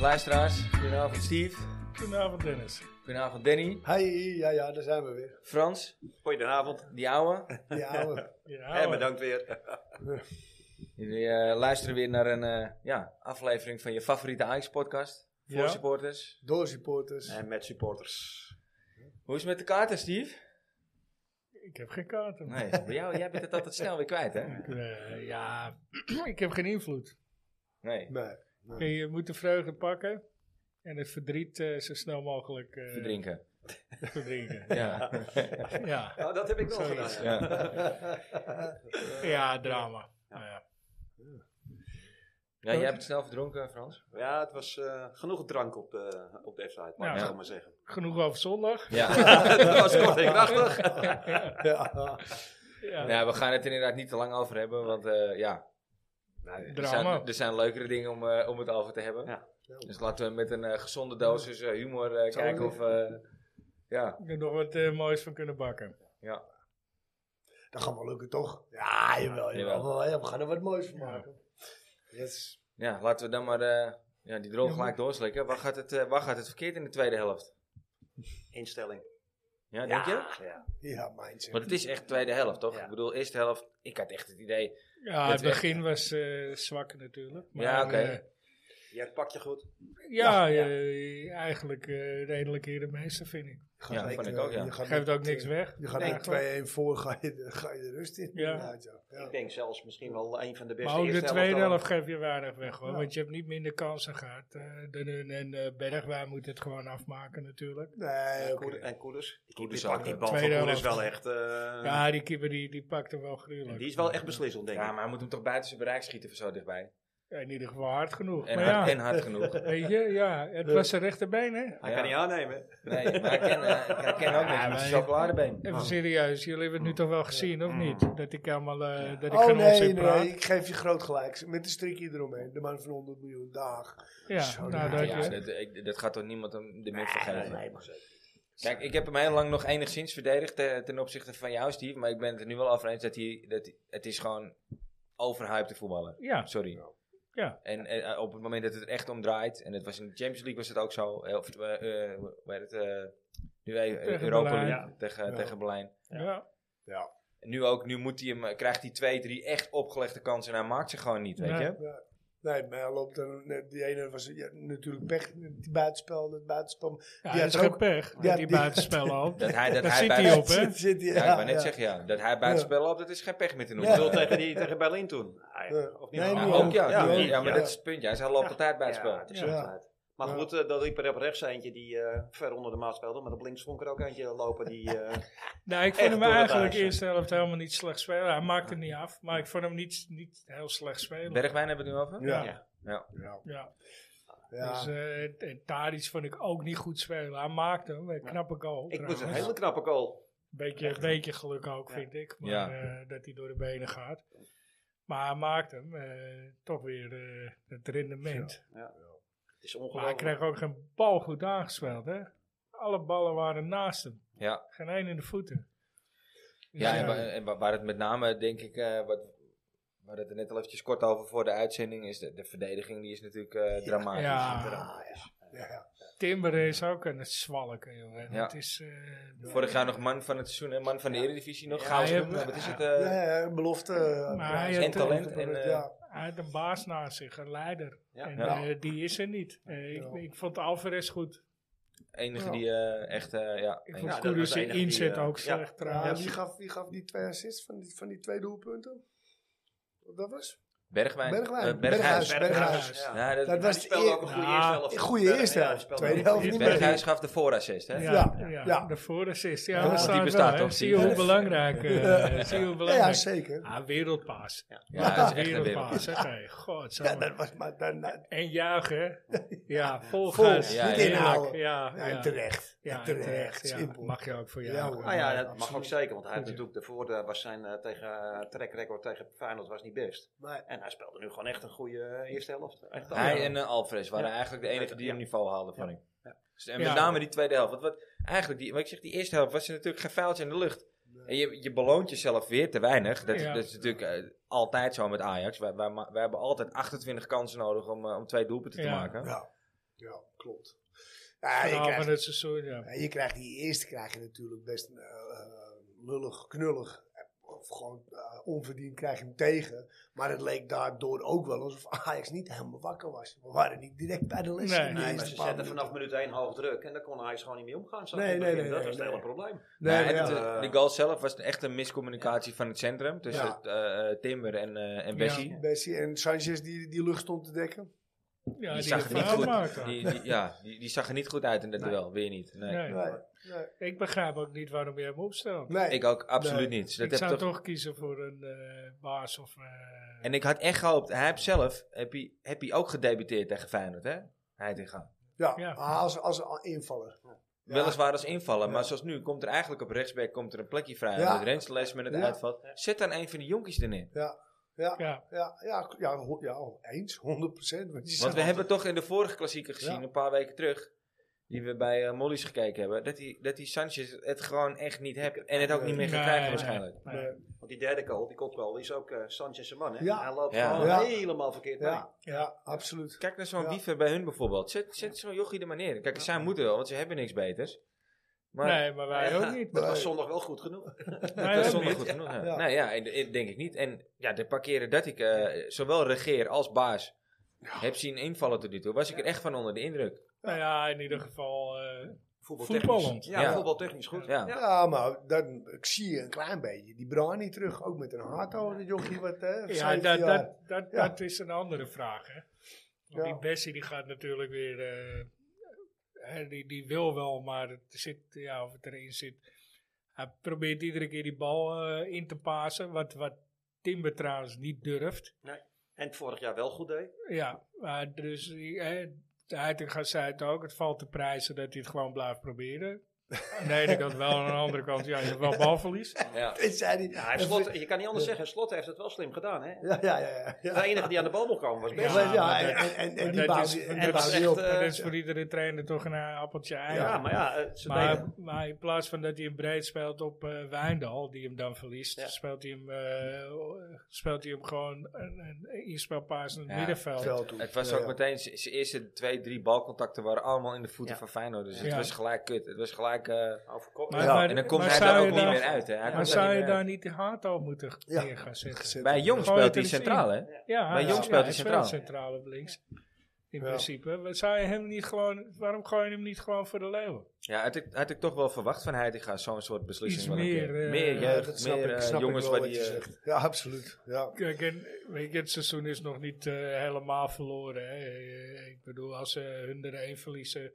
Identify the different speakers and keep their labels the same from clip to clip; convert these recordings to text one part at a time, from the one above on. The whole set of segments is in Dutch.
Speaker 1: luisteraars. Goedenavond Steve.
Speaker 2: Goedenavond Dennis.
Speaker 1: Goedenavond Danny.
Speaker 3: Hi, ja, ja, daar zijn we weer.
Speaker 1: Frans,
Speaker 4: Goedenavond.
Speaker 1: die ouwe.
Speaker 3: Die oude.
Speaker 2: Ja,
Speaker 4: En bedankt weer.
Speaker 1: Jullie eh, luisteren weer naar een eh, ja, aflevering van je favoriete Ajax-podcast. Voor
Speaker 2: Ja.
Speaker 1: supporters.
Speaker 3: Door supporters.
Speaker 4: En met supporters.
Speaker 1: Hoe is het met de kaarten, Steve?
Speaker 2: Ik heb geen kaarten.
Speaker 1: Nee, bij jou, jij bent het altijd snel weer kwijt, hè?
Speaker 2: Ik, eh, ja, ik heb geen invloed.
Speaker 1: Nee,
Speaker 3: Nee.
Speaker 2: Oké, Je moet de vreugde pakken en het verdriet eh, zo snel mogelijk eh,
Speaker 1: verdrinken.
Speaker 2: verdrinken.
Speaker 1: Ja.
Speaker 2: ja.
Speaker 4: Nou, dat heb ik wel
Speaker 2: Zoiets,
Speaker 4: gedaan.
Speaker 1: ja.
Speaker 2: ja, drama. Nou ja.
Speaker 1: Ja, jij hebt het snel verdronken, Frans.
Speaker 4: Ja, het was eh, genoeg drank op, eh, op de website, mag
Speaker 2: Ja.
Speaker 4: ik zo maar zeggen.
Speaker 2: Genoeg over zondag.
Speaker 1: Ja.
Speaker 4: dat was kort en krachtig.
Speaker 3: Ja.
Speaker 2: Ja,
Speaker 1: Nou, we gaan het inderdaad niet te lang over hebben, want eh, ja, er
Speaker 2: drama.
Speaker 1: zijn, er zijn leukere dingen om, eh, om het over te hebben.
Speaker 4: Ja.
Speaker 1: Dus laten we met een eh, gezonde dosis eh, humor eh,
Speaker 3: Zal
Speaker 1: kijken
Speaker 3: ik-
Speaker 1: of... eh, ja,
Speaker 2: Ik heb nog wat eh, moois van kunnen bakken.
Speaker 3: Dat gaat wel lukken, toch? Ja, jawel, jawel.
Speaker 1: Jawel.
Speaker 3: Ja, we gaan er wat moois van maken. Yes.
Speaker 1: Ja, laten we dan maar eh, ja, die droom gelijk doorslikken. Waar gaat, het, eh, waar gaat het verkeerd in de tweede helft?
Speaker 4: Instelling.
Speaker 1: Ja, denk je?
Speaker 4: Ja.
Speaker 3: Ja, mindset.
Speaker 1: Want het is echt tweede helft, toch?
Speaker 4: Ja.
Speaker 1: Ik bedoel, eerste helft, ik had echt het idee.
Speaker 2: Ja,
Speaker 1: Het
Speaker 2: het
Speaker 1: is echt-
Speaker 2: begin was eh, zwak natuurlijk. Maar,
Speaker 1: Ja, oké.
Speaker 2: eh,
Speaker 4: Jij pakt je goed.
Speaker 2: ja, eh, eigenlijk eh, redelijk hier de meester vind ik.
Speaker 3: Je gaat
Speaker 1: Ja,
Speaker 3: met,
Speaker 1: vond ik
Speaker 3: eh,
Speaker 1: ook, ja.
Speaker 3: Je gaat
Speaker 2: Geeft
Speaker 3: met,
Speaker 2: ook niks
Speaker 3: eh,
Speaker 2: weg.
Speaker 3: Je gaat
Speaker 2: Nee,
Speaker 3: met 2-1 voor, ga je, de- ga je de rust in.
Speaker 2: Ja.
Speaker 3: inderdaad, ja.
Speaker 4: Ik denk zelfs misschien wel een van de beste
Speaker 2: Maar ook de
Speaker 4: eerste
Speaker 2: tweede
Speaker 4: helften.
Speaker 2: helft geef je weinig weg hoor.
Speaker 3: Ja.
Speaker 2: Want je hebt niet minder kansen gehad. Eh, dan hun en eh, Bergwijn moet het gewoon afmaken natuurlijk.
Speaker 3: Nee,
Speaker 4: En
Speaker 3: oké.
Speaker 4: Koeder- En Koeders. eh, Die
Speaker 1: Koeders
Speaker 4: pakt
Speaker 1: ook,
Speaker 4: die
Speaker 3: eh,
Speaker 1: ja.
Speaker 4: bal van
Speaker 2: Tweede
Speaker 4: Koeders
Speaker 2: helft.
Speaker 4: wel echt... eh,
Speaker 2: ja, die keeper die, die pakt hem wel gruwelijk.
Speaker 4: die is wel echt beslissend, denk ik.
Speaker 1: Ja, maar hij moet hem toch buiten zijn bereik schieten voor zo dichtbij.
Speaker 2: Ja, in ieder geval hard genoeg.
Speaker 1: En,
Speaker 2: maar
Speaker 1: hard,
Speaker 2: ja,
Speaker 1: en hard genoeg.
Speaker 2: weet je, ja, het was zijn rechterbeen hè.
Speaker 4: Hij
Speaker 1: Ja.
Speaker 4: kan niet aannemen.
Speaker 1: Nee, maar ik ken, eh, ik herken ook niks
Speaker 2: Ja,
Speaker 1: met zijn
Speaker 2: maar-
Speaker 1: chocoladebeen.
Speaker 2: Even serieus, jullie hebben het nu toch wel gezien of niet? Dat ik helemaal, eh, dat ik
Speaker 3: Oh
Speaker 2: geen
Speaker 3: nee,
Speaker 2: onzin praat.
Speaker 3: nee, ik geef je groot gelijk. Met een strikje eromheen. De man van 100 miljoen. Dag.
Speaker 2: Ja,
Speaker 3: Zo,
Speaker 2: nou
Speaker 3: ja,
Speaker 2: dat
Speaker 1: Ja,
Speaker 2: je.
Speaker 1: dat, ik- dat gaat toch niemand hem de min vergeven.
Speaker 4: nee, maar
Speaker 1: Dus, Kijk, ik heb hem heel lang nog enigszins verdedigd eh, ten opzichte van jou, Steve. Maar ik ben het er nu wel over eens dat, hij, dat hij- het is gewoon overhyped te voetballen.
Speaker 2: Ja,
Speaker 1: Sorry.
Speaker 2: Ja.
Speaker 1: En, eh, op het moment dat het er echt om draait, en het was in de Champions League was het ook zo, eh, of eh, eh, hoe heet het, eh, nu even, eh,
Speaker 2: Tegen
Speaker 1: Europa
Speaker 2: Berlijn.
Speaker 1: League tegen,
Speaker 3: Ja.
Speaker 1: tegen Berlijn.
Speaker 2: ja.
Speaker 1: En nu ook, nu moet hij hem, eh, krijgt hij twee, drie echt opgelegde kansen en hij maakt ze gewoon niet, weet
Speaker 2: Nee.
Speaker 1: je?
Speaker 3: Nee, maar hij loopt dan. net- Die ene was ja, natuurlijk pech. Die buitenspel, dat buitenspel.
Speaker 2: ja,
Speaker 3: Die
Speaker 2: dat is
Speaker 3: had
Speaker 2: geen
Speaker 3: ook-
Speaker 2: pech.
Speaker 3: Ja,
Speaker 2: Dat die
Speaker 3: die-
Speaker 2: buitenspel al.
Speaker 1: Dat hij, dat
Speaker 2: Daar
Speaker 1: hij
Speaker 2: zit
Speaker 1: buiten-
Speaker 2: hij op, hè?
Speaker 3: Zit- zit die-
Speaker 1: Ja, ik wou net
Speaker 3: ja.
Speaker 1: zeggen, ja. Dat hij buitenspel loopt, dat is geen pech meer te noemen.
Speaker 3: Ja.
Speaker 4: bedoel, tegen, die, tegen Berlin toen. Ah, ja.
Speaker 3: Ja.
Speaker 4: Of niet?
Speaker 3: Nee,
Speaker 4: Ja,
Speaker 1: Maar
Speaker 3: nu
Speaker 1: ook, ja,
Speaker 3: Ja,
Speaker 1: nu ook.
Speaker 3: ja.
Speaker 1: ja, maar
Speaker 3: Ja.
Speaker 1: dat is het puntje. Hij hij loopt altijd buitenspel.
Speaker 4: Ja, het is
Speaker 2: Ja.
Speaker 4: altijd. Maar
Speaker 3: Ja.
Speaker 4: goed, eh, dat ik op rechts eentje die eh, ver onder de maat speelde. Maar op links vond ik er ook eentje lopen die... eh,
Speaker 2: Nou, ik vond
Speaker 4: Echt
Speaker 2: hem
Speaker 4: door het
Speaker 2: eigenlijk
Speaker 4: huis, hè.
Speaker 2: eerste helft helemaal niet slecht spelen. Hij maakte hem niet af, maar ik vond hem niet, niet heel slecht spelen.
Speaker 1: Bergwijn hebben we het nu over?
Speaker 3: Ja.
Speaker 4: Ja.
Speaker 1: Ja.
Speaker 3: Ja.
Speaker 2: ja.
Speaker 3: Ja.
Speaker 2: Dus, eh, en Tadic vond ik ook niet goed spelen. Hij maakte hem, een knappe goal.
Speaker 4: ik was
Speaker 2: trouwens.
Speaker 4: een hele knappe goal.
Speaker 2: beetje, beetje geluk ook,
Speaker 4: Ja.
Speaker 2: vind ik. Maar,
Speaker 1: Ja.
Speaker 2: eh, dat hij door de benen gaat. Maar hij maakte hem eh, toch weer eh, het rendement.
Speaker 4: Het is
Speaker 2: Maar hij
Speaker 4: ongelooflijk.
Speaker 2: kreeg ook geen bal goed aangespeeld, hè? Alle ballen waren naast hem.
Speaker 1: ja.
Speaker 2: Geen één in de voeten. Dus,
Speaker 1: Ja, en,
Speaker 2: eh,
Speaker 1: wa- en wa- waar het met name, denk ik, eh wat, we hadden het er net al eventjes kort over voor de uitzending, is de, de verdediging, die is natuurlijk eh, dramatisch.
Speaker 2: Ja.
Speaker 1: Dramatisch.
Speaker 3: Ja.
Speaker 2: Timber is ook aan het zwalken, joh. En
Speaker 1: Ja.
Speaker 2: Het is, eh,
Speaker 1: Vorig jaar nog man van het seizoen en man van de Eredivisie nog.
Speaker 2: Ja,
Speaker 1: Gouden
Speaker 2: je
Speaker 1: schoen,
Speaker 2: hebt-
Speaker 1: wat is het?
Speaker 3: Ja,
Speaker 1: eh,
Speaker 3: ja, ja, belofte. eh,
Speaker 2: Maar
Speaker 3: ja,
Speaker 2: hij
Speaker 3: ja,
Speaker 2: had-
Speaker 3: ja,
Speaker 1: talent en, eh,
Speaker 3: ja.
Speaker 2: hij had een baas naast zich, een leider.
Speaker 4: Ja.
Speaker 2: En
Speaker 1: Ja.
Speaker 2: eh, die is er niet. Eh, ik,
Speaker 3: Ja.
Speaker 2: ik vond Alvarez goed.
Speaker 1: enige
Speaker 3: Ja.
Speaker 1: die eh, echt, eh, ja.
Speaker 2: Ik
Speaker 1: enige-
Speaker 2: vond
Speaker 4: dat
Speaker 2: Koeders
Speaker 4: was de
Speaker 2: zijn
Speaker 4: enige die,
Speaker 2: inzet
Speaker 4: eh,
Speaker 2: ook
Speaker 4: ja.
Speaker 2: slecht
Speaker 3: Ja,
Speaker 2: trouwens.
Speaker 3: wie, gaf, wie gaf die twee assists van die, van die twee doelpunten? Wat Dat was?
Speaker 1: Bergwijn.
Speaker 3: Bergwijn.
Speaker 1: eh, Berghuis.
Speaker 3: Berghuis. Berghuis.
Speaker 4: Ja.
Speaker 1: Ja, dat,
Speaker 3: Dat
Speaker 4: Maar
Speaker 3: was
Speaker 4: die
Speaker 3: de
Speaker 4: speelde ook een
Speaker 3: eer-
Speaker 4: goede
Speaker 2: Ja.
Speaker 4: eerste helft.
Speaker 3: De goede eerste
Speaker 4: Ja,
Speaker 3: helft.
Speaker 4: speelde
Speaker 3: Tweede
Speaker 4: ook-
Speaker 3: helft niet meer.
Speaker 1: Berghuis gaf de voorassist, hè?
Speaker 2: Ja, ja,
Speaker 3: Ja, ja.
Speaker 2: de voorassist. Ja,
Speaker 3: Ja,
Speaker 2: daar
Speaker 3: want
Speaker 2: staat
Speaker 1: die
Speaker 2: wel,
Speaker 1: bestaat
Speaker 2: hè.
Speaker 1: toch,
Speaker 2: Zie je
Speaker 1: zie je.
Speaker 2: hoe belangrijk. eh, zie je hoe
Speaker 3: Ja, ja,
Speaker 2: belangrijk.
Speaker 3: zeker.
Speaker 2: ah, wereldpaas.
Speaker 1: Ja, dat is echt een wereld.
Speaker 2: Zeg hey, God,
Speaker 3: Ja, dat was maar daarna.
Speaker 2: En juichen. hè. Ja, vol
Speaker 3: Vol,
Speaker 2: gas.
Speaker 1: niet
Speaker 2: Heerlijk.
Speaker 3: inhouden.
Speaker 2: Ja,
Speaker 3: Ja,
Speaker 2: ja.
Speaker 3: en terecht.
Speaker 2: Ja,
Speaker 3: Ja, terecht.
Speaker 2: ja.
Speaker 3: Simpel.
Speaker 2: Mag je ook voor jou.
Speaker 3: Ja,
Speaker 2: Ja,
Speaker 3: hoor.
Speaker 4: Ah ja, dat
Speaker 3: Absoluut.
Speaker 4: mag ook zeker, want hij heeft natuurlijk daarvoor eh, was zijn eh, tegen, eh, trackrecord tegen Feyenoord was niet best.
Speaker 3: Maar,
Speaker 4: En hij speelde nu gewoon echt een goede eh, eerste helft. Echt
Speaker 2: Oh,
Speaker 4: wel.
Speaker 1: Hij en eh, Alvarez waren
Speaker 4: Ja.
Speaker 1: eigenlijk de enigen die
Speaker 4: Ja.
Speaker 1: een niveau haalden van hem. Dus, en met
Speaker 2: Ja.
Speaker 1: name die tweede helft. Want wat, eigenlijk, die, wat ik zeg, die eerste helft was er natuurlijk geen vuiltje in de lucht. En je, je beloont jezelf weer te weinig. Dat, is-
Speaker 2: Ja.
Speaker 1: dat is natuurlijk eh, altijd zo met Ajax. Wij, wij, ma- wij hebben altijd 28 kansen nodig om, eh, om twee doelpunten
Speaker 2: Ja.
Speaker 1: te maken.
Speaker 3: ja. Ja, klopt. Ja, je,
Speaker 2: Vanaf
Speaker 3: krijgt,
Speaker 2: van het seizoen, ja.
Speaker 3: ja, Nou, je krijgt die eerste krijg je natuurlijk best eh, eh, lullig, knullig. eh, Of gewoon eh, onverdiend krijg je hem tegen. Maar het leek daardoor ook wel alsof Ajax niet helemaal wakker was. We waren niet direct bij de les.
Speaker 2: Nee.
Speaker 3: in de
Speaker 2: Nee,
Speaker 4: Nee,
Speaker 3: eerste
Speaker 4: maar ze
Speaker 3: paar
Speaker 4: zetten
Speaker 3: minuten.
Speaker 4: vanaf minuut 1 hoog druk en daar kon Ajax gewoon niet mee omgaan. zag
Speaker 3: Nee,
Speaker 4: ik in het
Speaker 3: nee,
Speaker 4: begin.
Speaker 3: nee,
Speaker 4: dat was
Speaker 3: nee,
Speaker 4: het hele
Speaker 3: nee.
Speaker 4: probleem.
Speaker 3: Nee,
Speaker 1: Nou, en
Speaker 3: maar ja.
Speaker 1: het, eh, de goal zelf was echt een miscommunicatie van het centrum tussen
Speaker 3: Ja.
Speaker 1: het, eh, eh, Timber en, eh en Bessie.
Speaker 2: Ja.
Speaker 3: Bessie en Sanchez die die lucht stond te dekken.
Speaker 2: Ja,
Speaker 1: Die
Speaker 2: die,
Speaker 1: zag
Speaker 2: heeft
Speaker 1: er niet
Speaker 2: fout
Speaker 1: goed.
Speaker 2: maken.
Speaker 1: Die, die, ja, die, die zag er niet goed uit in dat
Speaker 4: Nee.
Speaker 1: duel, weer niet. Nee.
Speaker 2: Nee.
Speaker 3: Nee, nee.
Speaker 2: Ik begrijp ook niet waarom jij hem opstelt.
Speaker 3: nee.
Speaker 1: Ik ook absoluut
Speaker 3: Nee.
Speaker 1: niet. Dus Dat
Speaker 2: ik
Speaker 1: heb
Speaker 2: zou
Speaker 1: toch-
Speaker 2: toch... kiezen voor een eh, baas of... eh,
Speaker 1: En ik had echt gehoopt, hij heeft zelf, heb hij, heb hij ook gedebuteerd tegen Feyenoord, hè? Hij tegen.
Speaker 3: Ja,
Speaker 2: Ja.
Speaker 3: Als, als invaller. Ja.
Speaker 1: Weliswaar als invallen,
Speaker 3: Ja.
Speaker 1: maar zoals nu komt er eigenlijk op rechtsback komt er een plekje vrij.
Speaker 3: Ja.
Speaker 1: Met Rensselaer met het
Speaker 3: Ja.
Speaker 1: uitvalt. Zet dan een van de jonkies erin.
Speaker 2: ja,
Speaker 3: Ja, ja, ja, ho- ja, eens, 100%. Want, je
Speaker 1: Want
Speaker 3: zegt-
Speaker 1: we hebben toch in de vorige klassieker gezien,
Speaker 3: Ja.
Speaker 1: een paar weken terug, die we bij eh, Molly's gekeken hebben, dat die, dat die Sanchez het gewoon echt niet hebt. En het ook niet meer gaat
Speaker 2: Nee,
Speaker 1: krijgen
Speaker 2: nee.
Speaker 1: waarschijnlijk.
Speaker 2: nee.
Speaker 3: Nee.
Speaker 4: Want die derde goal, die kopgoal, die is ook eh Sanchez zijn man. Hè?
Speaker 3: Ja.
Speaker 4: Hij loopt
Speaker 1: Ja.
Speaker 4: gewoon
Speaker 3: Ja.
Speaker 4: helemaal verkeerd mee.
Speaker 3: eh, Ja, ja, absoluut.
Speaker 1: Kijk naar zo'n
Speaker 3: Ja.
Speaker 1: wiever bij hun bijvoorbeeld. Zet, zet zo'n jochie er maar neer. Kijk, zij moeten wel, want ze hebben niks beters. Maar
Speaker 2: nee, maar wij
Speaker 4: Ja.
Speaker 2: ook niet.
Speaker 4: Dat was
Speaker 3: Nee.
Speaker 4: zondag wel goed genoeg.
Speaker 2: Wij
Speaker 1: dat
Speaker 2: ook
Speaker 1: is zondag
Speaker 2: niet.
Speaker 1: goed genoeg. Ja.
Speaker 3: Ja.
Speaker 1: Nou ja, en- en denk ik niet. En ja, de parkeren dat ik eh, zowel regeer als baas heb zien invallen tot nu toe, was ik er echt van onder de indruk.
Speaker 2: Nou ja, in ieder geval... eh, Voetballend.
Speaker 4: Voetbaltechnisch. Ja,
Speaker 1: Ja.
Speaker 4: voetbaltechnisch goed.
Speaker 1: Ja.
Speaker 3: Ja, maar dan, ik zie je een klein beetje die Brani terug. Ook met een harto, dat jochie wat hè,
Speaker 2: ja,
Speaker 3: 17
Speaker 2: dat,
Speaker 3: jaar.
Speaker 2: dat, dat,
Speaker 3: Ja.
Speaker 2: dat is een andere vraag, hè. Want
Speaker 3: Ja.
Speaker 2: die Bessie die gaat natuurlijk weer... eh, hè, die, die wil wel, maar het zit, ja, of het erin zit... Hij probeert iedere keer die bal eh, in te pasen, wat, wat Timber trouwens niet durft.
Speaker 4: En het vorig jaar wel goed deed.
Speaker 2: Ja, maar dus eh, de Heitinga zei het ook, het valt te prijzen dat hij het gewoon blijft proberen. Aan de ene kant wel, aan de andere kant, ja, je hebt wel balverlies.
Speaker 1: Ja.
Speaker 3: Dit zei die-
Speaker 4: Ja, hij heeft slot, je kan niet anders zeggen, Slot heeft het wel slim gedaan. Hè?
Speaker 3: Ja, ja, ja. ja,
Speaker 4: De
Speaker 3: ja.
Speaker 4: enige die aan de bal mocht komen was
Speaker 3: Ja,
Speaker 4: Bessie.
Speaker 2: maar dat-
Speaker 3: en, en, en, en die
Speaker 2: dat
Speaker 3: bouwt
Speaker 2: is-
Speaker 3: die- en
Speaker 2: dat
Speaker 3: die bouwt
Speaker 4: is
Speaker 3: die
Speaker 4: echt,
Speaker 3: op.
Speaker 4: eh,
Speaker 2: Maar dat is voor iedere trainer toch een eh, appeltje ei.
Speaker 4: Ja, maar ja, eh, ze
Speaker 2: maar,
Speaker 4: deden-
Speaker 2: maar in plaats van dat hij hem breed speelt op eh Wijndal, die hem dan verliest,
Speaker 4: Ja.
Speaker 2: speelt, hij hem, eh, speelt hij hem gewoon een, een inspelpaas in het
Speaker 1: Ja.
Speaker 2: middenveld.
Speaker 3: Veld toe.
Speaker 1: Het was
Speaker 3: Ja,
Speaker 1: ook
Speaker 3: ja.
Speaker 1: meteen, z- zijn eerste twee, drie balcontacten waren allemaal in de voeten
Speaker 4: Ja.
Speaker 1: van Feyenoord. Dus het
Speaker 2: Ja.
Speaker 1: was gelijk kut. Het was gelijk... eh,
Speaker 4: overkop-
Speaker 2: Maar-
Speaker 4: Ja.
Speaker 2: maar-
Speaker 1: en dan komt
Speaker 2: maar
Speaker 1: hij
Speaker 2: zou
Speaker 1: er
Speaker 2: je
Speaker 1: ook niet
Speaker 2: dan-
Speaker 1: meer uit. Hè. Hij
Speaker 2: Maar
Speaker 1: komt er
Speaker 2: zou
Speaker 1: niet
Speaker 2: je
Speaker 1: meer
Speaker 2: daar
Speaker 1: uit.
Speaker 2: niet die haat al moeten
Speaker 3: Ja.
Speaker 2: neer gaan zetten?
Speaker 3: Gezet.
Speaker 1: Bij Jong
Speaker 2: Gooi
Speaker 1: speelt
Speaker 2: het
Speaker 1: hij
Speaker 2: er eens
Speaker 1: centraal, hè?
Speaker 2: Ja,
Speaker 1: Bij
Speaker 2: hij-
Speaker 1: Jong
Speaker 2: ja,
Speaker 1: speelt hij
Speaker 2: speelt
Speaker 1: centraal.
Speaker 2: centraal op links. In
Speaker 3: Ja.
Speaker 2: principe. Wat Zou je hem niet gewoon, waarom gooi je hem niet gewoon voor de leeuwen?
Speaker 1: Ja, had ik, had ik toch wel verwacht van Heitinga zo'n soort beslissing.
Speaker 2: Iets
Speaker 1: wel een
Speaker 2: meer,
Speaker 1: keer.
Speaker 2: eh,
Speaker 1: meer
Speaker 2: Ja,
Speaker 3: Ja,
Speaker 1: jeugd,
Speaker 3: dat snap
Speaker 1: meer
Speaker 3: ik,
Speaker 1: eh,
Speaker 3: snap ik
Speaker 1: jongens
Speaker 3: wel
Speaker 1: waar
Speaker 3: wat
Speaker 1: die...
Speaker 3: je
Speaker 1: eh,
Speaker 3: zegt. Ja, absoluut. Ja.
Speaker 2: Kijk, en, weet je, het seizoen is nog niet eh, helemaal verloren. Hè. Eh, Ik bedoel, als ze hun er één verliezen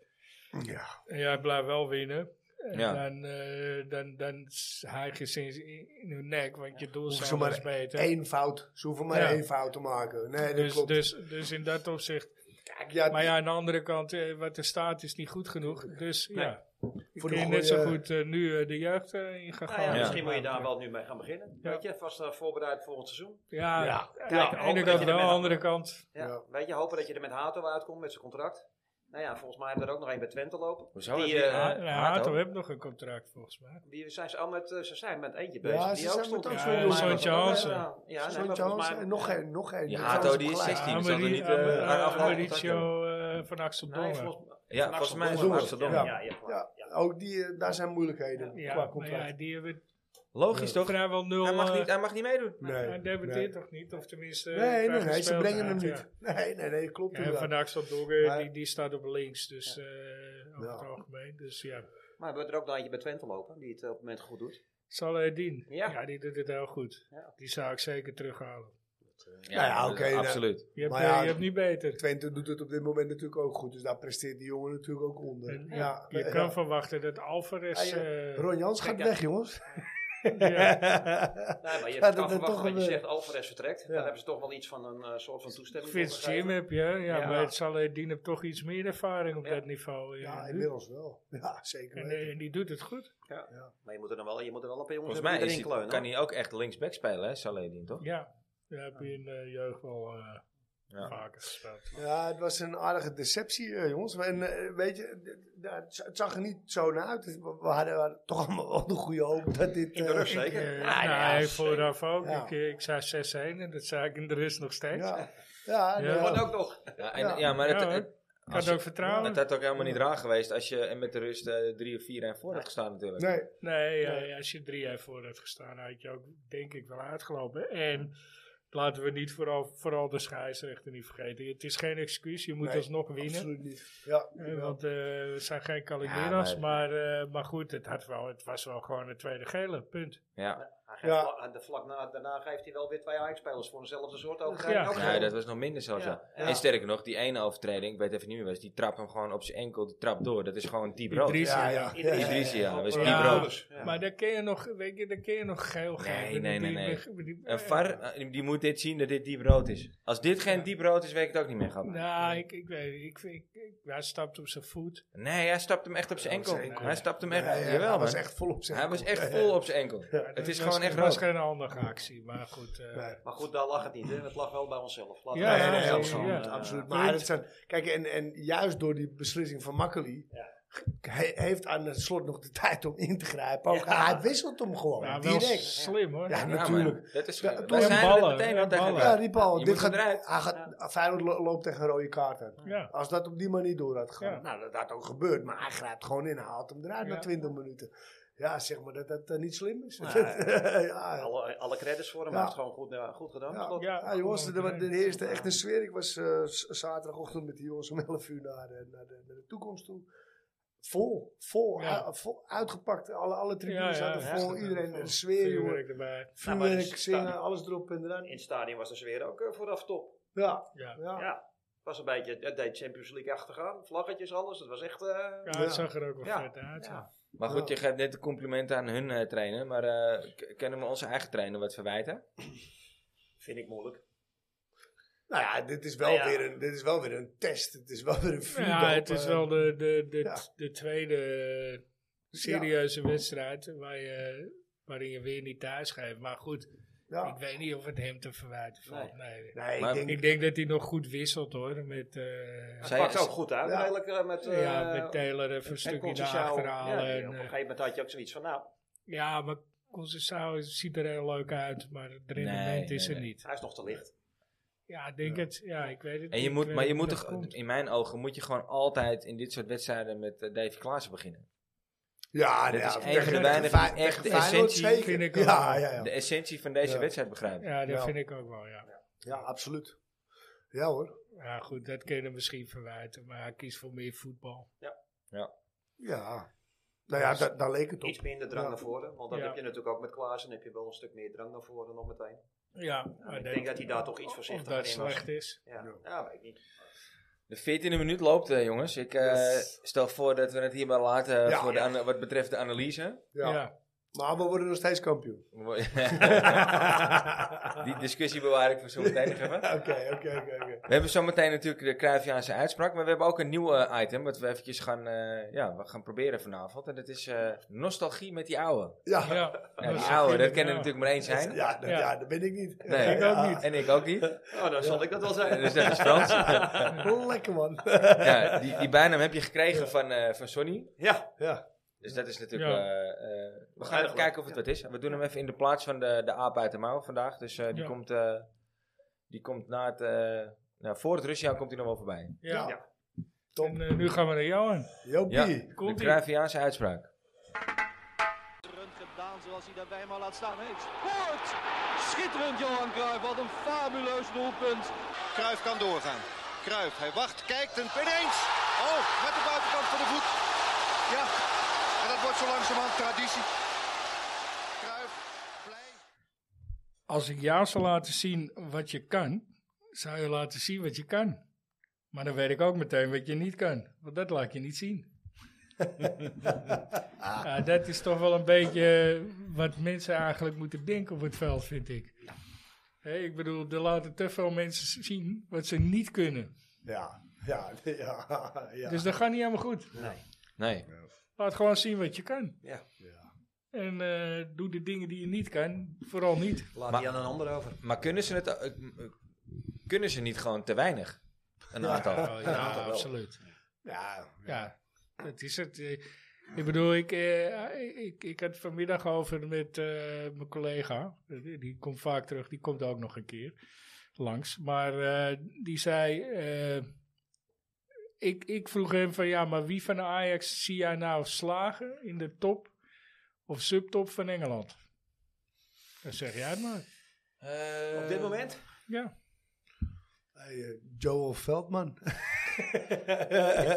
Speaker 3: Ja.
Speaker 2: en jij blijft wel winnen, en
Speaker 1: Ja.
Speaker 2: dan, eh dan, dan s- hijg je sinds in in hun nek, want je doel
Speaker 3: Hoeven
Speaker 2: is
Speaker 3: ze maar
Speaker 2: anders beter.
Speaker 3: Eén fout. Ze hoeven maar
Speaker 2: Ja.
Speaker 3: één fout te maken. Nee, dat
Speaker 2: dus,
Speaker 3: klopt.
Speaker 2: dus, dus in dat opzicht.
Speaker 3: Kijk, ja,
Speaker 2: Maar ja, aan de andere kant, eh, wat er staat is niet goed genoeg. Dus ja,
Speaker 3: die-
Speaker 2: kun je
Speaker 3: goeie-
Speaker 2: net zo goed eh, nu eh, de jeugd eh, in gaan
Speaker 4: Nou ja,
Speaker 2: gooien.
Speaker 4: Misschien moet je daar wel nu mee gaan beginnen.
Speaker 2: Ja.
Speaker 4: Weet je, vast eh, voorbereid volgend seizoen.
Speaker 2: Ja,
Speaker 3: Ja.
Speaker 2: aan
Speaker 4: Ja,
Speaker 2: de
Speaker 4: hopen
Speaker 2: ene
Speaker 4: dat
Speaker 2: kant wel, aan
Speaker 4: je er bent.
Speaker 2: de andere kant.
Speaker 4: Ja.
Speaker 3: Ja.
Speaker 4: Weet je, hopen dat je er met Hato uitkomt met zijn contract. Nou ja, volgens mij hebben we er ook nog één bij Twente lopen.
Speaker 1: Hoezo?
Speaker 4: Die,
Speaker 1: Heb je-
Speaker 4: eh,
Speaker 1: Ja,
Speaker 2: Ja, nou,
Speaker 1: Hato.
Speaker 2: Hato heeft nog een contract volgens mij.
Speaker 4: Die zijn ze al met, eh, ze zijn met eentje
Speaker 3: Ja,
Speaker 4: bezig.
Speaker 3: ze
Speaker 4: die
Speaker 3: zijn
Speaker 4: ook
Speaker 3: met
Speaker 4: stond
Speaker 3: ook
Speaker 4: in.
Speaker 2: zo'n Ja, jongen. zo'n Jansen.
Speaker 4: Ja, ja, nee,
Speaker 3: Zo'n
Speaker 4: maar volgens
Speaker 3: Jones
Speaker 4: mij-
Speaker 3: en nog één. Nog één.
Speaker 1: Die
Speaker 3: Dat
Speaker 1: Hato,
Speaker 3: is
Speaker 1: die is
Speaker 3: gelijk.
Speaker 1: 16. zal er
Speaker 2: Ameri-
Speaker 1: niet, eh,
Speaker 2: Amer-
Speaker 1: aan
Speaker 2: eh,
Speaker 1: afgelopen
Speaker 2: Mauricio eh, van
Speaker 4: Nee,
Speaker 2: Axeldongen.
Speaker 4: volgens,
Speaker 1: Ja,
Speaker 4: van
Speaker 1: volgens mij
Speaker 4: Axel
Speaker 1: is
Speaker 4: Dongen.
Speaker 1: het Axel Dongen.
Speaker 4: Ja, ja, ja.
Speaker 3: Ja, ook die, eh, daar zijn moeilijkheden
Speaker 2: Ja,
Speaker 3: qua
Speaker 2: maar ja,
Speaker 3: contract.
Speaker 2: die hebben
Speaker 1: Logisch toch?
Speaker 2: vrijwel nul...
Speaker 1: Hij mag
Speaker 2: eh,
Speaker 1: niet, hij mag niet meedoen.
Speaker 3: Nee,
Speaker 2: Hij debuteert
Speaker 3: nee.
Speaker 2: toch niet, of tenminste... eh,
Speaker 3: Nee, nee,
Speaker 2: krijgt
Speaker 3: nee, ze
Speaker 2: gespeeld
Speaker 3: brengen hem
Speaker 2: uit,
Speaker 3: niet. Nee, nee, nee, klopt
Speaker 2: Ja. En
Speaker 3: inderdaad.
Speaker 2: van Axeldongen,
Speaker 3: Maar-
Speaker 2: die, die staat op links, dus eh over
Speaker 3: Ja.
Speaker 2: het algemeen. Dus ja,
Speaker 4: Maar we hebben er ook nog eentje bij Twente lopen, die het op het moment goed doet.
Speaker 2: Saladin,
Speaker 4: Ja.
Speaker 2: ja. ja, die doet het heel goed.
Speaker 4: Ja.
Speaker 2: Die zou ik zeker terughalen.
Speaker 1: Ja,
Speaker 3: Nou ja,
Speaker 1: dat-
Speaker 3: oké, dan-
Speaker 1: Absoluut.
Speaker 2: Je hebt,
Speaker 3: Maar
Speaker 2: eh,
Speaker 3: ja,
Speaker 2: je hebt niet beter.
Speaker 3: Twente doet het op dit moment natuurlijk ook goed. Dus daar presteert die jongen natuurlijk ook onder.
Speaker 2: En,
Speaker 3: ja,
Speaker 2: Je
Speaker 3: ja.
Speaker 2: kan verwachten dat Alvarez...
Speaker 3: Ah,
Speaker 2: eh,
Speaker 3: Ron Jans gaat
Speaker 4: Kijk, ja.
Speaker 3: weg, jongens.
Speaker 2: ja.
Speaker 4: Nee, maar je
Speaker 3: Ja,
Speaker 4: kan
Speaker 3: dat er
Speaker 4: verwachten
Speaker 3: toch
Speaker 4: wat je
Speaker 3: een,
Speaker 4: zegt, Alvarez vertrekt.
Speaker 3: ja.
Speaker 4: Dan hebben ze toch wel iets van een eh, soort van toestemming voor
Speaker 2: Vince Jim
Speaker 4: gegeven.
Speaker 2: heb je, hè? ja,
Speaker 4: Ja.
Speaker 2: maar het zal Dien heb toch iets meer ervaring op
Speaker 4: Ja.
Speaker 2: dat niveau. eh,
Speaker 3: Ja,
Speaker 2: nu.
Speaker 3: inmiddels wel. Ja, zeker
Speaker 2: en,
Speaker 3: weten.
Speaker 2: eh, en die doet het goed.
Speaker 4: Maar je moet er dan wel, je moet er wel een paar jongens
Speaker 1: Volgens mij
Speaker 4: hebben
Speaker 1: is
Speaker 4: die
Speaker 1: die-
Speaker 4: erin kleunen.
Speaker 1: kan hij ook echt linksback spelen, hè, Saledin, toch?
Speaker 2: Ja, daar heb je in eh, jeugd wel eh,
Speaker 1: Ja.
Speaker 2: vaker gespeeld.
Speaker 3: Ja, het was een aardige deceptie, eh, jongens. En eh, weet je, d- d- het z- het zag er niet zo naar uit. Dus We we hadden, we hadden toch allemaal wel de goede hoop dat dit...
Speaker 4: In de
Speaker 3: eh,
Speaker 4: rust, hè?
Speaker 2: Ik,
Speaker 4: Zeker.
Speaker 2: eh,
Speaker 4: Ja,
Speaker 2: nou,
Speaker 4: ja,
Speaker 2: hij
Speaker 4: zeker.
Speaker 2: vooraf ook.
Speaker 3: Ja.
Speaker 2: Ik, eh, ik zei 6-1 en dat zei ik in de rest nog steeds.
Speaker 3: ja,
Speaker 2: Ja.
Speaker 3: ja, nou,
Speaker 4: Wordt ook nog.
Speaker 1: Ja, en,
Speaker 3: Ja.
Speaker 1: ja maar het,
Speaker 2: Ja,
Speaker 1: het-
Speaker 2: Kan het ook vertrouwen?
Speaker 1: Het had ook helemaal niet raar geweest als je met de rust eh, drie of vier en voor had gestaan natuurlijk.
Speaker 3: Nee,
Speaker 2: Nee, ja,
Speaker 3: Nee.
Speaker 2: ja, als je drie jaar voor had gestaan, had je ook denk ik wel uitgelopen. En laten we niet vooral, vooral de scheidsrechter niet vergeten. Het is geen excuus, je moet
Speaker 3: Nee,
Speaker 2: alsnog winnen.
Speaker 3: absoluut niet. Ja,
Speaker 2: Eh, want eh we zijn geen Calimeras,
Speaker 1: Ja,
Speaker 2: maar, eh, maar goed, het, had wel, het was wel gewoon een tweede gele, punt.
Speaker 1: Ja.
Speaker 4: Hij geeft
Speaker 3: Ja.
Speaker 4: vla- aan de vlak na, daarna geeft hij wel weer twee Ajax-spelers voor dezelfde soort
Speaker 2: Ja.
Speaker 4: overtreding. ook
Speaker 1: Nee,
Speaker 4: geel.
Speaker 1: dat was nog minder zelfs.
Speaker 4: Ja,
Speaker 1: ja.
Speaker 4: ja.
Speaker 1: En sterker nog, die ene overtreding, ik weet even niet meer was, die trapt hem gewoon op zijn enkel, die trapt door. Dat is gewoon diep rood.
Speaker 2: Idrissi,
Speaker 3: Ja,
Speaker 2: ja.
Speaker 3: ja.
Speaker 1: Idrissi, ja, dat was
Speaker 2: Ja.
Speaker 1: diep rood.
Speaker 4: Ja.
Speaker 2: Maar daar kun je nog, weet je, daar kun je nog geel geven.
Speaker 1: Nee, nee,
Speaker 2: Die-
Speaker 1: nee, nee.
Speaker 2: die- die-
Speaker 1: Een VAR, eh, die moet dit zien dat dit diep rood is. Als dit geen diep rood is, weet ik het ook niet meer. Gabber.
Speaker 2: Nou, ik, ik weet het. Ik, ik, ik, hij stapt op zijn voet.
Speaker 1: Nee, hij stapt hem echt op zijn
Speaker 3: Ja, op
Speaker 1: enkel.
Speaker 3: zijn enkel.
Speaker 1: Hij stapt hem echt,
Speaker 3: Ja, ja,
Speaker 1: jawel
Speaker 3: hij was
Speaker 1: man.
Speaker 3: echt vol op zich.
Speaker 1: Hij was echt vol op zijn enkel. Het is gewoon echt rood.
Speaker 2: Het was geen handige actie, maar goed. eh,
Speaker 3: Nee.
Speaker 4: Maar goed, daar lag het niet. Hè. Het lag wel bij onszelf. Laten
Speaker 2: Ja,
Speaker 4: we
Speaker 2: ja,
Speaker 4: bij
Speaker 2: ja,
Speaker 4: onszelf
Speaker 2: ja,
Speaker 4: gaan.
Speaker 2: ja.
Speaker 4: Eh,
Speaker 3: absoluut.
Speaker 2: Ja.
Speaker 3: Maar het zijn, kijk, en, en juist door die beslissing van Makkeli. Hij heeft aan het slot nog de tijd om in te grijpen. Ook.
Speaker 4: Ja.
Speaker 3: Hij wisselt hem gewoon.
Speaker 2: nou, wel
Speaker 3: direct.
Speaker 2: slim hoor.
Speaker 3: Ja,
Speaker 1: Ja, maar
Speaker 3: natuurlijk.
Speaker 1: dat is
Speaker 3: Ja,
Speaker 1: ja,
Speaker 3: en
Speaker 2: ballen,
Speaker 1: meteen
Speaker 2: en
Speaker 1: al tegen
Speaker 2: ballen.
Speaker 1: elkaar.
Speaker 3: Ja, Riepal,
Speaker 1: Je
Speaker 3: dit
Speaker 1: moet
Speaker 3: gaat,
Speaker 1: eruit.
Speaker 3: Hij gaat, Feyenoord lo- loopt tegen een rode kaart aan.
Speaker 2: Ja.
Speaker 3: Als dat op die manier door had gegaan,
Speaker 2: Ja.
Speaker 3: nou, dat had ook gebeurd. Maar hij grijpt gewoon in, hij haalt hem eruit
Speaker 2: Ja.
Speaker 3: na 20 minuten. Ja, zeg maar dat dat eh, niet slim is.
Speaker 4: Nee.
Speaker 3: ja, ja.
Speaker 4: Alle, alle credits voor hem.
Speaker 3: Ja.
Speaker 4: Hij heeft het gewoon goed, ja, goed gedaan.
Speaker 3: Ja.
Speaker 4: Klopt.
Speaker 2: Ja,
Speaker 3: Ja, Ah, jongens,
Speaker 2: gewoon
Speaker 3: er was
Speaker 2: direct.
Speaker 3: de eerste echt een sfeer. Ik was eh, z- zaterdagochtend met die jongens om 11 uur naar de, naar de, naar de toekomst toe. Vol, vol,
Speaker 2: Ja.
Speaker 3: u- vol uitgepakt. Alle, alle tribunes
Speaker 2: Ja, ja,
Speaker 3: zaten
Speaker 2: ja.
Speaker 3: vol. Iedereen een sfeer, jongen.
Speaker 2: Vuurwerk Nou, erbij.
Speaker 4: Ja, maar
Speaker 3: Vuurwerk,
Speaker 4: het is-
Speaker 3: zingen,
Speaker 4: ja.
Speaker 3: alles erop en eraan.
Speaker 4: In het stadion was de sfeer ook eh, vooraf top.
Speaker 3: Ja,
Speaker 2: Ja.
Speaker 3: ja.
Speaker 4: Ja, het was een beetje, het deed Champions League achtergaan. Vlaggetjes, alles. Het was echt... eh,
Speaker 2: Ja, het zag er ook wel
Speaker 4: Ja.
Speaker 2: vet uit. ja.
Speaker 4: Ja.
Speaker 1: Maar goed,
Speaker 3: Ja.
Speaker 1: je geeft net de complimenten aan hun eh, trainer. Maar eh, k- kunnen we onze eigen trainer wat verwijten?
Speaker 4: Vind ik moeilijk.
Speaker 3: Nou ja, dit is, wel
Speaker 4: Ja.
Speaker 3: Weer een, dit is wel weer een test. Het is wel weer een vuurdoop.
Speaker 2: Ja, het is
Speaker 3: eh,
Speaker 2: wel de, de, de,
Speaker 3: ja.
Speaker 2: de tweede serieuze wedstrijd waar je, waarin je weer niet thuis geeft. Maar goed, ik
Speaker 3: ja.
Speaker 2: weet niet of het hem te verwijten valt. Nee.
Speaker 3: Nee, ik
Speaker 1: Maar-
Speaker 3: denk...
Speaker 2: Ik denk dat hij nog goed wisselt hoor. Met, eh,
Speaker 4: Het
Speaker 1: Zij-
Speaker 4: pakt ook goed uit,
Speaker 3: Ja.
Speaker 4: eigenlijk. eh, Met, eh,
Speaker 2: ja, met Taylor even een
Speaker 4: en
Speaker 2: stukje
Speaker 4: Conceição.
Speaker 2: naar achter
Speaker 4: Ja,
Speaker 2: halen.
Speaker 4: op
Speaker 2: en,
Speaker 4: een
Speaker 2: eh,
Speaker 4: gegeven moment had je ook zoiets van, nou,
Speaker 2: Ja, maar Conceição ziet er heel leuk uit, maar het rendement
Speaker 1: nee,
Speaker 2: is er
Speaker 1: nee.
Speaker 2: niet.
Speaker 4: hij is nog te licht.
Speaker 2: Ja, ik denk het. Ja, ik weet het
Speaker 1: En je
Speaker 2: niet.
Speaker 1: moet,
Speaker 2: Ik
Speaker 1: maar je
Speaker 2: weet
Speaker 1: moet
Speaker 2: niet
Speaker 1: toch,
Speaker 2: hoe dat komt.
Speaker 1: in mijn ogen, moet je gewoon altijd in dit soort wedstrijden met eh, Davy Klaassen beginnen.
Speaker 3: Ja, nou
Speaker 1: Dit
Speaker 3: ja,
Speaker 1: is een
Speaker 3: tegen-
Speaker 1: van de
Speaker 3: tegen
Speaker 1: weinige
Speaker 3: Fey-
Speaker 1: die echt
Speaker 3: tegen
Speaker 1: de
Speaker 3: Feyenoord
Speaker 1: essentie-
Speaker 3: zeker.
Speaker 2: Vind ik ook
Speaker 3: ja,
Speaker 2: wel.
Speaker 3: ja, ja.
Speaker 1: De essentie van deze
Speaker 3: Ja.
Speaker 1: wedstrijd begrijpen.
Speaker 2: Ja, dat
Speaker 3: Ja.
Speaker 2: vind ik ook wel, ja.
Speaker 3: ja, absoluut. Ja hoor.
Speaker 2: Ja, goed, dat kun je hem misschien verwijten, maar hij kiest voor meer voetbal.
Speaker 3: Ja. Nou ja, da- daar leek het op.
Speaker 4: Iets minder drang
Speaker 3: Ja.
Speaker 4: naar voren. Want dat
Speaker 2: Ja.
Speaker 4: heb je natuurlijk ook met Klaassen. heb je wel een stuk meer drang naar voren nog meteen.
Speaker 2: Ja, maar
Speaker 4: ik denk dat hij daar toch iets voorzichtiger
Speaker 2: Of dat
Speaker 4: in was.
Speaker 2: slecht is.
Speaker 4: Ja,
Speaker 3: Ja.
Speaker 4: ja. weet ik niet.
Speaker 1: De 14e minuut loopt, eh, jongens. Ik eh,
Speaker 3: Yes.
Speaker 1: stel voor dat we het hierbij laten eh,
Speaker 3: Ja.
Speaker 1: voor de ana- wat betreft de analyse.
Speaker 2: Ja.
Speaker 3: Ja. Maar Nou, we worden nog steeds kampioen.
Speaker 1: Die discussie bewaar ik voor zometeen nog even.
Speaker 3: Oké, oké, oké, oké.
Speaker 1: We hebben zometeen natuurlijk de Cruyffiaanse uitspraak, maar we hebben ook een nieuw eh, item wat we eventjes gaan, eh, ja, we gaan proberen vanavond. En dat is eh, nostalgie met die oude.
Speaker 3: Ja, ja,
Speaker 2: Ja,
Speaker 1: Ja, die
Speaker 2: is
Speaker 1: oude,
Speaker 2: goed,
Speaker 1: dat kan er
Speaker 2: ja.
Speaker 1: natuurlijk maar één zijn.
Speaker 3: ja, dat,
Speaker 2: Ja.
Speaker 3: ja, dat ben ik niet.
Speaker 1: Nee,
Speaker 2: Ik ook niet.
Speaker 1: En ik ook niet.
Speaker 4: Oh, dan zal ik dat wel zijn.
Speaker 1: Dus dat is Frans.
Speaker 3: niet. Lekker man.
Speaker 1: ja, die, die bijnaam heb je gekregen van, eh, van Sonny.
Speaker 4: Ja,
Speaker 3: Ja,
Speaker 1: Dus dat is natuurlijk...
Speaker 2: Ja.
Speaker 1: eh, eh, we gaan even kijken of het wat is. We doen hem even in de plaats van de, de aap uit de mouw vandaag. Dus eh, die,
Speaker 2: Ja.
Speaker 1: komt, eh, die komt na het... eh, nou, voor het Russia komt hij nog wel voorbij.
Speaker 2: Ja.
Speaker 3: Ja.
Speaker 2: En eh, nu gaan we naar Johan.
Speaker 1: Ja,
Speaker 3: Jopie.
Speaker 1: de
Speaker 2: Komt-ie.
Speaker 1: Cruyffiaanse uitspraak.
Speaker 5: schitterend gedaan zoals hij daarbij maar laat staan. Hij scoort! Schitterend Johan Cruijff, wat een fabuleus doelpunt.
Speaker 6: Kruif kan doorgaan. Kruif, hij wacht, kijkt en ineens. Oh, met de buitenkant van de voet. Ja, en dat wordt zo langzamerhand traditie. Kruif, blij.
Speaker 2: Als ik jou zou laten zien wat je kan, zou je laten zien wat je kan. Maar dan weet ik ook meteen wat je niet kan, want dat laat je niet zien. ja, dat is toch wel een beetje wat mensen eigenlijk moeten denken op het veld, vind ik. Hé, ik bedoel, er laten te veel mensen zien wat ze niet kunnen.
Speaker 3: Ja, ja, ja, ja.
Speaker 2: Dus dat gaat niet helemaal goed.
Speaker 1: Nee.
Speaker 2: Laat gewoon zien wat je kan.
Speaker 4: Ja.
Speaker 3: Ja.
Speaker 2: En eh, doe de dingen die je niet kan, vooral niet.
Speaker 4: laat
Speaker 1: Maar-
Speaker 4: die aan een ander over.
Speaker 1: Maar kunnen ze het... eh, eh, kunnen ze niet gewoon te weinig? Een aantal.
Speaker 2: Oh, ja, absoluut.
Speaker 3: Ja,
Speaker 2: Ja, dat is het. Eh, Ik bedoel, ik, eh, ik, ik, ik had vanmiddag over met eh, mijn collega. Die die komt vaak terug, die komt ook nog een keer langs. Maar eh, die zei: eh, ik, ik vroeg hem van ja, maar wie van Ajax zie jij nou slagen in de top of subtop van Engeland? Dan zeg jij het maar.
Speaker 1: Eh,
Speaker 4: Op dit moment?
Speaker 2: Ja,
Speaker 3: Hey, eh, Joel Veldman.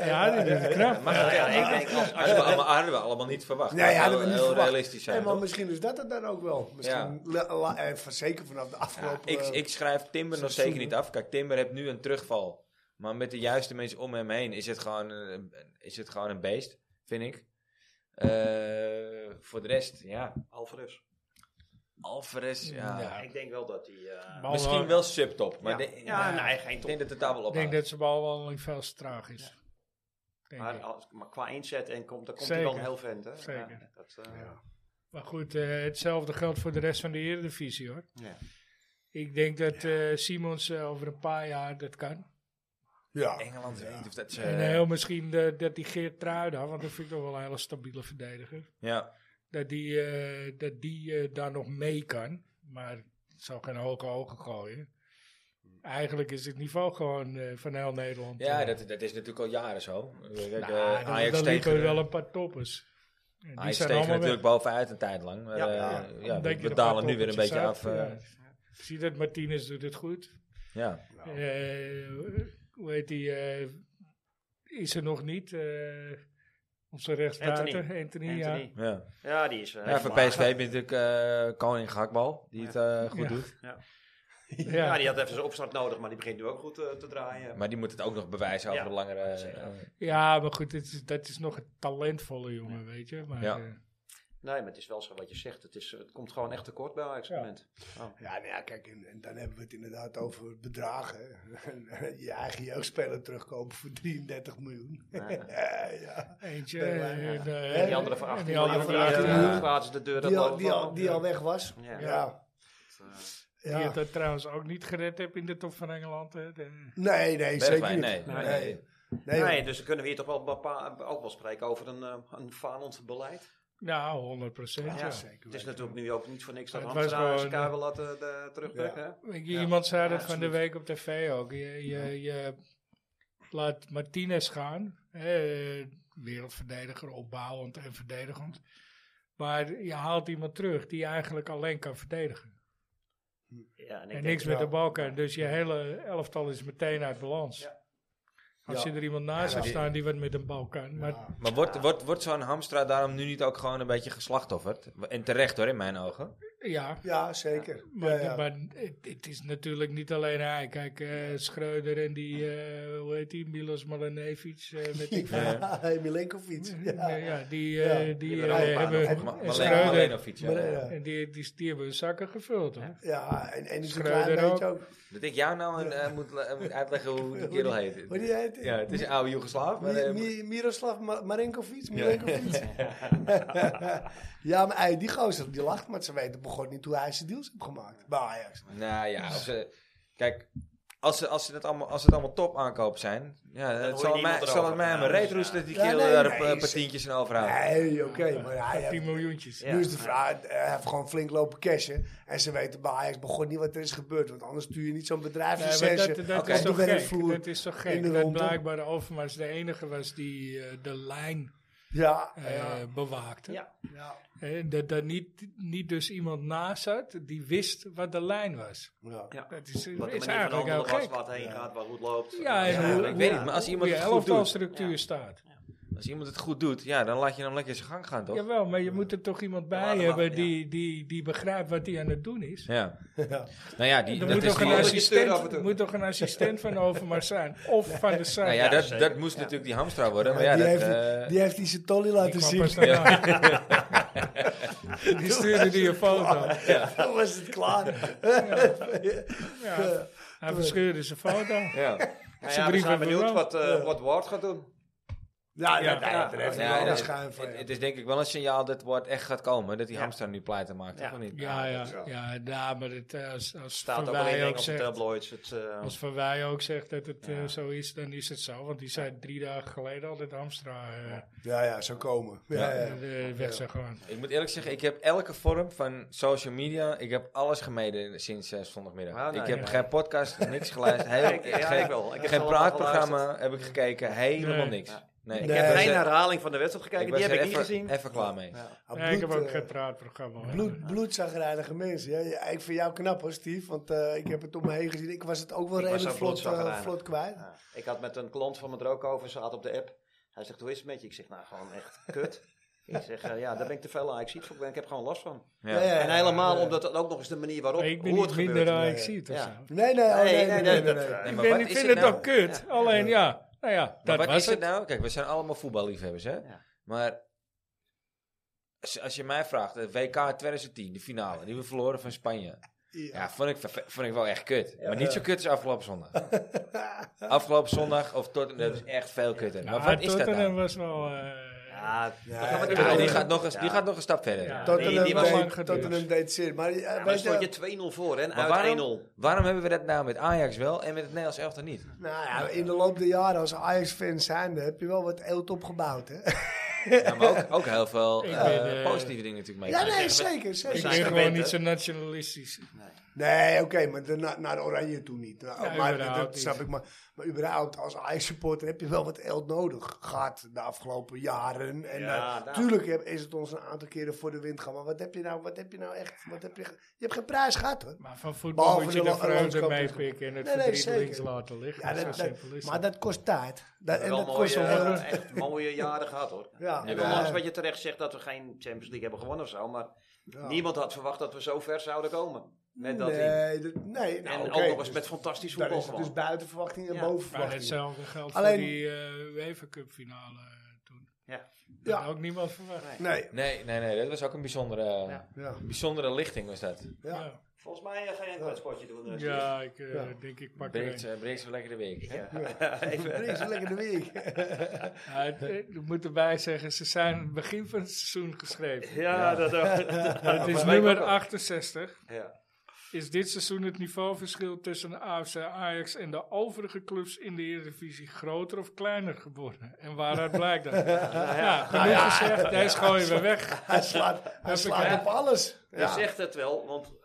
Speaker 2: ja dit is knap.
Speaker 1: Maar ja, ik denk, als- hadden, we allemaal, hadden we allemaal niet verwacht.
Speaker 3: Nee, hadden
Speaker 1: heel,
Speaker 3: we niet
Speaker 1: heel
Speaker 3: verwacht.
Speaker 1: realistisch zijn.
Speaker 3: Hey, maar
Speaker 1: toch?
Speaker 3: misschien is dat het dan ook wel. Misschien, la- la- eh, van- zeker vanaf de
Speaker 1: Ja,
Speaker 3: afgelopen... eh,
Speaker 1: ik, ik schrijf Timber nog
Speaker 3: seizoen,
Speaker 1: zeker niet af. Kijk, Timber heeft nu een terugval. Maar met de juiste mensen om hem heen is het gewoon, eh, is het gewoon een beest, vind ik. Eh, voor de rest, ja.
Speaker 4: Alvarez.
Speaker 1: Alvarez, ja.
Speaker 2: Ja.
Speaker 4: Ik denk wel dat die... eh,
Speaker 2: Maar-
Speaker 1: Misschien wel subtop. Maar
Speaker 4: ja,
Speaker 1: de-
Speaker 4: ja,
Speaker 1: ja,
Speaker 4: nee, geen
Speaker 1: ik
Speaker 4: top.
Speaker 1: denk dat de tabel
Speaker 2: Ik
Speaker 1: op
Speaker 2: denk dat zijn balwandeling veel te traag is. Denk
Speaker 4: Maar,
Speaker 2: ik.
Speaker 4: als- maar qua inzet en komt, dan komt hij
Speaker 2: Zeker.
Speaker 4: wel een heel vent. Hè?
Speaker 2: Zeker.
Speaker 4: Ja, dat, eh,
Speaker 3: Ja.
Speaker 2: Maar goed, eh, hetzelfde geldt voor de rest van de Eredivisie hoor.
Speaker 4: Ja.
Speaker 2: Ik denk dat eh, Simons eh, over een paar jaar dat kan.
Speaker 3: Ja.
Speaker 1: Engeland weet of dat eh, ze...
Speaker 2: en heel misschien de- dat die Geert Truida, want dat vind ik toch wel een hele stabiele verdediger.
Speaker 1: ja.
Speaker 2: Dat die, eh, dat die eh, daar nog mee kan. Maar het zal geen hoge ogen gooien. Eigenlijk is het niveau gewoon eh, van heel Nederland.
Speaker 1: ja,
Speaker 2: eh,
Speaker 1: dat, dat is natuurlijk al jaren zo. Kijk, eh,
Speaker 2: nou, dan-
Speaker 1: Ajax
Speaker 2: dan liepen
Speaker 1: tegen...
Speaker 2: er wel een paar toppers. En die
Speaker 1: Ajax
Speaker 2: zijn
Speaker 1: tegen
Speaker 2: allemaal
Speaker 1: natuurlijk
Speaker 2: weg.
Speaker 1: bovenuit een tijd lang. Maar,
Speaker 4: Ja,
Speaker 1: eh,
Speaker 3: ja.
Speaker 1: ja,
Speaker 2: Denk
Speaker 1: we,
Speaker 2: je
Speaker 1: we
Speaker 2: er
Speaker 1: dalen
Speaker 2: paar
Speaker 1: nu weer een beetje af.
Speaker 2: toppeltjes
Speaker 1: eh,
Speaker 2: ja. Ik Zie dat Martinez doet het goed.
Speaker 1: ja.
Speaker 2: Eh, hoe heet die? eh, is er nog niet? eh onze rechtsbuiten, Anthony. ja.
Speaker 4: Anthony.
Speaker 1: ja.
Speaker 4: Ja, die is... eh,
Speaker 1: Ja, voor
Speaker 4: mager.
Speaker 1: PSV ben je natuurlijk eh, koning gehaktbal, die het eh, goed
Speaker 2: Ja.
Speaker 1: doet.
Speaker 2: Ja.
Speaker 4: Ja, die had even zijn opstart nodig, maar die begint nu ook goed eh, te draaien.
Speaker 1: Maar die moet het ook nog bewijzen over
Speaker 4: Ja,
Speaker 1: de langere...
Speaker 4: zeker.
Speaker 1: eh,
Speaker 2: Ja, maar goed, dit is, dat is nog een talentvolle jongen, weet je. Maar,
Speaker 1: Ja.
Speaker 2: eh,
Speaker 4: Nee, maar het is wel zo wat je zegt. Het, is, het komt gewoon echt tekort bij Ajax op
Speaker 2: Ja.
Speaker 4: het moment.
Speaker 3: Ja, nou ja, kijk, en, en dan hebben we het inderdaad over bedragen. je eigen jeugdspeler terugkopen voor 33 miljoen.
Speaker 4: Nee.
Speaker 3: ja, ja.
Speaker 2: eentje.
Speaker 3: Ja,
Speaker 2: eh,
Speaker 3: ja.
Speaker 2: en, eh,
Speaker 4: En die andere van
Speaker 2: en
Speaker 4: 18
Speaker 2: die andere
Speaker 4: miljoen,
Speaker 2: van
Speaker 4: die,
Speaker 2: 18
Speaker 4: eh,
Speaker 2: miljoen.
Speaker 1: miljoen.
Speaker 4: plaatsen de deur dat eh,
Speaker 3: Die, al,
Speaker 4: loopt
Speaker 3: die, al,
Speaker 4: wel.
Speaker 3: die al weg was.
Speaker 4: Ja.
Speaker 3: Ja.
Speaker 2: Die
Speaker 3: ja.
Speaker 2: het dat trouwens ook niet gered hebt in de top van Engeland. hè. De-
Speaker 3: Nee, nee, zeker
Speaker 1: Bergwijn,
Speaker 3: niet.
Speaker 1: nee.
Speaker 3: nee.
Speaker 1: Nee.
Speaker 3: Nee, joh.
Speaker 4: Nee, dus dan kunnen we hier toch wel, bepa- ook wel spreken over een, eh, een falend beleid.
Speaker 2: nou, 100 procent.
Speaker 4: Ja,
Speaker 2: Ja.
Speaker 3: zeker
Speaker 4: Het is
Speaker 3: weten.
Speaker 4: natuurlijk nu ook niet voor niks dat
Speaker 2: Het was
Speaker 4: Hamstra
Speaker 2: gewoon,
Speaker 4: zijn kabel had eh, de- terugweg.
Speaker 3: Ja.
Speaker 4: hè?
Speaker 2: Ik-
Speaker 4: Ja.
Speaker 2: Iemand zei
Speaker 4: Ja,
Speaker 2: dat van de
Speaker 4: absoluut.
Speaker 2: week op tv ook. Je, je, je laat Martinez gaan. hè, wereldverdediger, opbouwend en verdedigend. Maar je haalt iemand terug die eigenlijk alleen kan verdedigen.
Speaker 4: Ja, en ik
Speaker 2: en
Speaker 4: denk-
Speaker 2: niks met
Speaker 3: ja.
Speaker 2: de bal kan. Dus je hele elftal is meteen uit balans.
Speaker 4: Ja.
Speaker 2: Als
Speaker 3: Ja.
Speaker 2: je er iemand naast
Speaker 1: Ja,
Speaker 2: hebt
Speaker 1: die-
Speaker 2: staan die wat met een bal kan. Maar
Speaker 3: Ja.
Speaker 1: Maar wordt, wordt, wordt zo'n Hamstra daarom nu niet ook gewoon een beetje geslachtofferd? En terecht hoor, in mijn ogen.
Speaker 2: ja,
Speaker 3: Ja, zeker.
Speaker 2: Maar,
Speaker 3: Ja, ja.
Speaker 2: maar het, het is natuurlijk niet alleen hij. Kijk, eh Schreuder en die, eh, hoe heet die, Milos Malenovic, eh weet ik veel.
Speaker 3: Ja, hey, Milenkovic. Ja.
Speaker 2: Ja, ja, die, eh,
Speaker 3: Ja.
Speaker 2: die
Speaker 4: Die
Speaker 2: eh,
Speaker 4: hebben er ook een
Speaker 1: Maar
Speaker 2: hebben
Speaker 1: maar-
Speaker 2: en
Speaker 1: maar-
Speaker 2: Schreuder-
Speaker 1: alleen of iets. ja.
Speaker 3: Maar, ja.
Speaker 2: En die, die, die hebben hun zakken gevuld, hoor.
Speaker 3: Ja, en, en is een
Speaker 2: Schreuder
Speaker 3: klein beetje
Speaker 2: ook.
Speaker 3: ook.
Speaker 1: Dat ik jou nou een, eh, moet, la- moet uitleggen hoe die kerel heet.
Speaker 3: Hoe die heet?
Speaker 1: Ja, het is een oude Joegoslaaf. maar,
Speaker 3: Mi-
Speaker 1: eh,
Speaker 3: Mi- Miroslav Ma- Marinkovic? Milenkovic? Ja. maar ey, die gozer die lacht, maar ze weten begon niet hoe hij zijn deals heeft gemaakt bij Ajax.
Speaker 1: Nou ja, als ze- kijk, als, ze, als, ze het allemaal, als het allemaal top aankoop zijn, ja,
Speaker 4: hoor je
Speaker 1: het zal, aan
Speaker 4: niemand
Speaker 1: mij, het zal aan
Speaker 4: erover.
Speaker 1: mij aan mijn
Speaker 4: Ja,
Speaker 1: reet
Speaker 4: dus,
Speaker 1: roesten
Speaker 4: ja.
Speaker 1: dat die
Speaker 3: Ja,
Speaker 1: kerel
Speaker 3: nee,
Speaker 1: daar
Speaker 3: nee,
Speaker 1: een paar
Speaker 3: is-
Speaker 1: tientjes aan overhoudt.
Speaker 3: Nee, oké, maar hij
Speaker 2: 10
Speaker 3: heeft,
Speaker 2: miljoentjes.
Speaker 4: Ja.
Speaker 3: nu is de vraag, hij heeft gewoon flink lopen cashen. En ze weten bij Ajax begon niet wat er is gebeurd, want anders stuur je niet zo'n bedrijf
Speaker 2: Nee, maar dat, dat,
Speaker 1: Oké.
Speaker 2: is
Speaker 3: op
Speaker 2: toch
Speaker 3: de
Speaker 2: gek.
Speaker 3: werkvloer.
Speaker 2: dat is toch
Speaker 3: in
Speaker 2: gek.
Speaker 3: de
Speaker 2: Dat
Speaker 3: ronde.
Speaker 2: blijkbaar Overmars de enige was die eh, de lijn
Speaker 3: Ja,
Speaker 2: eh,
Speaker 3: ja,
Speaker 2: bewaakte.
Speaker 4: Ja.
Speaker 3: ja.
Speaker 2: En dat daar niet, niet dus iemand naast zat die wist wat de lijn was.
Speaker 3: ja.
Speaker 4: Ja.
Speaker 2: Dat is,
Speaker 4: Wat de
Speaker 2: is
Speaker 4: manier van
Speaker 2: eigenlijk heel
Speaker 4: handelen was,
Speaker 2: gek.
Speaker 4: waar het heen gaat, waar het loopt. eh,
Speaker 2: Ja, en
Speaker 1: Ja,
Speaker 2: hoe,
Speaker 1: ik
Speaker 2: hoe-
Speaker 1: weet het, maar als
Speaker 2: hoe
Speaker 1: iemand
Speaker 2: je
Speaker 1: het goed doet.
Speaker 2: elftalstructuur staat.
Speaker 1: Als iemand het goed doet, ja, dan laat je hem lekker zijn gang gaan, toch?
Speaker 2: Jawel, maar je moet er toch iemand bij
Speaker 4: laat hem
Speaker 2: hebben
Speaker 4: af, ja.
Speaker 2: die, die, die begrijpt wat hij aan het doen is.
Speaker 1: Ja. Nou ja, die,
Speaker 2: Er
Speaker 1: dat
Speaker 2: moet,
Speaker 1: is
Speaker 2: toch
Speaker 1: die,
Speaker 2: een
Speaker 4: andere die steur af en
Speaker 2: assistent,
Speaker 4: toe.
Speaker 2: moet toch een assistent van Overmars zijn? Of van de Sar.
Speaker 1: nou ja, dat,
Speaker 4: zeker.
Speaker 1: dat moest natuurlijk die hamstra worden, maar
Speaker 3: Ja,
Speaker 1: ja,
Speaker 3: die,
Speaker 1: dat...
Speaker 3: heeft,
Speaker 1: eh,
Speaker 3: die heeft die zijn tolly
Speaker 2: Ik
Speaker 3: laten
Speaker 2: kwam
Speaker 3: zien.
Speaker 2: pas daarna. Die stuurde die een foto.
Speaker 3: Toen was het klaar.
Speaker 2: Ja, hij verscheurde zijn foto.
Speaker 1: ja.
Speaker 4: Nou
Speaker 2: Zijn
Speaker 4: ja, we
Speaker 2: drie
Speaker 4: zijn
Speaker 2: van
Speaker 4: benieuwd
Speaker 2: Verloop.
Speaker 4: wat, eh, wat Ward gaat doen.
Speaker 3: Ja, ja,
Speaker 2: Ja,
Speaker 3: ja,
Speaker 4: ja.
Speaker 3: daar heeft hij
Speaker 1: Nou Ja,
Speaker 3: wel
Speaker 1: ja.
Speaker 3: een schuim van.
Speaker 1: Het,
Speaker 3: ja.
Speaker 1: het is denk ik wel een signaal dat wordt echt gaat komen. Dat die
Speaker 4: Ja.
Speaker 1: hamster nu pleiten maakt.
Speaker 4: Ja.
Speaker 1: Of niet?
Speaker 2: Ja, ja,
Speaker 3: wel.
Speaker 2: ja, ja, nou, maar het, eh, als, als
Speaker 4: Staat ook
Speaker 2: Van
Speaker 4: wel in
Speaker 2: Wij
Speaker 4: de
Speaker 2: ook
Speaker 4: Engelse
Speaker 2: zegt,
Speaker 4: tabloids. Het, eh,
Speaker 2: als Van Wij ook zegt dat het eh,
Speaker 1: Ja.
Speaker 2: zo is, dan is het zo. Want die zei drie dagen geleden al dat Hamstra eh,
Speaker 3: Ja, ja, zo komen. Ja, ja.
Speaker 2: eh, weg zou gaan.
Speaker 1: Ik moet eerlijk zeggen, ik heb elke vorm van social media, ik heb alles gemeden sinds eh, zondagmiddag.
Speaker 4: Ah, nou,
Speaker 1: ik heb
Speaker 4: ja.
Speaker 1: geen podcast, niks geluisterd, heel,
Speaker 4: ik- ja,
Speaker 1: geen,
Speaker 4: ik wel. Ik heb
Speaker 1: geen
Speaker 4: wel wat
Speaker 1: praatprogramma
Speaker 4: geluisterd.
Speaker 1: heb ik gekeken, helemaal
Speaker 2: Nee.
Speaker 1: niks.
Speaker 4: Ja.
Speaker 1: Nee.
Speaker 4: Ik
Speaker 3: Nee.
Speaker 4: heb
Speaker 1: was
Speaker 4: geen
Speaker 1: er-
Speaker 4: herhaling van de wedstrijd gekeken.
Speaker 1: was
Speaker 4: Die heb
Speaker 1: er
Speaker 4: ik niet
Speaker 1: even,
Speaker 4: gezien.
Speaker 1: even klaar mee.
Speaker 4: Ja.
Speaker 3: Ah,
Speaker 2: Nee, ik heb
Speaker 3: bloed,
Speaker 2: ook
Speaker 3: eh,
Speaker 2: geen praatprogramma. hoor.
Speaker 3: Bloed, bloedzagrijnige mensen. Ja, Ja, ik vind jou knap hoor, Steve. Want eh, ik heb het om me heen gezien. Ik was het ook wel
Speaker 4: Ik was
Speaker 3: redelijk
Speaker 4: ook
Speaker 3: vlot, eh,
Speaker 4: bloedzagrijnig.
Speaker 3: vlot kwijt.
Speaker 4: Ja. Ah, Ik had met een klant van me er ook over, ze had op de app. Hij zegt, hoe is het met je? Ik zeg, nou, gewoon echt kut. ik zeg, eh, ja, daar ben ik te veel aan. Ik zie het voor, ik heb gewoon last van.
Speaker 1: Ja.
Speaker 3: Ja, ja,
Speaker 4: En helemaal
Speaker 3: ja.
Speaker 4: omdat het ook nog eens de manier waarop,
Speaker 2: Maar ik ben
Speaker 4: hoe het
Speaker 2: niet
Speaker 4: gebeurt.
Speaker 2: minder Ajaxiet of
Speaker 4: Ja.
Speaker 2: zo.
Speaker 3: Nee, nee, oh, nee, nee, nee, nee, nee.
Speaker 4: dat-
Speaker 1: Nee,
Speaker 2: Ik,
Speaker 1: maar
Speaker 2: ben,
Speaker 1: wat
Speaker 2: ik
Speaker 1: is het
Speaker 2: vind het
Speaker 1: nou?
Speaker 2: ook kut. Alleen ja, nou ja,
Speaker 1: Maar
Speaker 2: dat
Speaker 1: wat
Speaker 2: was
Speaker 1: is het
Speaker 2: het.
Speaker 1: nou? Kijk, we zijn allemaal voetballiefhebbers, hè?
Speaker 4: Ja.
Speaker 1: Maar als, als je mij vraagt, eh, het WK 2010, de finale, die we verloren van Spanje. Ja, vond ik, verve- vond ik wel echt kut. maar niet zo kut als afgelopen zondag. afgelopen zondag of tot dat is echt veel kutter.
Speaker 2: Nou,
Speaker 1: maar wat is dat
Speaker 2: Tottenham
Speaker 1: nou?
Speaker 2: was wel... eh,
Speaker 4: Ja,
Speaker 3: Ja,
Speaker 4: dat-
Speaker 3: ja,
Speaker 1: Ja, die,
Speaker 3: Tottenham-
Speaker 1: gaat nog eens, die
Speaker 4: Ja.
Speaker 1: gaat nog een stap verder.
Speaker 2: Ja.
Speaker 4: Nee, die
Speaker 3: Tottenham,
Speaker 4: was
Speaker 3: deed-
Speaker 2: lang geduurd.
Speaker 3: Tottenham deed zin. Maar, eh,
Speaker 4: Ja, maar
Speaker 3: weet
Speaker 4: dan stond
Speaker 3: je,
Speaker 4: je 2-0 voor, hè? en
Speaker 1: Maar
Speaker 4: Uit 1-0.
Speaker 1: waarom, waarom hebben we dat nou met Ajax wel en met het Nederlands elftal niet?
Speaker 3: nou ja, in de loop der jaren als Ajax-fan zijnde heb je wel wat eelt opgebouwd. Hè?
Speaker 1: Ja, maar ook, ook heel veel
Speaker 2: Ik
Speaker 1: eh,
Speaker 2: ben, eh,
Speaker 1: positieve dingen natuurlijk mee.
Speaker 3: Ja, nee,
Speaker 4: zeggen,
Speaker 3: zeker.
Speaker 2: Ik
Speaker 3: zeker.
Speaker 4: zijn
Speaker 2: ben gewoon
Speaker 4: gewend,
Speaker 2: niet zo
Speaker 4: hè?
Speaker 2: nationalistisch.
Speaker 3: Nee, oké, maar de, na- naar de Oranje toe niet. Nou,
Speaker 2: Ja,
Speaker 3: maar
Speaker 2: überhaupt
Speaker 3: dat
Speaker 2: niet.
Speaker 3: snap ik. Maar, maar überhaupt, als Ajax-supporter heb je wel wat eld nodig gehad de afgelopen jaren. En
Speaker 4: Ja,
Speaker 3: eh,
Speaker 4: daar-
Speaker 3: tuurlijk heb- is het ons een aantal keren voor de wind gaan. Maar wat heb je nou, wat heb je nou echt? Wat heb je, ge- je hebt geen prijs gehad, hoor.
Speaker 2: Maar van voetbal
Speaker 3: Behalve
Speaker 2: moet je
Speaker 3: de
Speaker 2: de
Speaker 3: la-
Speaker 2: vreugde
Speaker 3: landskampioen.
Speaker 2: mee pikken en het
Speaker 3: Nee, nee,
Speaker 2: verdriet
Speaker 3: zeker.
Speaker 2: links laten liggen.
Speaker 3: Ja,
Speaker 2: zo
Speaker 3: dat, dat-
Speaker 2: simpel is
Speaker 3: maar
Speaker 2: dat.
Speaker 3: dat kost tijd. Dat, en
Speaker 4: Wel
Speaker 3: dat
Speaker 4: mooie,
Speaker 3: kost wel wat.
Speaker 4: eh, echt mooie jaren gehad, hoor.
Speaker 3: Ja,
Speaker 4: En
Speaker 3: ja,
Speaker 4: ondanks wat je terecht zegt dat we geen Champions League hebben gewonnen of zo, maar
Speaker 3: ja.
Speaker 4: niemand had verwacht dat we zo ver zouden komen. Met dat team.
Speaker 3: Nee, dat, nee nou,
Speaker 4: En
Speaker 3: oké,
Speaker 4: ook nog eens
Speaker 3: dus
Speaker 4: met fantastisch
Speaker 3: Dan
Speaker 4: voetbal
Speaker 3: is het
Speaker 4: gewonnen.
Speaker 3: dus buiten verwachting en
Speaker 4: Ja,
Speaker 3: boven
Speaker 2: Maar
Speaker 3: verwachting.
Speaker 2: hetzelfde geldt
Speaker 3: Alleen-
Speaker 2: voor die eh UEFA Cup finale eh, toen.
Speaker 4: Ja.
Speaker 2: Dat
Speaker 3: Ja.
Speaker 2: had ook niemand verwacht.
Speaker 4: Nee.
Speaker 3: Nee,
Speaker 1: Nee, nee, nee, dat was ook een bijzondere,
Speaker 4: Ja.
Speaker 3: ja.
Speaker 1: bijzondere lichting was dat.
Speaker 3: ja.
Speaker 2: Ja.
Speaker 4: Volgens mij eh, ga je een kletspotje doen. eh, Steve.
Speaker 2: Ja, ik eh,
Speaker 3: Ja.
Speaker 2: denk ik pak er
Speaker 1: Breekt
Speaker 2: een.
Speaker 1: ze breekt ze lekker de week. hè?
Speaker 4: Even-
Speaker 3: Brengt ze lekker de week.
Speaker 2: Ja, het- eh, Ik moet erbij zeggen, ze zijn aan het begin van het seizoen geschreven.
Speaker 4: Ja, dat ook.
Speaker 2: Het is
Speaker 4: mij ook
Speaker 2: nummer
Speaker 4: wel.
Speaker 2: 68.
Speaker 4: Ja.
Speaker 2: Is dit seizoen het niveauverschil tussen de AFC Ajax en de overige clubs in de Eredivisie groter of kleiner geworden? En waaruit blijkt dat? Ja, genoeg gezegd, deze gooien we weg.
Speaker 3: Hij slaat, hij slaat op alles.
Speaker 4: Je
Speaker 3: Ja.
Speaker 4: zegt het wel, want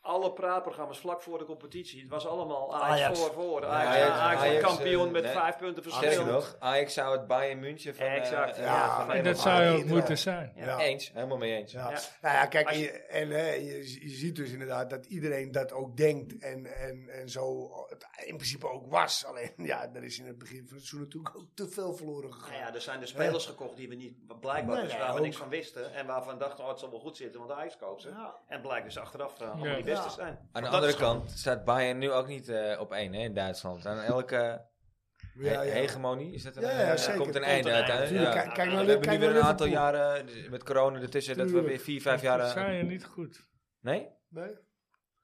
Speaker 4: alle praatprogramma's vlak voor de competitie, het was allemaal Ajax,
Speaker 3: Ajax.
Speaker 4: voor, voor. Ajax,
Speaker 1: Ajax,
Speaker 4: Ajax
Speaker 1: Ajax,
Speaker 4: kampioen
Speaker 1: eh,
Speaker 4: met
Speaker 1: nee.
Speaker 4: vijf punten
Speaker 1: Sterker
Speaker 4: verschil.
Speaker 1: nog, Ajax zou het Bayern München van... eh,
Speaker 4: Exact.
Speaker 1: eh,
Speaker 3: Ja,
Speaker 1: van
Speaker 3: en
Speaker 2: En
Speaker 1: Nederland
Speaker 2: dat
Speaker 1: maken.
Speaker 2: zou ook
Speaker 3: iedereen.
Speaker 2: moeten zijn.
Speaker 3: Ja.
Speaker 1: Eens, helemaal mee eens.
Speaker 3: Ja.
Speaker 4: Ja.
Speaker 3: Nou ja, kijk,
Speaker 4: Als je-
Speaker 3: je, en, hè, je, je ziet dus inderdaad dat iedereen dat ook denkt en, en, en zo het in principe ook was. Alleen, ja, er is in het begin van het seizoen natuurlijk ook te veel verloren
Speaker 4: Nou
Speaker 3: gegaan.
Speaker 4: ja, er zijn dus spelers gekocht die we niet, blijkbaar,
Speaker 3: Nee,
Speaker 4: dus
Speaker 3: nee,
Speaker 4: waar we
Speaker 3: ook.
Speaker 4: niks van wisten. En waarvan we dachten, oh, het zal wel goed zitten, want Ajax koopt ze.
Speaker 3: Ja.
Speaker 4: En blijkt dus achteraf eh, allemaal
Speaker 2: Ja.
Speaker 4: die beste
Speaker 3: Ja.
Speaker 4: zijn.
Speaker 1: Aan
Speaker 4: Want
Speaker 1: de
Speaker 4: dat
Speaker 1: andere
Speaker 4: is gewoon-
Speaker 1: kant staat Bayern nu ook niet eh, op één hè, in Duitsland. Aan elke he-
Speaker 3: Ja, ja.
Speaker 1: hegemonie is dat een,
Speaker 3: Ja, ja,
Speaker 1: eh,
Speaker 3: zeker.
Speaker 1: komt een
Speaker 3: Komt
Speaker 1: einde
Speaker 4: een einde.
Speaker 1: uiteindelijk.
Speaker 3: Tuurlijk,
Speaker 1: Ja.
Speaker 3: kijk, kijk
Speaker 4: We
Speaker 3: naar,
Speaker 1: We hebben nu
Speaker 3: kijk nou
Speaker 1: weer een
Speaker 3: naar
Speaker 1: aantal
Speaker 3: Liverpool.
Speaker 1: jaren eh, met corona ertussen dat we
Speaker 3: Tuurlijk.
Speaker 1: weer vier, vijf
Speaker 2: Dat
Speaker 1: jaar. eh,
Speaker 2: zei je niet goed.
Speaker 1: Nee?
Speaker 3: Nee?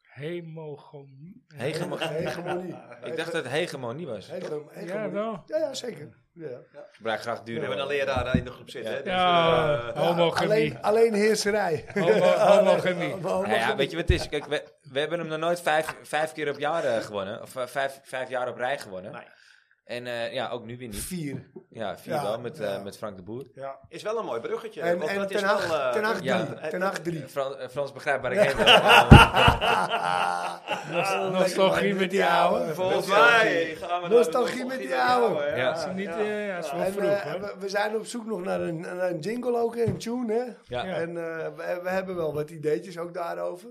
Speaker 2: Hemogonie.
Speaker 1: Hegemo-
Speaker 3: Hegemonie.
Speaker 1: Ik dacht dat het hegemonie was.
Speaker 3: Hegem- hegemonie.
Speaker 2: Ja, wel.
Speaker 3: Ja, ja, zeker. Ja.
Speaker 1: Ik gebruik graag
Speaker 4: We
Speaker 1: duur.
Speaker 4: hebben een leraar eh, in de groep zitten.
Speaker 1: Ja.
Speaker 4: hè, dus,
Speaker 2: Ja,
Speaker 4: eh,
Speaker 2: homogamie.
Speaker 3: Alleen, alleen heerserij.
Speaker 2: Homo- homogamie.
Speaker 1: Oh, Nou ja, weet je wat het is? Kijk, we, we hebben hem nog nooit vijf, vijf keer op jaar eh, gewonnen. Of eh, vijf, vijf jaar op rij gewonnen.
Speaker 4: Nee.
Speaker 1: En eh, ja, ook nu weer niet.
Speaker 3: Vier.
Speaker 1: Ja, vier
Speaker 3: Ja,
Speaker 1: wel met, eh,
Speaker 3: ja.
Speaker 1: met Frank de Boer.
Speaker 3: Ja.
Speaker 4: is wel een mooi bruggetje.
Speaker 3: En,
Speaker 4: want
Speaker 3: en
Speaker 4: dat is
Speaker 3: ten
Speaker 4: wel,
Speaker 3: acht
Speaker 4: eh,
Speaker 3: ten acht
Speaker 1: ja.
Speaker 3: drie. Ten acht drie.
Speaker 1: Eh, Fran- eh, Frans begrijpt waar ik heen wil. Eh,
Speaker 2: Nostalgie met die ouwe.
Speaker 4: Volgens mij gaan we
Speaker 3: Nostalgie met die ouwe.
Speaker 4: hè.
Speaker 1: Ja.
Speaker 2: Is het niet, eh, ja, het is wel
Speaker 3: En,
Speaker 2: vroeg,
Speaker 3: eh,
Speaker 2: hoor.
Speaker 3: we, we zijn op zoek nog naar een, naar een jingle ook en een tune, hè?
Speaker 1: Ja.
Speaker 2: Ja.
Speaker 3: En eh, we, we hebben wel wat ideetjes ook daarover.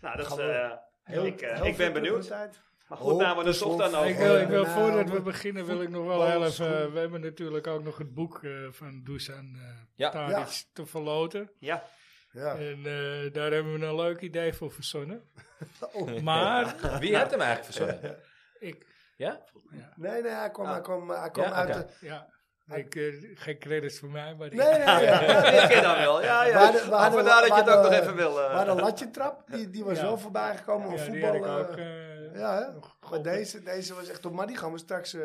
Speaker 4: Nou, dat,
Speaker 3: Gaan
Speaker 4: is,
Speaker 3: we-
Speaker 4: eh,
Speaker 3: Heel-
Speaker 4: ik, eh,
Speaker 3: heel
Speaker 4: ik ben
Speaker 3: veel
Speaker 4: benieuwd.
Speaker 3: publiciteit.
Speaker 4: Maar goed, nou, maar dat is of dan
Speaker 2: Ik
Speaker 4: ook.
Speaker 2: wil,
Speaker 3: Gewoon,
Speaker 2: ik wil
Speaker 3: eh,
Speaker 2: voordat we
Speaker 3: nou,
Speaker 2: beginnen, wil ik nog wel heel even.
Speaker 3: voetbalschoen.
Speaker 2: eh, we hebben natuurlijk ook nog het boek eh, van Dusan eh
Speaker 1: Ja.
Speaker 2: Tadic te verloten.
Speaker 4: Ja,
Speaker 3: Ja.
Speaker 2: En eh, daar hebben we een leuk idee voor verzonnen.
Speaker 3: Oh,
Speaker 2: Maar
Speaker 1: Wie heeft hem eigenlijk verzonnen?
Speaker 2: ik,
Speaker 1: Ja?
Speaker 3: nee, nee, hij kwam,
Speaker 4: Ah.
Speaker 3: hij kwam, hij kwam
Speaker 1: Ja,
Speaker 3: uit
Speaker 1: oké.
Speaker 3: de...
Speaker 2: ja, ik, eh, geen credits voor mij, maar ik-
Speaker 3: Nee, nee, nee. ja.
Speaker 4: dat ken dan wel. Ja, ja.
Speaker 3: Waar de- waar
Speaker 4: Maar
Speaker 3: de-
Speaker 4: vandaar dat je het
Speaker 3: waar
Speaker 4: ook nog
Speaker 3: de-
Speaker 4: even wil. eh.
Speaker 3: Maar de latje trap, die, die was
Speaker 2: Ja.
Speaker 3: wel voorbij gekomen.
Speaker 2: ja,
Speaker 3: of
Speaker 2: die
Speaker 3: voetbal.
Speaker 2: had ik ook.
Speaker 3: eh,
Speaker 2: eh,
Speaker 3: ja, hè?
Speaker 2: nog
Speaker 3: Maar
Speaker 2: gekocht.
Speaker 3: deze, deze was echt op. Maar die gaan we straks... eh,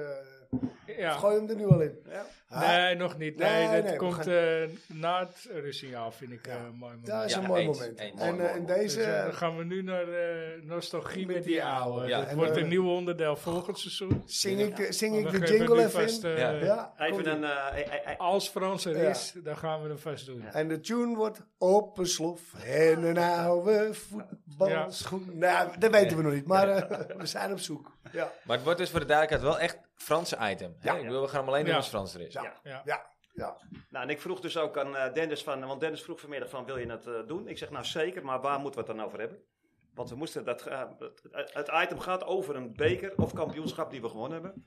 Speaker 2: Ja.
Speaker 3: Gooi hem er nu al in.
Speaker 4: Ja.
Speaker 3: Ah,
Speaker 2: Nee, nog niet. Nee,
Speaker 3: Nee,
Speaker 2: dat
Speaker 3: nee, we
Speaker 2: komt
Speaker 3: gaan-
Speaker 2: eh, na het rustsignaal, vind ik
Speaker 3: Ja.
Speaker 2: eh, een mooi moment.
Speaker 3: Dat is
Speaker 1: Ja,
Speaker 3: een mooi
Speaker 1: eens,
Speaker 3: moment.
Speaker 1: eens.
Speaker 3: en,
Speaker 1: Mooi,
Speaker 3: eh, en
Speaker 1: mooi,
Speaker 2: Dus, eh, dan
Speaker 3: deze...
Speaker 2: gaan we nu naar eh, nostalgie met, die oude.
Speaker 1: Ja.
Speaker 2: Dat
Speaker 3: En,
Speaker 2: wordt
Speaker 3: eh,
Speaker 2: een nieuw onderdeel volgend seizoen.
Speaker 3: Zing ik, eh, zing ik
Speaker 2: Maar we
Speaker 3: de
Speaker 2: geven nu
Speaker 3: jingle even
Speaker 2: vast,
Speaker 3: in?
Speaker 2: eh,
Speaker 1: Ja.
Speaker 3: Ja, komt-ie.
Speaker 4: Even een... eh, eh, eh, eh,
Speaker 2: Als Frans er
Speaker 3: Ja.
Speaker 2: is, dan gaan we hem vast doen.
Speaker 3: En de tune wordt op een slof en een oude voetbalschoen. Nou, dat weten we nog niet, maar eh, we zijn op zoek. Ja,
Speaker 1: Maar het wordt dus voor de duidelijkheid wel echt Franse item. hè?
Speaker 3: Ja.
Speaker 1: Ik bedoel, we gaan hem alleen doen
Speaker 2: Ja.
Speaker 1: als Frans er is.
Speaker 3: ja,
Speaker 2: Ja.
Speaker 3: ja. ja, ja.
Speaker 4: Nou, en ik vroeg dus ook aan eh, Dennis van, want Dennis vroeg vanmiddag van, wil je het eh, doen? Ik zeg, nou zeker, maar waar moeten we het dan over hebben? Want we moesten dat, eh, het, het item gaat over een beker of kampioenschap die we gewonnen hebben.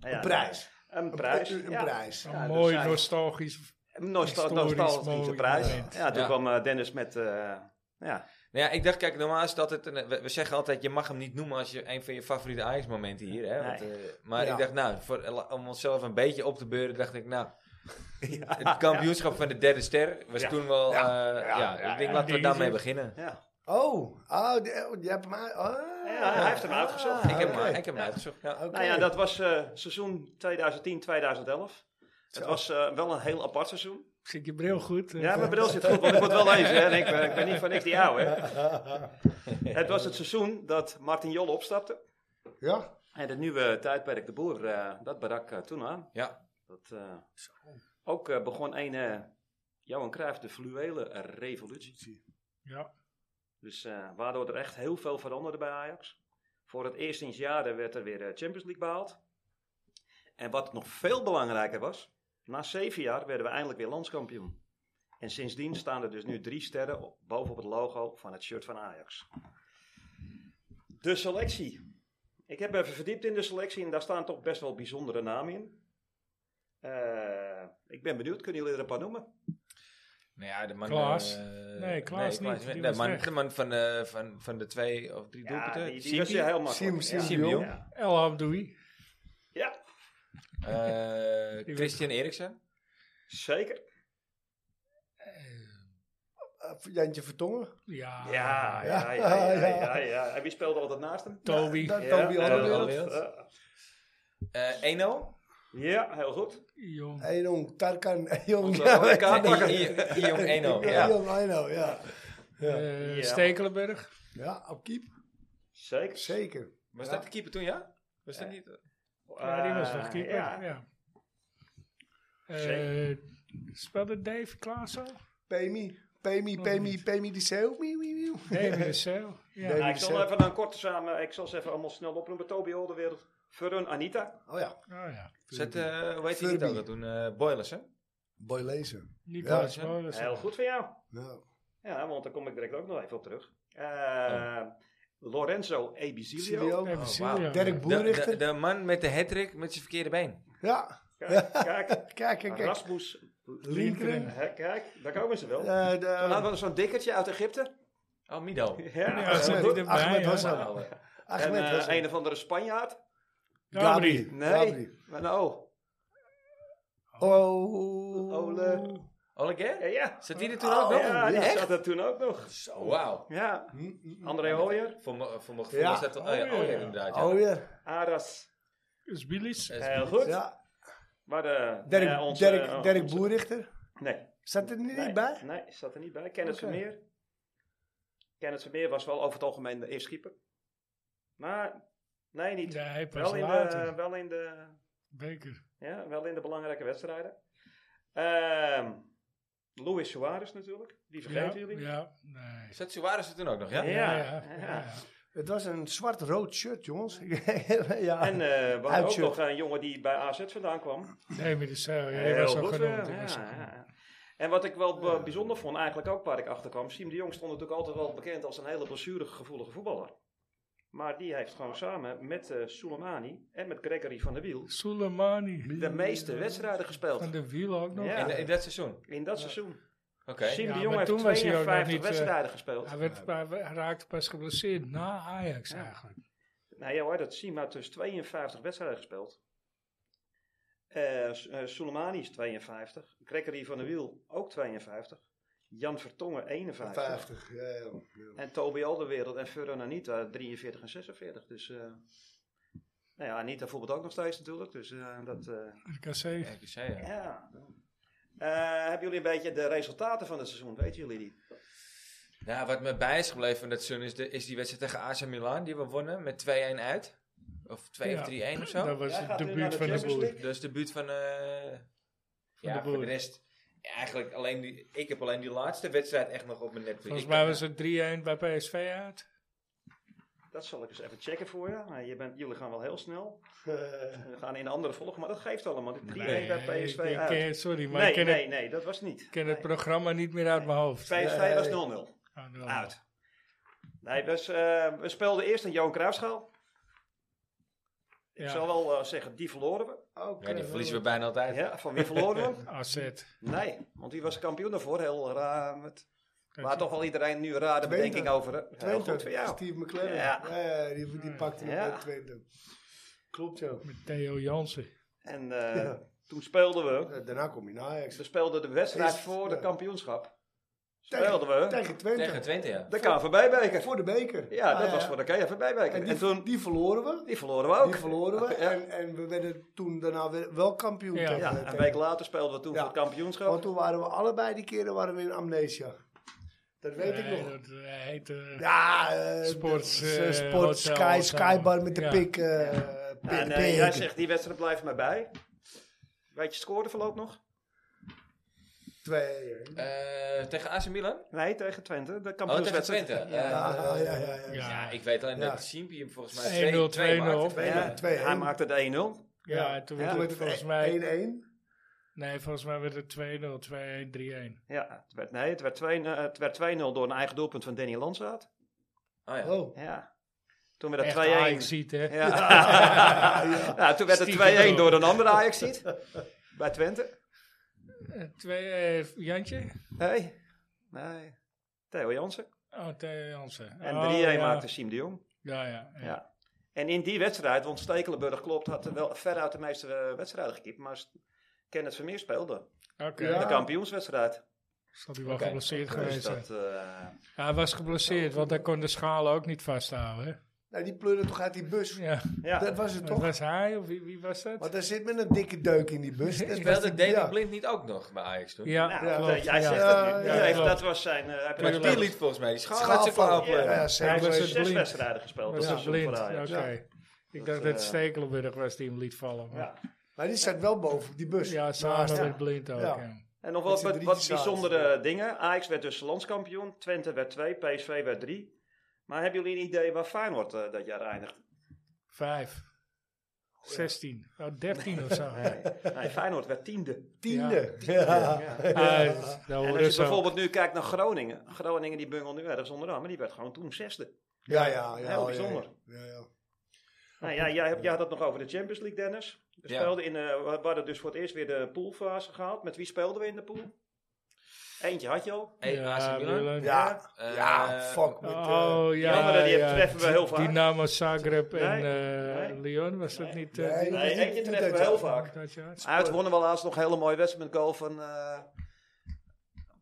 Speaker 4: Nou ja,
Speaker 3: Een prijs.
Speaker 4: Een prijs.
Speaker 3: Een,
Speaker 4: ja.
Speaker 3: prijs.
Speaker 2: Een
Speaker 4: Ja,
Speaker 2: mooi
Speaker 4: dus hij-
Speaker 2: nostalgisch.
Speaker 4: Een nostal-
Speaker 2: Historisch
Speaker 4: nostalgische
Speaker 2: mooi
Speaker 4: prijs.
Speaker 2: moment.
Speaker 4: Ja, toen
Speaker 1: Ja.
Speaker 4: kwam eh, Dennis met, eh, ja,
Speaker 1: Nou ja, ik dacht, kijk, normaal is dat het. een- We, we zeggen altijd, je mag hem niet noemen als je een van je favoriete Ajax-momenten hier. Hè? Want, eh, maar
Speaker 3: Ja.
Speaker 1: ik dacht, nou, voor, om onszelf een beetje op te beuren, dacht ik, nou. Het kampioenschap van de derde ster was
Speaker 4: Ja.
Speaker 1: toen wel. eh,
Speaker 3: Ja.
Speaker 1: Ja,
Speaker 3: Ja. Ja,
Speaker 1: ik denk,
Speaker 2: ja,
Speaker 1: laten we
Speaker 2: die
Speaker 1: daarmee
Speaker 2: is-
Speaker 1: beginnen.
Speaker 4: ja.
Speaker 3: Oh, oh, die- oh, je hebt hem uit. Oh,
Speaker 4: Ja, hij heeft hem uitgezocht.
Speaker 1: Ik heb hem,
Speaker 3: oké.
Speaker 1: ik heb hem uitgezocht. Ja.
Speaker 3: Oké.
Speaker 4: Nou ja, dat was eh, seizoen 2010-2011. Het
Speaker 3: Zo.
Speaker 4: was eh, wel een heel apart seizoen.
Speaker 2: Zit je bril goed? Eh,
Speaker 4: Ja, mijn bril zit goed, want ik moet wel lezen. Hè. En ik, ben, ik ben niet van niks die oude. Hè. Het was het seizoen dat Martin Jol opstapte.
Speaker 3: Ja,
Speaker 4: En het nieuwe tijdperk De Boer, eh, dat barak eh, toen aan.
Speaker 1: Ja.
Speaker 4: Dat, eh, ook eh, begon een eh Johan Cruijff, de fluwele revolutie.
Speaker 2: Ja.
Speaker 4: Dus eh, waardoor er echt heel veel veranderde bij Ajax. Voor het eerst sinds jaren werd er weer eh, Champions League behaald. En wat nog veel belangrijker was, na zeven jaar werden we eindelijk weer landskampioen. En sindsdien staan er dus nu drie sterren op, bovenop het logo van het shirt van Ajax. De selectie. Ik heb even verdiept in de selectie en daar staan toch best wel bijzondere namen in. Eh, ik ben benieuwd, kunnen jullie er een paar noemen?
Speaker 1: Nou ja, de man.
Speaker 2: Klaas?
Speaker 1: eh,
Speaker 2: Nee, Klaas niet. Die
Speaker 1: De
Speaker 2: was
Speaker 1: man,
Speaker 2: weg.
Speaker 1: de man van, eh, van, van de twee of drie doelpunten.
Speaker 4: die, die
Speaker 1: Simpi.
Speaker 4: was je heel makkelijk.
Speaker 3: Sim-
Speaker 4: ja.
Speaker 3: Sim-
Speaker 1: Simpi,
Speaker 3: Jong.
Speaker 1: joh.
Speaker 4: Ja.
Speaker 2: El Hamdoui.
Speaker 4: ja,
Speaker 1: Eh,
Speaker 2: Die
Speaker 1: Christian Eriksen.
Speaker 4: zeker.
Speaker 3: Eh, Jantje Vertongen.
Speaker 2: Ja.
Speaker 4: Ja, ja, ja, ja, ja, ja, ja. En wie speelde altijd naast hem?
Speaker 2: Toby.
Speaker 3: Dat
Speaker 4: Ja,
Speaker 3: Toby
Speaker 4: eh,
Speaker 3: Alderwereld.
Speaker 1: Alderwereld.
Speaker 4: eh,
Speaker 1: Eh, Eno.
Speaker 4: Ja, heel goed.
Speaker 2: Jong.
Speaker 3: Hey, jong, Tarkan. Hey, jong,
Speaker 4: Onze rode
Speaker 3: ja.
Speaker 4: kaart.
Speaker 1: I- I- Ion Eno.
Speaker 3: Ja,
Speaker 1: Ja.
Speaker 3: jong, I know, ja.
Speaker 2: Eh,
Speaker 4: Ja.
Speaker 2: Stekelenburg.
Speaker 3: Ja, op keep.
Speaker 4: Zeker.
Speaker 3: Zeker.
Speaker 1: Was dat de keeper toen, ja? Eh, Was dat niet?
Speaker 2: Ja, die was nog
Speaker 4: Eh,
Speaker 2: keeper.
Speaker 4: ja.
Speaker 2: Ja. Eh,
Speaker 4: Zeker.
Speaker 2: speelde Dave Klaas al?
Speaker 3: Pemi, Pemi,
Speaker 2: Nog
Speaker 3: Pemi,
Speaker 2: niet.
Speaker 3: Pemi die Zeeuw. Mieu, mieu, mieu.
Speaker 2: Dave de Zeeuw. Ja.
Speaker 3: Dave-
Speaker 4: Nou, ik zal
Speaker 3: Zelf.
Speaker 4: even een korte samen, ik zal ze even allemaal snel oproepen. Toby Olderwereld, Furun, Anita.
Speaker 3: Oh ja,
Speaker 2: Oh, ja.
Speaker 1: Zet, eh hoe heet die niet
Speaker 3: Furby.
Speaker 1: ook al toen? eh Boilers, hè?
Speaker 3: boy lezen.
Speaker 2: Nicolas
Speaker 1: Ja,
Speaker 2: ja, Molens.
Speaker 4: Heel goed van jou.
Speaker 3: Ja.
Speaker 4: Ja, want daar kom ik direct ook nog even op terug. Eh, Lorenzo Ebizilio.
Speaker 3: Silio.
Speaker 2: Even
Speaker 1: Oh,
Speaker 2: zien,
Speaker 1: wauw.
Speaker 2: ja.
Speaker 3: Dirk
Speaker 1: De, de,
Speaker 3: Boerichter.
Speaker 1: de man met de hattrick met zijn verkeerde been.
Speaker 3: Ja,
Speaker 4: Kijk, kijk.
Speaker 3: kijk, kijk, kijk.
Speaker 4: Rasmus
Speaker 3: Linkeren.
Speaker 4: Hè, Kijk, daar komen ze wel. Toen
Speaker 3: Eh, de-
Speaker 4: hadden we nog zo'n dikkertje uit Egypte.
Speaker 1: Oh, Mido.
Speaker 4: Ja,
Speaker 2: Ja, zit
Speaker 3: Ahmed-
Speaker 2: hij erbij,
Speaker 3: Ahmed
Speaker 2: ja.
Speaker 3: Hassan.
Speaker 1: Nou, eh,
Speaker 4: En
Speaker 3: Ahmed
Speaker 4: eh,
Speaker 3: Hassan.
Speaker 4: een of andere Spanjaard.
Speaker 2: Gabri.
Speaker 4: Nee,
Speaker 3: Gabri.
Speaker 4: maar nou.
Speaker 3: Oh.
Speaker 4: Ole.
Speaker 1: Oleguer?
Speaker 4: Ja, Eh, ja.
Speaker 1: Zat die er toen ook nog?
Speaker 4: ja, die
Speaker 1: Echt?
Speaker 4: zat er toen ook nog.
Speaker 1: Wauw.
Speaker 4: Ja,
Speaker 3: Mm, mm, mm.
Speaker 4: André Hoyer,
Speaker 1: Voor mijn voor mijn gevoel
Speaker 3: Ja.
Speaker 1: was dat... Oh ja, oh, ja, inderdaad. Ja.
Speaker 3: Oh ja.
Speaker 4: Aras.
Speaker 2: Is Bilis.
Speaker 1: Eh,
Speaker 4: Heel goed.
Speaker 3: Ja.
Speaker 4: Maar de,
Speaker 3: Dirk,
Speaker 4: eh, onze-
Speaker 3: Dirk,
Speaker 4: eh,
Speaker 3: Dirk
Speaker 4: onze-
Speaker 3: Boerichter.
Speaker 4: Nee.
Speaker 3: Zat er niet
Speaker 4: nee,
Speaker 3: bij?
Speaker 4: Nee, zat er niet bij. Kenneth
Speaker 3: Oké.
Speaker 4: Vermeer. Kenneth Vermeer was wel over het algemeen de eerste keeper. Maar, nee, niet.
Speaker 2: Nee, pas
Speaker 4: wel, in eh,
Speaker 2: later.
Speaker 4: de, wel in de
Speaker 2: Beker.
Speaker 4: Ja, wel in de belangrijke wedstrijden. Ehm Luis Suarez natuurlijk, die vergeten
Speaker 2: ja,
Speaker 4: jullie.
Speaker 2: Ja, nee.
Speaker 1: Zat Suarez er toen ook nog, ja?
Speaker 4: Ja,
Speaker 2: ja,
Speaker 4: ja.
Speaker 2: ja.
Speaker 3: Het was een zwart-rood shirt, jongens.
Speaker 4: En
Speaker 3: ja.
Speaker 4: eh we hadden ook
Speaker 3: Uitje.
Speaker 4: nog een jongen die bij AZ vandaan kwam.
Speaker 2: David de Zeeuw. Ja, die was al
Speaker 4: goed,
Speaker 2: genoemd.
Speaker 4: eh,
Speaker 2: die was
Speaker 4: ja,
Speaker 2: al genoemd.
Speaker 4: ja. En wat ik wel b- bijzonder vond, eigenlijk ook waar ik achter kwam. Siem de Jong stond natuurlijk altijd wel bekend als een hele blessuregevoelige voetballer. Maar die heeft gewoon samen met eh Soleimani en met Gregory van der Wiel
Speaker 2: Soleimani.
Speaker 4: de meeste wedstrijden gespeeld.
Speaker 2: Van de wiel ook nog.
Speaker 4: Ja.
Speaker 1: In, in dat seizoen? Oké.
Speaker 4: In dat seizoen. Siem
Speaker 2: Ja,
Speaker 4: de
Speaker 2: maar
Speaker 4: Jong heeft
Speaker 2: toen was hij ook nog
Speaker 4: 52
Speaker 2: niet, eh,
Speaker 4: wedstrijden gespeeld.
Speaker 2: Hij, werd, hij raakte pas geblesseerd na Ajax eigenlijk.
Speaker 4: Nou ja hoor, dat Sima heeft dus 52 wedstrijden gespeeld. Eh S- eh, Soleimani is 52. Gregory van der Wiel ook 52. Jan Vertongen 51.
Speaker 3: 50. Ja, ja. ja.
Speaker 4: En Toby Alderwereld en Furran Anita 43 en 46. Dus eh, Nou ja, Anita voetbalt ook nog steeds natuurlijk. Dus eh, dat... eh,
Speaker 2: RKC. Ja.
Speaker 1: RKC, ja.
Speaker 4: ja. Eh, hebben jullie een beetje de resultaten van het seizoen? Weten jullie die?
Speaker 1: Nou, wat me bij is gebleven van dat seizoen is, de, is die wedstrijd tegen AC Milan die we wonnen met 2-1 uit. Of 2
Speaker 2: Ja.
Speaker 1: of 3-1 of
Speaker 2: Dat
Speaker 1: zo.
Speaker 2: was
Speaker 4: Ja,
Speaker 2: het
Speaker 4: gaat u naar
Speaker 2: debuut
Speaker 4: de
Speaker 2: van de
Speaker 4: Champions
Speaker 2: boer.
Speaker 4: League?
Speaker 1: Dat is de buurt van, eh ja,
Speaker 2: de
Speaker 1: de,
Speaker 2: boer.
Speaker 1: de rest. Ja, eigenlijk alleen die, ik heb alleen die laatste wedstrijd echt nog op mijn netvlies.
Speaker 2: Volgens
Speaker 1: Ik
Speaker 2: mij
Speaker 1: kan-
Speaker 2: was het 3-1 bij PSV uit.
Speaker 4: Dat zal ik eens even checken voor je. Nou, je bent, jullie gaan wel heel snel.
Speaker 2: Eh.
Speaker 4: We gaan in de andere volgen, maar dat geeft allemaal. De 3-1 bij PSV
Speaker 2: ik- ik
Speaker 4: uit.
Speaker 2: ken- sorry, maar ik
Speaker 4: nee,
Speaker 2: ken,
Speaker 4: nee,
Speaker 2: het,
Speaker 4: nee, dat was niet.
Speaker 2: ik ken het programma niet meer uit mijn hoofd.
Speaker 4: PSV
Speaker 3: Nee.
Speaker 4: was 0-0.
Speaker 2: Ah, nou.
Speaker 4: Uit. Nee, dus, eh, we speelden eerst een Johan Cruijffschaal. Ik
Speaker 2: Ja.
Speaker 4: zal wel eh, zeggen, die verloren we.
Speaker 1: Ja,
Speaker 3: eh,
Speaker 1: die verliezen we bijna altijd.
Speaker 4: Ja, van wie verloren we?
Speaker 2: AZ.
Speaker 4: Nee, want die was kampioen daarvoor. Heel raar. Met, waar
Speaker 2: je-
Speaker 4: toch wel iedereen nu een rare
Speaker 3: Twente.
Speaker 4: bedenking over. hè? Heel
Speaker 3: Twente,
Speaker 4: goed voor jou.
Speaker 3: eh, Steve McLaren.
Speaker 4: Ja.
Speaker 3: Ja. die, die pakte hem
Speaker 4: Hmm. Ja.
Speaker 3: bij Twente. Klopt, ja.
Speaker 2: Met Theo Jansen.
Speaker 4: En eh,
Speaker 3: Ja.
Speaker 4: toen speelden we.
Speaker 3: Eh, Daarna kom je naar Ajax.
Speaker 4: We speelden de wedstrijd
Speaker 3: Is-
Speaker 4: voor de
Speaker 3: ja.
Speaker 4: kampioenschap.
Speaker 3: Tegen-
Speaker 4: Speelden we
Speaker 3: Tegen Twente.
Speaker 1: Tegen Twente, ja.
Speaker 4: de KNVB-beker.
Speaker 3: Voor de beker.
Speaker 4: Ja,
Speaker 3: Ah,
Speaker 4: dat was voor de KNVB-beker.
Speaker 3: En
Speaker 4: En,
Speaker 3: die,
Speaker 4: toen,
Speaker 3: die verloren we.
Speaker 4: die verloren we ook.
Speaker 3: Die verloren we.
Speaker 4: Ja.
Speaker 3: En, en we werden toen daarna weer wel kampioen.
Speaker 2: Ja.
Speaker 3: tegen-
Speaker 4: Ja, een
Speaker 3: tegen-
Speaker 4: week later speelden we toen
Speaker 3: Ja.
Speaker 4: voor het kampioenschap.
Speaker 3: Want toen waren we allebei die keren waren we in amnesia. Dat weet
Speaker 2: Nee,
Speaker 3: ik nog.
Speaker 2: Dat eh, heet... eh,
Speaker 3: Ja, eh,
Speaker 2: Sports,
Speaker 3: de- de-
Speaker 2: eh,
Speaker 3: Sport
Speaker 2: hotel,
Speaker 3: Sky,
Speaker 2: hotel.
Speaker 3: Skybar met de
Speaker 2: Ja.
Speaker 3: pik. eh pik,
Speaker 4: En eh,
Speaker 3: pik.
Speaker 4: jij zegt, die wedstrijd blijft maar bij. Weet je scoreverloop nog?
Speaker 3: Twee.
Speaker 1: Eh, tegen AC Milan?
Speaker 4: Nee, tegen Twente. De
Speaker 1: Oh, tegen
Speaker 4: kampioenswedstrijd.
Speaker 1: Twente. Eh,
Speaker 3: Ja,
Speaker 1: Ja,
Speaker 3: ja, ja. ja, ja.
Speaker 1: ik weet alleen
Speaker 3: Ja.
Speaker 1: dat Simpi hem volgens mij
Speaker 2: 1-0,
Speaker 1: 2 maakte.
Speaker 2: 2-0.
Speaker 4: Ja,
Speaker 3: 2-1.
Speaker 4: hij maakte het 1-0.
Speaker 2: ja,
Speaker 3: Ja.
Speaker 2: toen
Speaker 4: Ja,
Speaker 2: werd
Speaker 3: Toen werd
Speaker 2: het
Speaker 3: het
Speaker 2: volgens mij...
Speaker 3: 1-1.
Speaker 2: Nee, volgens mij werd het 2-0, 2-1, 3-1.
Speaker 4: Ja, het werd, nee, het werd 2-0 het werd 2-0 door een eigen doelpunt van Danny Landsaat.
Speaker 1: Oh, ja.
Speaker 3: Oh.
Speaker 4: Ja. Toen werd
Speaker 2: Echt ah,
Speaker 4: het 2-1.
Speaker 2: Ajax ziet, hè?
Speaker 4: Ja.
Speaker 3: ja.
Speaker 4: Ja, toen werd het 2-1
Speaker 2: Stiekem erop.
Speaker 4: door een andere ajax ziet. Bij Twente.
Speaker 2: Eh, Twee, eh, Jantje?
Speaker 4: Nee. Nee. Theo Jansen.
Speaker 2: Oh, Theo Jansen.
Speaker 4: En 3-1
Speaker 2: Oh, ja.
Speaker 4: maakte Siem de Jong.
Speaker 2: Ja, ja. ja.
Speaker 4: Ja. En in die wedstrijd, want Stekelenburg klopt, had wel veruit de meeste eh, wedstrijden gekiept. Maar St- Kenneth Vermeer speelde.
Speaker 2: Oké.
Speaker 3: Ja.
Speaker 4: De kampioenswedstrijd.
Speaker 2: Zal hij wel
Speaker 1: Oké.
Speaker 2: geblesseerd
Speaker 4: Dus
Speaker 2: geweest zijn.
Speaker 4: dat, eh,
Speaker 2: Ja, hij was geblesseerd, want hij kon de schalen ook niet vasthouden. hè?
Speaker 3: Nou, die pleurde toch uit die bus.
Speaker 2: Ja,
Speaker 4: ja.
Speaker 3: Dat was het
Speaker 2: dat
Speaker 3: toch?
Speaker 2: was hij, of wie, wie was dat?
Speaker 3: Want daar zit met een dikke deuk in die bus. Dat is best
Speaker 1: Speelde
Speaker 3: een-
Speaker 1: David
Speaker 3: ja.
Speaker 1: Blind niet ook nog bij Ajax toen?
Speaker 2: Ja,
Speaker 4: Nou,
Speaker 3: Ja,
Speaker 4: dat-
Speaker 2: klopt,
Speaker 4: jij
Speaker 2: ja.
Speaker 4: zegt
Speaker 3: Ja,
Speaker 4: het nu.
Speaker 3: ja,
Speaker 4: Hij heeft-
Speaker 2: klopt.
Speaker 4: dat was zijn... eh, hij heeft
Speaker 1: Maar
Speaker 4: een
Speaker 1: die
Speaker 4: spel-
Speaker 1: liet volgens mij die schaal
Speaker 3: Schaal
Speaker 1: had ze
Speaker 3: van-
Speaker 1: flauw
Speaker 4: Ja,
Speaker 1: pleuren.
Speaker 3: Ja,
Speaker 2: Hij
Speaker 3: zeker.
Speaker 2: was
Speaker 4: zes
Speaker 2: het blind.
Speaker 4: wedstrijden gespeeld.
Speaker 2: was
Speaker 4: dat
Speaker 2: het
Speaker 4: seizoen
Speaker 2: blind,
Speaker 4: voor
Speaker 2: oké.
Speaker 4: Ajax.
Speaker 2: Ik
Speaker 4: Dat,
Speaker 2: dacht dat
Speaker 4: eh,
Speaker 2: Stekelenburg was die hem liet vallen. maar-
Speaker 4: Ja.
Speaker 3: Maar die staat wel boven op die bus.
Speaker 2: Ja, samen
Speaker 3: Naast hem.
Speaker 2: met blind ook.
Speaker 3: Ja.
Speaker 2: ja.
Speaker 4: En nog
Speaker 3: Met
Speaker 4: wel
Speaker 3: z'n
Speaker 4: wat,
Speaker 3: drie
Speaker 4: wat
Speaker 3: samen.
Speaker 4: bijzondere dingen. Ajax werd dus landskampioen. Twente werd 2, PSV werd 3. Maar hebben jullie een idee waar Feyenoord eh, dat jaar eindigt?
Speaker 2: Vijf. Zestien. Oh, dertien of zo.
Speaker 4: Nee, nee, Feyenoord werd tiende.
Speaker 3: Tiende. Ja.
Speaker 2: Ah, Oh, dat
Speaker 4: En
Speaker 2: horen
Speaker 4: als je
Speaker 2: ze ook.
Speaker 4: bijvoorbeeld nu kijkt naar Groningen. Groningen die bungelt nu ergens onderaan, maar die werd gewoon toen zesde.
Speaker 3: Ja, ja, ja.
Speaker 4: Heel
Speaker 3: ja,
Speaker 4: bijzonder.
Speaker 3: Ja, ja.
Speaker 4: Nou ja, jij, hebt- jij had het nog over de Champions League, Dennis. We,
Speaker 1: Ja.
Speaker 4: speelden in, eh, we hadden dus voor het eerst weer de poolfase gehaald. Met wie speelden we in de pool? Eentje had je al.
Speaker 1: Hey, AC Milan.
Speaker 2: Willem.
Speaker 3: Ja,
Speaker 1: Eh,
Speaker 3: ja, fuck. Met, eh,
Speaker 2: Oh, ja.
Speaker 4: Jammer dat die
Speaker 2: ja.
Speaker 4: treffen we heel vaak.
Speaker 2: Dynamo Zagreb en
Speaker 4: Nee,
Speaker 2: eh,
Speaker 4: nee.
Speaker 2: Lyon, was dat
Speaker 4: Nee.
Speaker 2: niet? eh,
Speaker 3: Nee, Ah,
Speaker 2: die-
Speaker 4: Nee,
Speaker 3: niet-
Speaker 4: eentje
Speaker 3: niet
Speaker 4: treffen we
Speaker 3: dat
Speaker 4: heel
Speaker 3: jaar.
Speaker 4: vaak.
Speaker 2: dat jaar?
Speaker 4: Uit wonnen we laatst nog een hele mooie wedstrijd met goal van, eh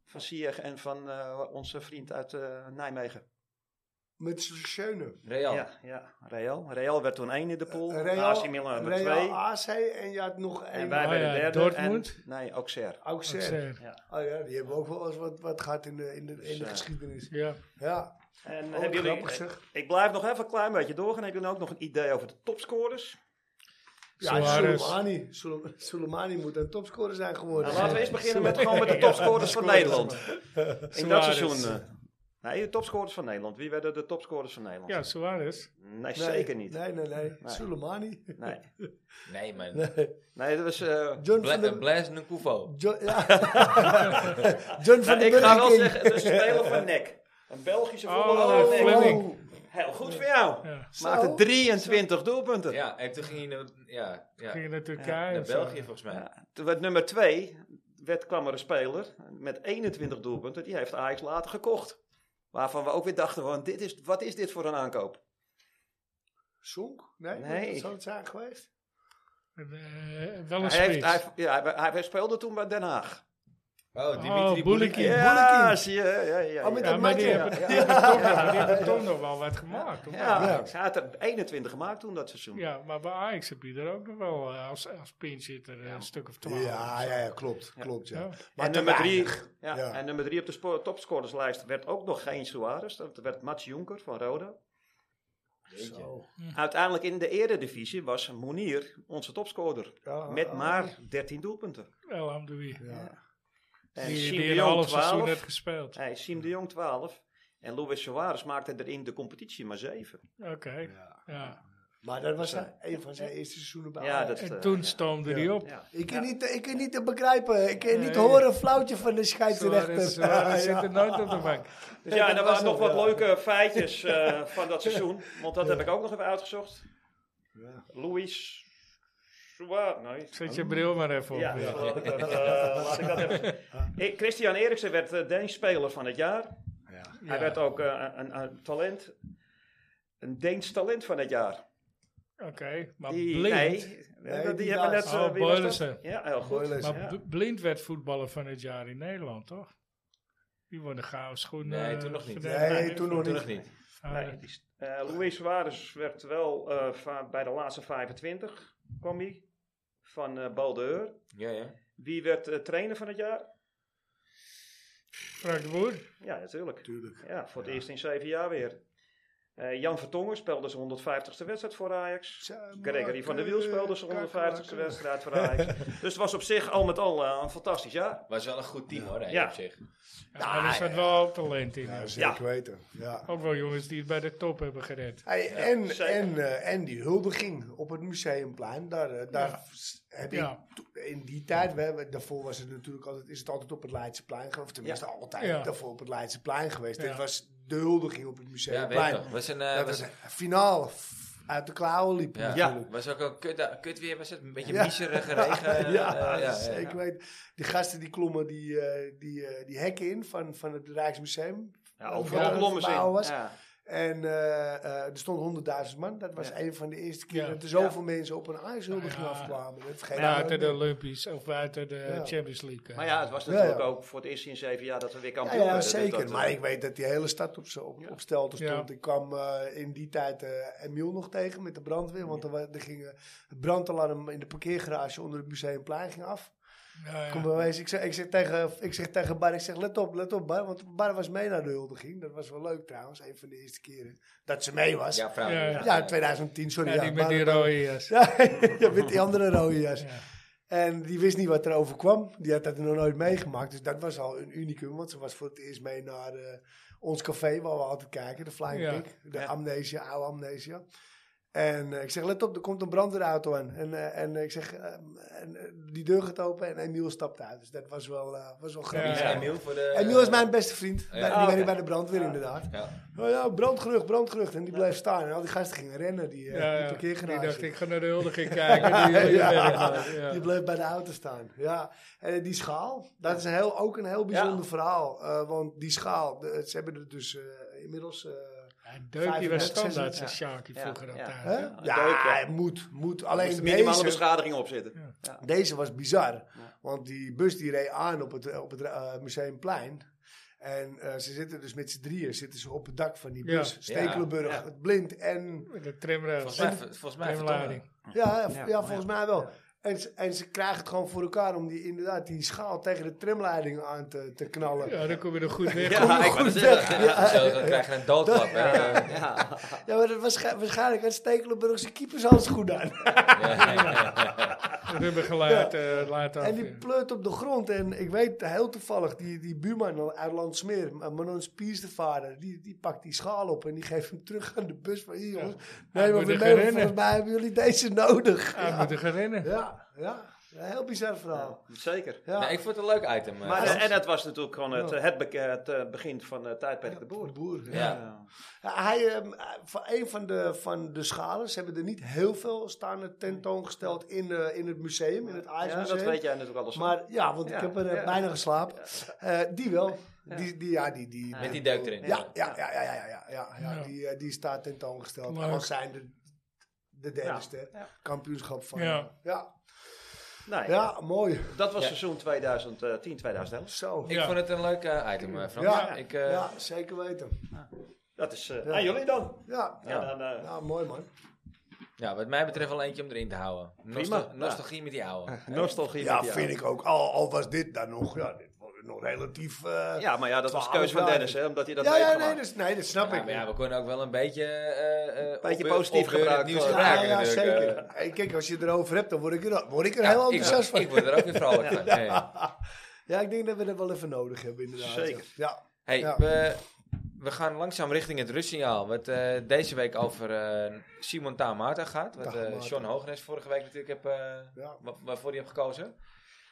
Speaker 4: van Sieg en van eh, onze vriend uit eh, Nijmegen.
Speaker 3: Met Schöne.
Speaker 1: Real.
Speaker 4: Ja, ja, Real. Real werd toen één in de pool. AC Milan werd twee.
Speaker 3: Eh, Real AC en je had nog
Speaker 4: En
Speaker 3: één.
Speaker 4: wij
Speaker 2: Oh
Speaker 4: werden
Speaker 2: ja,
Speaker 4: derde.
Speaker 2: Dortmund.
Speaker 4: En, nee, Auxerre.
Speaker 3: Auxerre.
Speaker 2: Auxerre.
Speaker 3: Oh ja, die hebben ook wel eens wat, wat gehad in de, in de, in
Speaker 4: Dus,
Speaker 3: de
Speaker 4: eh,
Speaker 3: geschiedenis.
Speaker 2: Ja.
Speaker 3: Ja,
Speaker 4: En eh,
Speaker 3: oh,
Speaker 4: hebben jullie,
Speaker 3: grappig zeg.
Speaker 4: ik blijf nog even een klein beetje doorgaan. Hebben jullie ook nog een idee over de
Speaker 3: Oh,
Speaker 4: topscorers?
Speaker 2: Suarez.
Speaker 3: Ja, Soleimani. Sule- Soleimani moet een topscorer zijn geworden.
Speaker 4: Nou, laten we eerst beginnen met, gewoon met de
Speaker 2: Ja,
Speaker 4: topscorers van
Speaker 2: topscorers.
Speaker 4: Nederland. In dat
Speaker 2: Suarez.
Speaker 4: seizoen. eh, nee, de topscorers van Nederland. Wie werden de topscorers van Nederland?
Speaker 2: ja, Suarez.
Speaker 4: Nee,
Speaker 3: Nee,
Speaker 4: zeker niet.
Speaker 3: Nee, nee, nee. Soleimani.
Speaker 4: Nee,
Speaker 1: Nee, man.
Speaker 3: Nee.
Speaker 4: nee dat was... eh,
Speaker 3: John
Speaker 1: Bla
Speaker 3: van
Speaker 1: en
Speaker 3: de...
Speaker 1: Blaise Nkuvo.
Speaker 3: John, ja. John
Speaker 4: Nou,
Speaker 3: van de
Speaker 4: ik ga wel
Speaker 3: Burger King.
Speaker 4: zeggen, de speler van NEC. Een Belgische
Speaker 2: Oh,
Speaker 4: voetballer van
Speaker 2: eh,
Speaker 4: NEC.
Speaker 2: Fleming.
Speaker 4: Heel goed voor jou.
Speaker 2: Ja.
Speaker 4: Maakte
Speaker 3: Zo.
Speaker 4: 23 doelpunten.
Speaker 1: Ja, en toen ging hij naar, ja, ja,
Speaker 2: Ging naar Turkije.
Speaker 1: naar
Speaker 2: of zo.
Speaker 1: België volgens mij.
Speaker 4: Ja, Toen werd nummer 2, werd, kwam er een speler met 21 doelpunten. Die heeft Ajax later gekocht. Waarvan we ook weer dachten, van, dit is, wat is dit voor een aankoop?
Speaker 3: Zonk? Nee,
Speaker 4: Nee.
Speaker 3: dat zou het zijn geweest.
Speaker 2: Eh, wel een
Speaker 4: Hij, heeft,
Speaker 2: spits.
Speaker 4: hij, ja, hij, hij speelde toen bij Den Haag.
Speaker 1: Oh,
Speaker 2: Oh, Boelikin.
Speaker 4: Ja, zie je. Ja, ja,
Speaker 3: Oh, met
Speaker 4: ja.
Speaker 3: dat
Speaker 2: Ja, maar die
Speaker 3: matje.
Speaker 2: hebben,
Speaker 3: Ja.
Speaker 2: die hebben toch, nog- die hebben toch nog wel wat gemaakt. hoor.
Speaker 4: Ja,
Speaker 3: Ja.
Speaker 4: Ze had er 21 gemaakt toen dat seizoen.
Speaker 2: Ja, maar bij Ajax heb je er ook nog wel eh, als, als pinzitter eh, een stuk of twaalf.
Speaker 3: Ja, ja, ja, klopt. Klopt, ja.
Speaker 2: Ja.
Speaker 3: Maar
Speaker 4: en,
Speaker 3: te
Speaker 4: nummer drie,
Speaker 3: weinig.
Speaker 4: ja,
Speaker 3: Ja.
Speaker 4: en nummer drie op de spo- topscorerslijst werd ook nog geen Suarez. Dat werd Mats Jonker van Roda.
Speaker 3: Zo.
Speaker 4: Uiteindelijk in de eredivisie was Monier onze topscorer.
Speaker 3: Ja,
Speaker 4: met
Speaker 3: ja.
Speaker 4: maar 13 doelpunten.
Speaker 2: Alhamdulillah.
Speaker 3: Ja.
Speaker 4: En
Speaker 2: die
Speaker 4: Siem
Speaker 2: die
Speaker 4: de
Speaker 2: in
Speaker 4: Jong
Speaker 2: half seizoen net
Speaker 4: 12.
Speaker 2: gespeeld.
Speaker 4: Hey, Siem de Jong 12. En Luis Suarez maakte er in de competitie maar 7.
Speaker 2: Oké,
Speaker 3: Ja.
Speaker 2: ja.
Speaker 3: Maar dat was zijn- een van zijn eerste seizoenen bij
Speaker 4: Ja,
Speaker 3: Ajax.
Speaker 4: dat, eh,
Speaker 2: En toen
Speaker 4: ja.
Speaker 2: stoomde
Speaker 3: Ja.
Speaker 2: die op.
Speaker 4: Ja.
Speaker 3: Ik kan,
Speaker 4: Ja.
Speaker 3: niet, ik kan niet te begrijpen. Ik kan niet
Speaker 2: Nee.
Speaker 3: horen een flauwtje van de
Speaker 2: Suarez,
Speaker 3: scheidsrechter.
Speaker 2: Suarez zit er nooit op de bank.
Speaker 4: Dus ja, en
Speaker 3: dat
Speaker 4: er
Speaker 3: was
Speaker 4: waren nog
Speaker 3: het,
Speaker 4: wat
Speaker 3: ja.
Speaker 4: leuke feitjes eh, van dat seizoen. Want dat heb ik ook nog even uitgezocht.
Speaker 3: Ja.
Speaker 4: Luis Suarez. Nee.
Speaker 2: Zet je bril maar even op.
Speaker 4: Ja,
Speaker 2: ja.
Speaker 4: laat ik dat, eh, laat ik dat even. Eh, Christian Eriksen werd eh, Deens speler van het jaar. Hij
Speaker 2: Ja.
Speaker 4: werd ook eh, een, een talent. Een Deens talent van het jaar.
Speaker 2: Oké, maar
Speaker 4: Die,
Speaker 2: blind.
Speaker 4: nee,
Speaker 3: Nee,
Speaker 4: die,
Speaker 3: die
Speaker 4: hebben net...
Speaker 3: Duits.
Speaker 4: eh,
Speaker 2: Oh,
Speaker 4: wie was dat?
Speaker 2: Boylissen.
Speaker 4: Ja, heel goed.
Speaker 3: Boylissen.
Speaker 2: Maar
Speaker 4: Ja.
Speaker 2: B- blind werd voetballer van het jaar in Nederland, toch? Die worden gouden schoenen.
Speaker 1: Nee, toen
Speaker 2: eh,
Speaker 1: nog niet.
Speaker 2: verdedigd.
Speaker 3: Nee, toen nog
Speaker 1: Toen
Speaker 3: niet.
Speaker 1: nog niet.
Speaker 2: Ah,
Speaker 4: Nee, die is- eh, Luis Suarez werd wel eh, va- bij de laatste 25 kwam hij van eh Baldeur.
Speaker 1: Ja, ja.
Speaker 4: Wie werd eh, trainer van het jaar?
Speaker 2: Frank de Boer.
Speaker 4: Ja, natuurlijk.
Speaker 3: Tuurlijk.
Speaker 4: Ja, voor het eerst in zeven jaar weer. Eh, Jan Vertongen speelde zijn 150ste wedstrijd voor Ajax. Gregory van der Wiel speelde zijn 150ste wedstrijd voor Ajax. Dus het was op zich al met al eh, een fantastisch jaar.
Speaker 1: Was wel een goed team hoor, hè,
Speaker 4: Ja.
Speaker 1: op zich.
Speaker 2: Ja, maar er zat wel talent in.
Speaker 3: Ja,
Speaker 2: hoor.
Speaker 3: zeker
Speaker 4: Ja.
Speaker 3: weten. Ja.
Speaker 2: Ook wel jongens die het bij de top hebben gered.
Speaker 3: Hey, en,
Speaker 4: zeker.
Speaker 3: en, eh, en die huldiging op het museumplein, daar, eh, daar s- heb ik
Speaker 2: Ja.
Speaker 3: to- in die tijd, we, hebben- daarvoor was het natuurlijk altijd, is het altijd op het Leidseplein geweest, of tenminste altijd
Speaker 2: Ja.
Speaker 3: daarvoor op het Leidseplein geweest.
Speaker 2: Ja.
Speaker 3: Dit was de huldiging op het
Speaker 1: Ja, weet ik
Speaker 3: museumplein.
Speaker 1: nog. Was een, eh,
Speaker 3: dat
Speaker 1: was,
Speaker 3: was een finale f- uit de klauwen liep.
Speaker 1: ja.
Speaker 3: natuurlijk.
Speaker 1: was ook een kut, eh, kut weer, was het een beetje
Speaker 3: Ja.
Speaker 1: miserige regen. eh,
Speaker 3: ja,
Speaker 1: eh, ja,
Speaker 3: zeker
Speaker 1: ja.
Speaker 3: weten. Die gasten die klommen die, eh, die, eh, die hekken in van, van het Rijksmuseum.
Speaker 4: Ja,
Speaker 3: Ja,
Speaker 4: overal
Speaker 3: dat
Speaker 4: blommen
Speaker 3: verbouwen
Speaker 4: in.
Speaker 3: was.
Speaker 4: Ja.
Speaker 3: En eh, eh, er stond 100.000 man. Dat was
Speaker 4: Ja.
Speaker 3: een van de eerste keer
Speaker 2: Ja. Nou
Speaker 3: dat er zoveel mensen op een ijshuldiging
Speaker 2: Ja.
Speaker 3: afkwamen. Dat vergeet ik
Speaker 2: Buiten de
Speaker 3: nooit
Speaker 2: Olympisch of buiten de
Speaker 3: Ja.
Speaker 2: Champions League. eh.
Speaker 4: Maar ja, het was
Speaker 3: Ja,
Speaker 4: natuurlijk
Speaker 3: ja.
Speaker 4: ook voor het eerst in zeven jaar dat we weer
Speaker 3: meer.
Speaker 4: kampioen
Speaker 3: ja, ja,
Speaker 4: werden. Dus
Speaker 3: zeker.
Speaker 4: dat, eh,
Speaker 3: maar ik weet dat die hele stad op, z'n- op, op stelte
Speaker 2: Ja.
Speaker 3: stond. Ik kwam eh, in die tijd eh, Emiel nog tegen met de brandweer. Want er, wa- er ging eh, het brandalarm in de parkeergarage onder het museumplein ging af.
Speaker 2: Ja, ja.
Speaker 3: Kom bij wijze, ik, zeg, ik, zeg tegen, ik zeg tegen Bar, ik zeg let op, let op Bar. Want Bar was mee naar de huldiging. Dat was wel leuk trouwens, een van de eerste keren dat ze mee was. Ja,
Speaker 1: Ja, vrouw.
Speaker 2: Ja,
Speaker 1: ja.
Speaker 3: 2010, sorry.
Speaker 2: Ja, die met
Speaker 3: Bar-
Speaker 2: die rode jas.
Speaker 3: Ja, ja, met die andere rode jas.
Speaker 2: Ja.
Speaker 3: En die wist niet wat er overkwam. Die had dat nog nooit meegemaakt. Dus dat was al een unicum. Want ze was voor het eerst mee naar eh, ons café waar we altijd kijken. De Flying
Speaker 2: Ja.
Speaker 3: Pig. De
Speaker 4: Ja.
Speaker 3: amnesia, oude amnesia. En eh, ik zeg, let op, er komt een brandweerauto aan. En, eh, en ik zeg, eh, en, eh, die deur gaat open en Emiel stapt uit. Dus dat was wel, eh, was wel
Speaker 1: Wie
Speaker 3: grappig.
Speaker 1: is
Speaker 4: Ja. eh,
Speaker 1: Emiel voor de...
Speaker 3: Emiel is mijn beste vriend. Bij- die
Speaker 1: Ah,
Speaker 3: werkt
Speaker 4: oké.
Speaker 3: bij de brandweer inderdaad.
Speaker 1: Ja.
Speaker 3: Oh ja, brandgerucht, brandgerucht. En die bleef staan. En al die gasten gingen rennen, die, eh,
Speaker 2: Ja,
Speaker 3: die
Speaker 2: ja.
Speaker 3: parkeergarage.
Speaker 2: Die dacht, ik ga naar de huldiging kijken. Die, die
Speaker 3: Ja.
Speaker 2: werkt nog, ja.
Speaker 3: Die bleef bij de auto staan. Ja. En die schaal, dat is een heel, ook een heel bijzonder verhaal. Eh, want die schaal, de- ze hebben er dus eh, inmiddels. eh,
Speaker 2: Ja, Deukje was
Speaker 3: 35,
Speaker 2: standaard
Speaker 3: 36,
Speaker 2: zijn Sjaakje
Speaker 4: ja.
Speaker 2: vroeger
Speaker 4: Ja.
Speaker 2: altijd.
Speaker 3: hè?
Speaker 2: hè?
Speaker 3: Ja,
Speaker 4: deuk,
Speaker 3: moet, moet.
Speaker 4: moest
Speaker 3: Alleen
Speaker 4: de minimale
Speaker 3: deze,
Speaker 4: beschadiging opzetten.
Speaker 3: deze was bizar. Want die bus die reed aan op het, op het eh, museumplein. En eh, ze zitten dus met z'n drieën zitten ze op het dak van die
Speaker 2: Ja.
Speaker 3: bus. Stekelenburg,
Speaker 4: Ja.
Speaker 3: het blind en
Speaker 2: Met de tramrails.
Speaker 1: Volgens mij, volgens mij
Speaker 2: Tramlading.
Speaker 3: Ja, ja, v-
Speaker 4: Ja,
Speaker 3: ja,
Speaker 4: ja.
Speaker 3: volgens mij wel. En, ze- en ze krijgen het gewoon voor elkaar om die, inderdaad die schaal tegen de tramleiding aan te, te knallen. Ja.
Speaker 2: Ja, dan kom je er goed weg.
Speaker 4: Ja, ik wou net zeggen.
Speaker 1: vertellen. Ja, zelfs dan krijg je een doodklap. hè. Ja,
Speaker 4: Ja.
Speaker 3: maar dat was, waarschijnlijk had Stekelenburg zijn keepers alles goed aan.
Speaker 2: Rubbergeluid eh, laat af.
Speaker 3: En die pleurt op de grond. En ik weet heel toevallig, die, die buurman uit Landsmeer, M- Manon Spiers de vader, die, die pakt die schaal op en die geeft hem terug aan de bus. Van, hier jongens, nee,
Speaker 2: moet
Speaker 3: maar
Speaker 2: er gaan
Speaker 3: we mee, want
Speaker 2: rennen.
Speaker 3: volgens mij hebben jullie deze nodig.
Speaker 2: Hij
Speaker 3: Ja,
Speaker 2: moet er Ah, gaan rennen.
Speaker 3: ja, ja. Een heel bizar verhaal.
Speaker 4: Zeker.
Speaker 3: Ja.
Speaker 1: Nee, ik vond het een leuk item. eh.
Speaker 4: Maar,
Speaker 1: Ja.
Speaker 4: eh, en dat was natuurlijk gewoon het, het, beke- het, eh, begin van het tijdperk de Boer.
Speaker 3: Boer, ja.
Speaker 1: ja.
Speaker 3: Ja, Hij, ehm, van een van de, van de schalen, ze hebben er niet heel veel staan tentoongesteld in, eh, in het museum, in het
Speaker 4: Ja,
Speaker 3: IJsmuseum.
Speaker 4: dat weet jij natuurlijk alles. van.
Speaker 3: Maar ja, want
Speaker 4: Ja,
Speaker 3: ik heb er eh,
Speaker 4: ja.
Speaker 3: bijna geslapen. Eh, die wel. Die, die, ja, die, die,
Speaker 1: Met die deuk erin.
Speaker 3: Ja, ja, ja, ja, ja, ja, ja, ja, ja,
Speaker 2: Ja.
Speaker 3: Die, eh, die staat tentoongesteld.
Speaker 2: Leuk.
Speaker 3: Als zijn de, de derde
Speaker 4: Ja.
Speaker 3: ster.
Speaker 4: Ja.
Speaker 3: Kampioenschap van.
Speaker 2: Ja.
Speaker 3: Ja.
Speaker 4: Nee,
Speaker 3: Ja, mooi.
Speaker 4: Dat was
Speaker 1: Ja.
Speaker 4: seizoen 2010, 2011.
Speaker 3: Zo.
Speaker 1: Ik
Speaker 2: Ja.
Speaker 1: vond het een leuk eh, item, eh, Frans.
Speaker 3: Ja,
Speaker 1: Ik, eh,
Speaker 3: ja, zeker weten.
Speaker 4: Dat is eh,
Speaker 3: Ja.
Speaker 4: aan jullie dan.
Speaker 3: Ja,
Speaker 4: Ja,
Speaker 1: Ja.
Speaker 4: dan eh,
Speaker 3: ja mooi man.
Speaker 1: ja, wat mij betreft wel eentje om erin te houden. Nostal-
Speaker 4: Ja.
Speaker 1: Nostalgie met die oude.
Speaker 4: nostalgie.
Speaker 3: Ja,
Speaker 4: met jou.
Speaker 3: vind ik ook. Al, al was dit dan nog, ja, dit was nog relatief... eh,
Speaker 4: Ja, maar ja, dat was
Speaker 3: 12
Speaker 4: keuze van
Speaker 3: jaar.
Speaker 4: Dennis, hè, omdat hij dat
Speaker 3: ja, ja, nee, dus,
Speaker 4: meegemaakt.
Speaker 3: dat, is- nee, dat snap
Speaker 1: Ja,
Speaker 3: ik.
Speaker 1: maar ja, we kunnen ook wel een beetje... eh, eh,
Speaker 4: Beetje
Speaker 1: opbeur-
Speaker 4: positief
Speaker 1: opbeurend
Speaker 4: gebruikt
Speaker 1: nieuws
Speaker 4: worden.
Speaker 3: ja,
Speaker 1: gebruiken
Speaker 3: ja,
Speaker 1: natuurlijk,
Speaker 3: zeker.
Speaker 1: eh.
Speaker 3: Hey, kijk, als je het erover hebt, dan word ik er, word ik er
Speaker 1: Ja,
Speaker 3: heel
Speaker 1: ik
Speaker 3: enthousiast
Speaker 1: word-
Speaker 3: van.
Speaker 1: Ik word er ook weer vrolijk van. Hey.
Speaker 3: Ja, ik denk dat we dat wel even nodig hebben, inderdaad.
Speaker 4: Zeker.
Speaker 3: Ja,
Speaker 1: Hey,
Speaker 3: Ja.
Speaker 1: we, we gaan langzaam richting het rustsignaal. Wat eh, deze week over eh, Simon Tamata gaat. Wat eh
Speaker 3: Taamata.
Speaker 1: John Hogenes vorige week natuurlijk heb, eh,
Speaker 3: ja.
Speaker 1: wa- waarvoor hij heeft gekozen.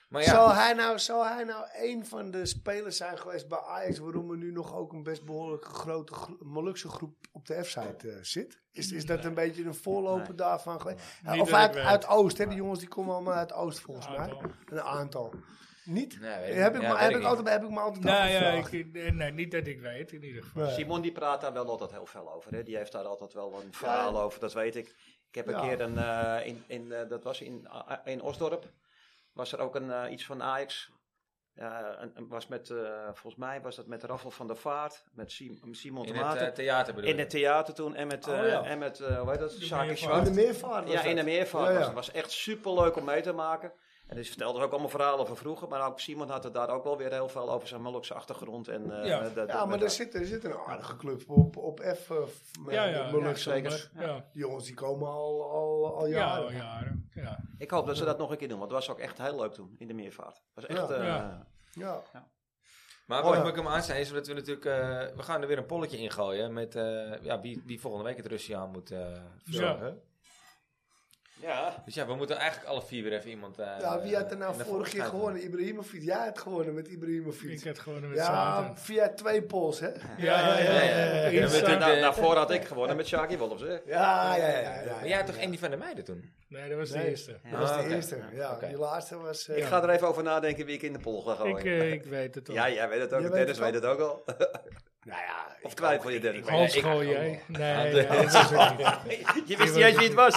Speaker 1: Maar ja,
Speaker 3: Zou, hij nou, zou hij nou een van de spelers zijn geweest bij Ajax... waarom er nu nog ook een best behoorlijk grote gro- Molukse groep op de F-site eh, zit? Is, is dat een beetje een voorloper
Speaker 4: Nee.
Speaker 3: daarvan geweest? Nou,
Speaker 2: Niet
Speaker 3: of
Speaker 2: dat ik
Speaker 3: uit,
Speaker 2: weet.
Speaker 3: uit Oost, hè? Die jongens die komen allemaal uit Oost, volgens mij.
Speaker 2: Aantal.
Speaker 3: Een aantal. Niet?
Speaker 1: Nee, weet ik
Speaker 3: heb,
Speaker 1: niet.
Speaker 3: ik
Speaker 1: Ja,
Speaker 3: me,
Speaker 1: weet ik
Speaker 3: heb, ik
Speaker 1: niet.
Speaker 3: altijd, heb ik me altijd
Speaker 2: Nou ja,
Speaker 3: afgevraagd.
Speaker 2: ik, eh, nee, niet dat ik weet in ieder geval.
Speaker 3: Nee.
Speaker 4: Simon die praat daar wel altijd heel veel over. Hè. Die heeft daar altijd wel een verhaal over, dat weet ik. Ik heb een
Speaker 3: Ja.
Speaker 4: keer een, eh, in, in, eh, dat was in, A- A- in Osdorp, was er ook een, eh, iets van Ajax. Ja, een- een- was met, eh, volgens mij was dat met Raffel van der Vaart, met Sim- Simon de
Speaker 1: in het eh,
Speaker 4: Maarten.
Speaker 1: theater bedoel
Speaker 4: In het theater toen en met, eh
Speaker 3: Oh, ja.
Speaker 4: en met eh, hoe heet dat,
Speaker 2: De
Speaker 4: Saki
Speaker 2: meervaart.
Speaker 3: Oh,
Speaker 4: Zwart.
Speaker 3: de meervaart was
Speaker 4: Ja, in
Speaker 3: dat.
Speaker 4: de meervaart.
Speaker 3: Ja, ja.
Speaker 4: was Het was echt super leuk om mee te maken. En dus vertelde ook allemaal verhalen van vroeger. Maar ook Simon had het daar ook wel weer heel veel over zijn Molukse achtergrond. En, eh,
Speaker 2: Ja.
Speaker 4: dat- dat-
Speaker 3: Ja, maar dus-
Speaker 4: dat-
Speaker 3: er zit, er zit een aardige club op, op F. eh, f- met
Speaker 2: Ja, ja,
Speaker 3: Mullen.
Speaker 2: ja,
Speaker 4: zeker.
Speaker 2: Ja,
Speaker 3: Die jongens die komen al, al, al
Speaker 2: ja,
Speaker 3: jaren.
Speaker 2: al jaren. Ja.
Speaker 4: Ik hoop dat ze dat nog een keer doen. Want het was ook echt heel leuk toen in de meervaart. Het was echt...
Speaker 3: Ja.
Speaker 4: eh,
Speaker 2: Ja.
Speaker 3: Ja.
Speaker 1: Maar waarom
Speaker 3: Oh, ja.
Speaker 1: ik hem aanstaan is omdat we natuurlijk... eh, we gaan er weer een polletje in gooien met eh, ja, wie, wie volgende week het Russiaan moet eh verzorgen.
Speaker 4: ja.
Speaker 1: Dus ja, we moeten eigenlijk alle vier weer even iemand... eh,
Speaker 3: Ja, wie had er
Speaker 1: naar
Speaker 3: nou
Speaker 1: voren
Speaker 3: vorige keer
Speaker 1: schuiven.
Speaker 3: gewonnen? Ibrahimovic. Jij had gewonnen met
Speaker 2: Ik eh,
Speaker 3: Ibrahimovic.
Speaker 2: had gewoon een
Speaker 3: Ja,
Speaker 2: ja.
Speaker 3: via twee pols, hè?
Speaker 2: Ja, ja,
Speaker 1: Ja,
Speaker 2: ja.
Speaker 1: ja,
Speaker 3: Eh,
Speaker 1: ja.
Speaker 2: Insta-
Speaker 1: Ja, maar-
Speaker 4: Da- daarvoor had ik gewonnen met Saki Wolfs. Hè.
Speaker 3: Ja, ja, ja. ja,
Speaker 1: Maar jij had toch Andy van der Meijden toen?
Speaker 2: Nee, dat was de
Speaker 3: Nee.
Speaker 2: eerste.
Speaker 3: Dat was
Speaker 1: Ah,
Speaker 3: de
Speaker 1: oké.
Speaker 3: eerste. Ja,
Speaker 1: Oké.
Speaker 3: die laatste was... eh,
Speaker 4: Ik ga er even over nadenken wie ik in de pool ga gooien.
Speaker 2: Ik, eh, ik weet het al.
Speaker 4: Oh, ja, jij weet het ook.
Speaker 3: Jij weet
Speaker 4: Dennis
Speaker 3: het al.
Speaker 4: weet het ook al.
Speaker 3: Nou ja,
Speaker 4: Of twijfel je, Dennis?
Speaker 2: Hans
Speaker 1: Ik-
Speaker 2: gooi jij. Nee,
Speaker 1: Hans-
Speaker 2: nee, dat was het niet.
Speaker 4: Je wist niet eens wie het was.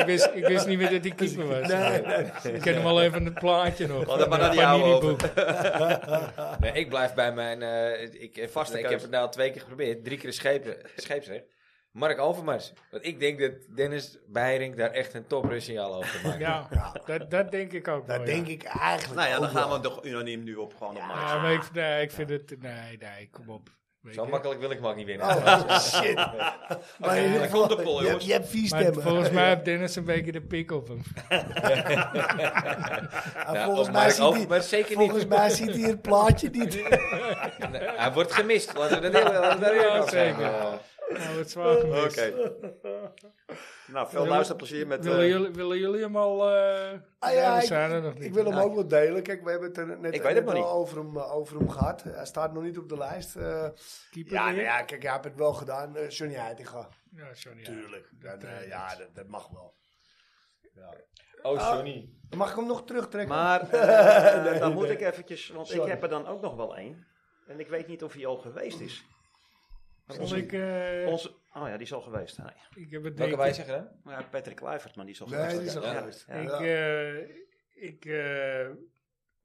Speaker 2: ik, wist, ik wist niet meer dat hij keeper was. Ik ken hem al even het plaatje nog.
Speaker 4: Laat het
Speaker 2: Van
Speaker 4: maar aan
Speaker 2: het
Speaker 4: die ouwe
Speaker 2: familieboek.
Speaker 1: Nee, ik blijf bij mijn... eh, ik, ik,
Speaker 4: Vaste
Speaker 1: ik
Speaker 4: keuze.
Speaker 1: heb het nou drie keer geprobeerd. Drie keer schepen, scheepsrecht. Mark Overmars. Want ik denk dat Dennis Beiring daar echt een top Russiaal over maakt.
Speaker 2: Ja, dat, dat denk ik ook
Speaker 3: dat
Speaker 2: wel,
Speaker 3: denk
Speaker 2: Oh, ja.
Speaker 3: ik eigenlijk
Speaker 4: Nou ja, dan
Speaker 3: ook wel.
Speaker 4: gaan we toch unaniem nu op gewoon op Mark.
Speaker 2: Ja, maar ik, nee, ik vind het... Nee, nee, kom op. Weet
Speaker 1: Zo
Speaker 2: je.
Speaker 1: makkelijk wil ik hem ook niet winnen.
Speaker 3: Oh, shit. Maar in ieder geval,
Speaker 4: komt de poll,
Speaker 3: je, hebt-
Speaker 4: jongens.
Speaker 3: je hebt vier
Speaker 2: Maar
Speaker 3: stemmen.
Speaker 2: volgens mij heeft Dennis een beetje de pik op hem.
Speaker 3: En
Speaker 1: Ja,
Speaker 3: volgens
Speaker 1: op
Speaker 3: mij
Speaker 1: Mark
Speaker 3: ziet hij-
Speaker 1: Overmars zeker niet.
Speaker 3: Volgens mij ziet hij het plaatje niet.
Speaker 1: Nee, hij wordt gemist. Laten we dat heel, laten we daar eerlijk
Speaker 2: Ja,
Speaker 1: over zijn.
Speaker 2: zeker.
Speaker 1: Eh,
Speaker 2: Nou, het zwaar
Speaker 4: Oké.
Speaker 2: gemist.
Speaker 4: Nou, veel luisterplezier met... eh,
Speaker 2: willen, jullie, willen jullie hem al... eh
Speaker 3: Ah,
Speaker 2: ja,
Speaker 3: ja,
Speaker 2: we zijn er nog
Speaker 3: ik,
Speaker 2: niet.
Speaker 3: ik wil hem
Speaker 4: Nou,
Speaker 3: ook wel delen. Kijk, we hebben het er net,
Speaker 4: Ik weet het
Speaker 3: net
Speaker 4: nog
Speaker 3: al over hem, eh, over hem gehad. Hij staat nog niet op de lijst. eh.
Speaker 2: Keeper
Speaker 3: ja,
Speaker 2: weer?
Speaker 3: nou ja, kijk, jij hebt het wel gedaan. Eh, Johnny Heitinga.
Speaker 2: Ja, sorry. ja.
Speaker 3: Tuurlijk. Dat, eh, ja, dat, dat mag wel.
Speaker 1: Oh,
Speaker 3: Ah.
Speaker 1: Johnny.
Speaker 3: Mag ik hem nog terugtrekken?
Speaker 4: Maar eh, dan moet ik eventjes, want ik
Speaker 3: Sorry.
Speaker 4: heb er dan ook nog wel één. En ik weet niet of hij al geweest is.
Speaker 2: Zal ik... eh,
Speaker 4: Onze, oh ja, die is al geweest. Nee.
Speaker 2: ik heb het
Speaker 1: Welke
Speaker 2: denk ik-
Speaker 1: wij zeggen dan?
Speaker 4: Maar ja, Patrick Kluivert, maar die is al
Speaker 3: nee,
Speaker 4: geweest.
Speaker 3: dat is al
Speaker 4: Ja,
Speaker 3: geweest.
Speaker 4: ja.
Speaker 2: Ik,
Speaker 3: Ja.
Speaker 2: eh, ik, eh,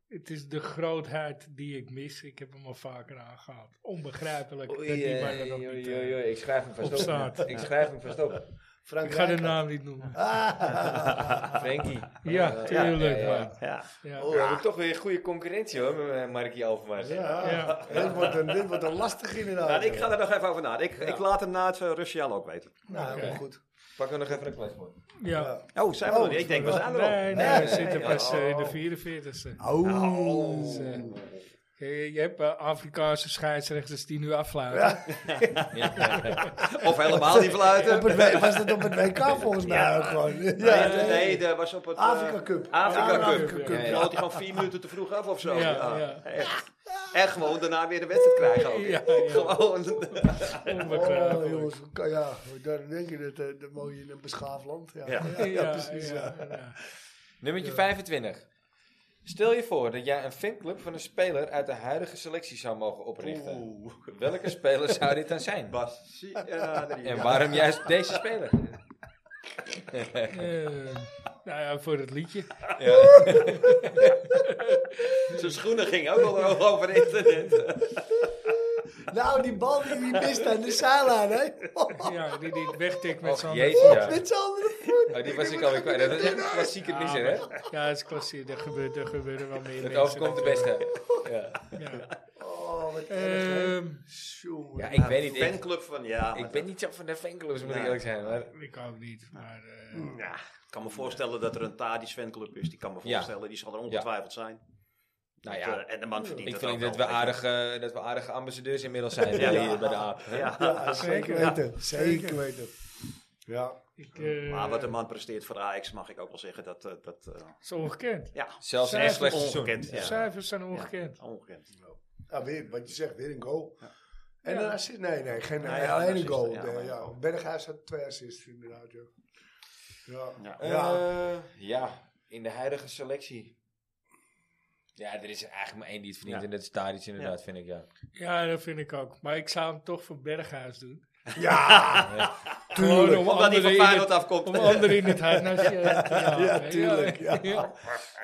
Speaker 2: het is de grootheid die ik mis. Ik heb hem al vaker aangehaald. Onbegrijpelijk dat die man er nog niet eh,
Speaker 1: Ik schrijf hem
Speaker 2: op
Speaker 1: vast op.
Speaker 2: staat.
Speaker 1: Ik schrijf hem vast op.
Speaker 3: Frank
Speaker 2: Ik ga de
Speaker 3: Rijkaard.
Speaker 2: naam niet noemen.
Speaker 3: Ah.
Speaker 1: Frankie.
Speaker 2: Ja, tuurlijk.
Speaker 1: ja, ja.
Speaker 2: man.
Speaker 4: Ja.
Speaker 2: Ja.
Speaker 1: Oh, we hebben toch weer goede concurrentie hoor, met eh, Markie Overmars.
Speaker 3: Ja,
Speaker 2: Ja.
Speaker 3: Dit, wordt een, dit wordt een lastig inderdaad.
Speaker 4: Nou, ik ga er nog even over nadenken. Ik,
Speaker 3: Ja.
Speaker 4: ik laat hem na het uh, Russiaal ook weten.
Speaker 3: Nou, helemaal
Speaker 2: Oké.
Speaker 3: goed.
Speaker 1: Pakken we nog even een kwets voor.
Speaker 2: Ja.
Speaker 4: Oh, zijn we
Speaker 3: Oh,
Speaker 4: er? Ik denk, we zijn er al.
Speaker 2: Nee, nee, we zitten
Speaker 4: nee,
Speaker 2: pas
Speaker 4: oh.
Speaker 2: eh, in de 44ste.
Speaker 3: Oh.
Speaker 2: Dus, eh, je, je hebt eh, Afrikaanse scheidsrechters die nu afluiten.
Speaker 4: Of helemaal niet fluiten.
Speaker 3: Op het W- was dat op het WK volgens mij ook gewoon? Ja,
Speaker 4: Nee,
Speaker 3: nee.
Speaker 4: nee, dat was op het... eh,
Speaker 3: Afrika Cup.
Speaker 4: Afrika
Speaker 3: Ja,
Speaker 4: Cup.
Speaker 3: Afrika Cup,
Speaker 4: Dan
Speaker 3: ja.
Speaker 4: Floot hij gewoon vier minuten te vroeg af of zo.
Speaker 2: Ja,
Speaker 4: Ja,
Speaker 2: ja.
Speaker 4: Echt. En gewoon daarna weer de wedstrijd krijgen ook.
Speaker 2: Ja, ja.
Speaker 4: Gewoon.
Speaker 3: Oh,
Speaker 2: Onbegrijpelijk.
Speaker 3: jongens, hoe kan- ja, daar denk je dat, eh, dat mooi in een beschaafd land. Ja,
Speaker 4: Ja.
Speaker 2: Ja,
Speaker 3: ja. ja, precies. Ja.
Speaker 2: ja, ja.
Speaker 1: Nummertje 25. Stel je voor dat jij een fanclub van een speler uit de huidige selectie zou mogen oprichten.
Speaker 4: Oeh.
Speaker 1: Welke speler zou dit dan zijn?
Speaker 4: Bas.
Speaker 1: En waarom juist deze speler?
Speaker 2: Eh, Nou ja, voor het liedje.
Speaker 4: Zijn schoenen gingen ook al over internet.
Speaker 3: Nou, die bal die hij mist aan de zijlijn, hè?
Speaker 2: Ja, die, die wegtikt met
Speaker 1: Och,
Speaker 2: zo'n...
Speaker 1: jezus, ja.
Speaker 3: Met z'n andere voet.
Speaker 1: Oh, die was ik alweer kwijt. Dat is echt een klassieke
Speaker 2: Ja,
Speaker 1: misser,
Speaker 2: maar-
Speaker 1: hè?
Speaker 2: Ja, dat is klassiek. Er, gebeurt, er gebeuren wel meer
Speaker 1: Het
Speaker 2: mensen
Speaker 1: overkomt de beste. Ja,
Speaker 2: natuurlijk. Ja.
Speaker 3: Oh, wat erg, hè?
Speaker 2: Ehm,
Speaker 3: Tjonge.
Speaker 1: ja ik weet niet. Ik,
Speaker 4: Fanclub van ja.
Speaker 1: ik
Speaker 4: maar
Speaker 1: ben niet zo van de fanclubs, moet ik
Speaker 4: Nee.
Speaker 1: eerlijk zijn. Maar,
Speaker 2: ik ook niet, maar... eh,
Speaker 4: Ja, ik kan me voorstellen dat er een Tadis fanclub is. Die kan me
Speaker 1: Ja.
Speaker 4: voorstellen, die zal er ongetwijfeld zijn.
Speaker 1: nou ja,
Speaker 4: Eh, en de man verdient
Speaker 1: ik
Speaker 4: het ook
Speaker 1: vind dat we,
Speaker 4: wel.
Speaker 1: aardige, dat we aardige ambassadeurs inmiddels zijn eh,
Speaker 4: Ja.
Speaker 1: hier bij de AAP. hè?
Speaker 4: Ja.
Speaker 3: Ja, zeker weten. Zeker weten. Ja.
Speaker 2: ik, eh,
Speaker 4: Maar wat een man presteert voor Ajax, mag ik ook wel zeggen. Dat, eh, dat eh,
Speaker 2: Het is ongekend.
Speaker 4: ja,
Speaker 1: Zelfs een
Speaker 2: Zij
Speaker 1: echt slecht
Speaker 4: is
Speaker 1: seizoen.
Speaker 4: ongekend.
Speaker 2: De
Speaker 4: Ja.
Speaker 2: cijfers zijn
Speaker 4: Ja,
Speaker 2: ongekend.
Speaker 4: ongekend.
Speaker 3: Ja, weer, wat je zegt, weer een goal. En
Speaker 2: Ja.
Speaker 3: een assist? Nee, nee, geen,
Speaker 4: Nee,
Speaker 3: nee,
Speaker 4: ja,
Speaker 3: alleen
Speaker 4: assist,
Speaker 3: een goal.
Speaker 4: ja,
Speaker 3: De-
Speaker 4: alleen
Speaker 3: ja.
Speaker 4: een goal.
Speaker 3: Berghuis had twee assists inderdaad, ja. Ja.
Speaker 4: Ja.
Speaker 3: Ja.
Speaker 1: Eh, ja, in de huidige selectie. Ja, er is eigenlijk maar één die het verdient.
Speaker 4: Ja.
Speaker 1: En dat is Tadic inderdaad, vind ik, ja.
Speaker 2: Ja, dat vind ik ook. Maar ik zou hem toch voor Berghuis doen.
Speaker 3: Eh. Ja,
Speaker 2: Gewoon om
Speaker 4: Omdat hij
Speaker 2: anderen
Speaker 4: van
Speaker 2: in het-
Speaker 4: Feyenoord afkomt.
Speaker 2: Om anderen in het harnas eh, te jagen.
Speaker 3: Ja, tuurlijk, ja.
Speaker 2: Ja.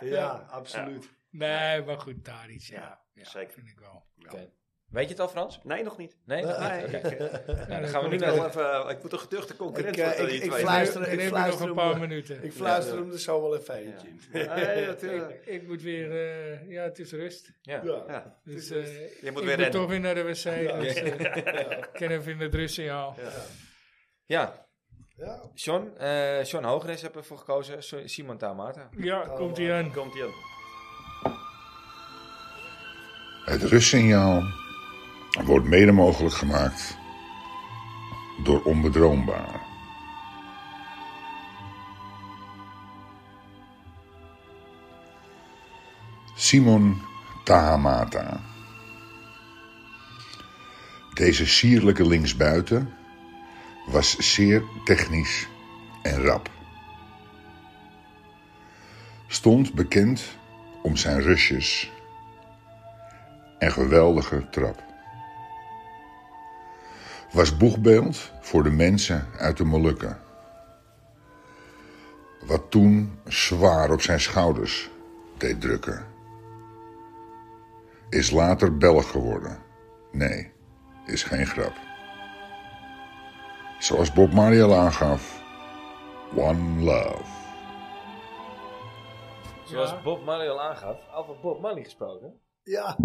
Speaker 3: ja, absoluut.
Speaker 2: Nee, maar goed, Tadic, ja. ja.
Speaker 4: zeker.
Speaker 2: Vind ik wel.
Speaker 1: Oké. Weet je het al, Frans?
Speaker 4: Nee, nog niet.
Speaker 1: Nee? Nog niet?
Speaker 4: Nee,
Speaker 1: Oké.
Speaker 4: ik, eh,
Speaker 1: Nou, dan gaan we nu
Speaker 4: ik,
Speaker 1: naar
Speaker 4: wil
Speaker 1: de...
Speaker 4: even, ik moet een geduchte concurrent
Speaker 3: Ik, eh,
Speaker 4: worden.
Speaker 3: ik-
Speaker 4: die
Speaker 3: ik
Speaker 4: twee.
Speaker 3: fluister-
Speaker 2: En heb
Speaker 3: ik
Speaker 2: nog
Speaker 3: fluister
Speaker 2: een
Speaker 3: hem,
Speaker 2: paar
Speaker 3: eh,
Speaker 2: minuten.
Speaker 3: Ik fluister hem er zo wel even eentje in.
Speaker 4: Nee, dat, eh,
Speaker 2: Ik, ik moet weer... eh, ja, het is rust.
Speaker 1: Ja.
Speaker 3: Ja.
Speaker 4: ja.
Speaker 2: Dus,
Speaker 3: rust.
Speaker 2: eh,
Speaker 4: Je moet
Speaker 2: ik
Speaker 4: weer
Speaker 2: moet
Speaker 4: rennen.
Speaker 2: toch weer naar de wc. Dus, eh, Ik ken even in het rustsignaal.
Speaker 1: ja,
Speaker 3: Ja.
Speaker 1: John, eh John Hoogres hebben we voor gekozen. So- Simon Tamata.
Speaker 2: Ja, komt hij aan.
Speaker 4: Komt hij aan.
Speaker 7: Het rustsignaal wordt mede mogelijk gemaakt door onbedroombaar. Simon Tahamata. Deze sierlijke linksbuiten was zeer technisch en rap. Stond bekend om zijn rushes en geweldige trap. Was boegbeeld voor de mensen uit de Molukken. Wat toen zwaar op zijn schouders deed drukken. Is later Belg geworden. Nee, is geen grap. Zoals Bob Marley al aangaf, One Love.
Speaker 1: Zoals
Speaker 2: Ja.
Speaker 1: Bob Marley al aangaf, over Bob Marley gesproken.
Speaker 3: Ja.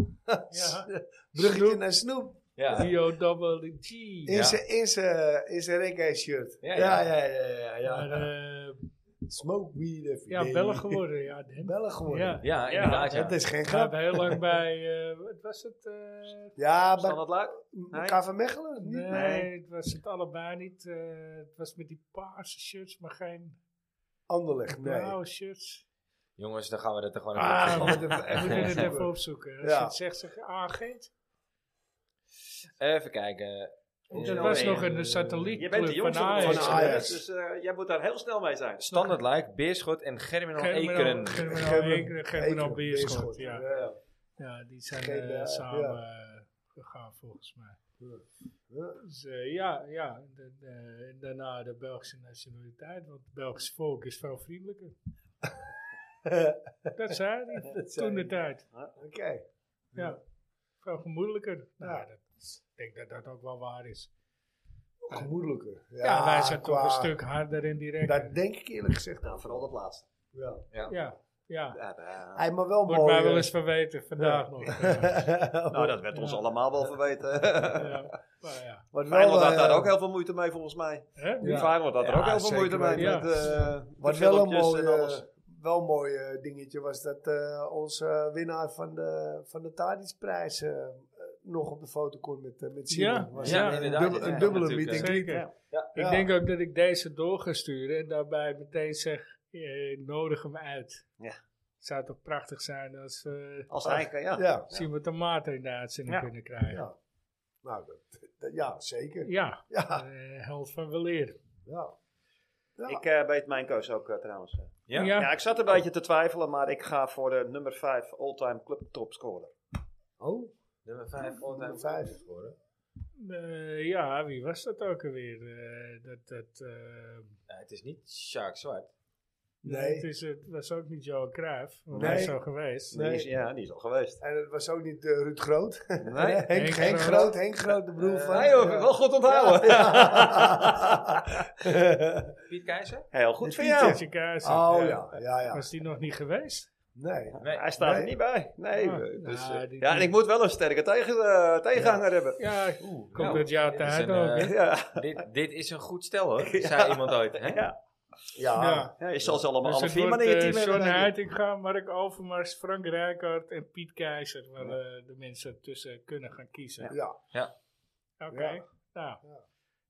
Speaker 2: Ja.
Speaker 3: Bruggetje naar Snoep.
Speaker 1: Ja.
Speaker 2: Dio Double G.
Speaker 3: In zijn- in zijn- in zijn reggae-shirt.
Speaker 1: Ja,
Speaker 3: Ja,
Speaker 1: ja.
Speaker 3: ja, ja. ja, ja,
Speaker 2: Maar, eh,
Speaker 3: Smoke weed every
Speaker 2: ja,
Speaker 3: day.
Speaker 2: Belg geworden. Ja, Den.
Speaker 3: Belg geworden.
Speaker 2: Ja.
Speaker 1: Ja, inderdaad, ja.
Speaker 3: Dat is geen
Speaker 2: Ik heb
Speaker 3: grap.
Speaker 2: heel lang bij, eh, wat was het? eh,
Speaker 3: Ja,
Speaker 4: Zal
Speaker 3: maar
Speaker 4: dat luik? Nee.
Speaker 3: KV Mechelen?
Speaker 2: nee,
Speaker 3: Niet?
Speaker 2: het was het allebei niet. eh, het was met die paarse shirts, maar geen
Speaker 3: Anderlecht, nee.
Speaker 2: blauwe shirts.
Speaker 1: Jongens, dan gaan we dat er gewoon
Speaker 2: Ah,
Speaker 1: even
Speaker 2: Nou, we
Speaker 1: op
Speaker 2: moeten het- we moeten het even opzoeken. Als
Speaker 3: Ja.
Speaker 2: je het zegt, zeg je "Ah, agent.
Speaker 1: Even kijken.
Speaker 2: Want
Speaker 1: Ja.
Speaker 2: dat was
Speaker 4: Ja.
Speaker 2: nog een
Speaker 4: Je bent
Speaker 2: satellietclub
Speaker 4: de
Speaker 2: van
Speaker 4: jongste van Ajax.
Speaker 2: Ajax.
Speaker 3: Van Ajax.
Speaker 4: Dus eh, jij moet daar heel snel mee zijn.
Speaker 1: Standaard Luik, Beerschot en Germinal Ekeren.
Speaker 2: Germinal Germinal Ekeren, Germinal
Speaker 3: Ekeren,
Speaker 2: Beerschot.
Speaker 3: Beerschot,
Speaker 2: Ja.
Speaker 3: ja.
Speaker 2: ja, die zijn
Speaker 3: Geen,
Speaker 2: eh,
Speaker 3: eh,
Speaker 2: samen
Speaker 3: ja.
Speaker 2: eh, gegaan volgens mij.
Speaker 3: Ja. Ja.
Speaker 2: Dus, eh, ja, ja. En dan, eh, en daarna de Belgische nationaliteit, want het Belgische volk is veel vriendelijker. Dat zei hij
Speaker 3: Dat zei
Speaker 2: toen de
Speaker 3: hij.
Speaker 2: tijd.
Speaker 3: Oké.
Speaker 2: Ja. Veel gemoedelijker. Nou,
Speaker 3: Ja.
Speaker 2: dat, ik denk dat dat ook wel waar is.
Speaker 3: Gemoedelijker.
Speaker 2: Ja, wij zijn toch
Speaker 3: qua-
Speaker 2: een stuk harder en direct.
Speaker 3: Dat denk ik eerlijk gezegd
Speaker 4: Nou,
Speaker 3: wel.
Speaker 4: vooral dat laatste.
Speaker 3: Ja.
Speaker 2: ja, ja.
Speaker 4: Ja, eh,
Speaker 3: Hij maar wel
Speaker 2: Wordt
Speaker 3: mooi.
Speaker 2: mij wel
Speaker 3: eh,
Speaker 2: eens verweten vandaag nog. eh.
Speaker 4: nou, dat werd ons
Speaker 2: Ja.
Speaker 4: allemaal wel verweten.
Speaker 2: ja. Maar ja.
Speaker 3: Wat wel,
Speaker 4: Feyenoord had
Speaker 3: eh,
Speaker 4: daar ook heel veel moeite mee, volgens mij.
Speaker 2: Hè?
Speaker 3: Ja.
Speaker 4: Feyenoord had er
Speaker 1: Ja,
Speaker 4: ook heel veel
Speaker 3: zeker
Speaker 4: moeite mee.
Speaker 2: weten.
Speaker 4: Met, eh,
Speaker 3: Wat
Speaker 4: de
Speaker 3: wel een
Speaker 4: filmpjes
Speaker 3: mooi,
Speaker 4: en alles.
Speaker 3: eh, wel een mooi eh, dingetje was dat eh, onze eh, winnaar van de, van de Tadic-prijs eh, eh, nog op de foto kon met, eh, met Simon.
Speaker 2: Ja,
Speaker 3: was
Speaker 1: ja,
Speaker 3: een,
Speaker 1: inderdaad,
Speaker 3: dubbel- een
Speaker 1: inderdaad,
Speaker 3: dubbele
Speaker 1: natuurlijk,
Speaker 3: meeting.
Speaker 2: Zeker.
Speaker 3: Ja.
Speaker 2: Ik denk ook dat ik deze door ga sturen en daarbij meteen zeg, eh, nodig hem uit.
Speaker 4: Ja.
Speaker 2: Het zou toch prachtig zijn als we
Speaker 4: Als hij kan, ja.
Speaker 3: Ja,
Speaker 2: zien we tomaten in de uitzending
Speaker 4: Ja.
Speaker 2: kunnen krijgen. Ja,
Speaker 3: Ja. nou, dat, dat- ja zeker.
Speaker 2: Eh,
Speaker 3: Ja,
Speaker 2: held van weleer.
Speaker 3: ja. Ja.
Speaker 4: Ik eh weet mijn keuze ook eh, trouwens.
Speaker 1: Ja?
Speaker 4: Ja. ik zat een beetje te twijfelen, maar ik ga voor de nummer 5 all-time club topscorer.
Speaker 3: Oh,
Speaker 1: Nummer 5,
Speaker 3: nummer vijf.
Speaker 2: Eh, ja, wie was dat ook alweer? Eh, dat, dat, eh,
Speaker 1: het is niet Sjaak Zwart.
Speaker 3: Nee.
Speaker 2: Het, is, het was ook niet Johan Cruijff, want
Speaker 3: Nee.
Speaker 2: hij is zo geweest.
Speaker 3: Nee.
Speaker 4: Die is, ja, die is al geweest.
Speaker 3: En het was ook niet eh, Ruud Groot.
Speaker 4: Nee. Eh,
Speaker 3: Henk, Henk,
Speaker 2: Henk
Speaker 3: Groot.
Speaker 2: Groot.
Speaker 3: Henk Groot, de broer van...
Speaker 4: Nee hoor, wel goed onthouden.
Speaker 1: Piet Keizer?
Speaker 4: Heel goed voor
Speaker 3: Pieter.
Speaker 4: jou.
Speaker 2: Jesse Keizer,
Speaker 3: oh
Speaker 2: eh,
Speaker 3: ja, ja, ja.
Speaker 2: Was die nog niet geweest?
Speaker 3: Nee.
Speaker 1: Nee.
Speaker 4: Hij staat er
Speaker 3: Nee.
Speaker 4: niet bij. Nee.
Speaker 2: Ah,
Speaker 4: dus, eh,
Speaker 2: ja, die-
Speaker 4: ja, en ik moet wel een sterke tegen, eh, tegenhanger hebben.
Speaker 2: Ja,
Speaker 1: Oeh,
Speaker 2: komt
Speaker 1: nou,
Speaker 2: het jaar
Speaker 1: dit is
Speaker 2: tijd
Speaker 1: een,
Speaker 2: ook.
Speaker 1: eh,
Speaker 2: hè?
Speaker 4: Ja.
Speaker 1: dit, dit is een goed stel hoor, zei iemand ooit. Hè?
Speaker 4: Ja.
Speaker 3: Ja.
Speaker 2: Ja.
Speaker 4: ja, je zal ze allemaal
Speaker 2: Dus
Speaker 4: alle
Speaker 2: het
Speaker 4: vier maar
Speaker 2: wordt
Speaker 4: in je
Speaker 2: eh,
Speaker 4: team
Speaker 2: John
Speaker 4: hebben. denk ik.
Speaker 2: Heitinga, Mark Overmars, Frank Rijkaard en Piet Keizer. Waar eh, de mensen tussen kunnen gaan kiezen.
Speaker 3: Ja.
Speaker 2: Oké,
Speaker 3: Ja.
Speaker 2: nou.
Speaker 3: Ja.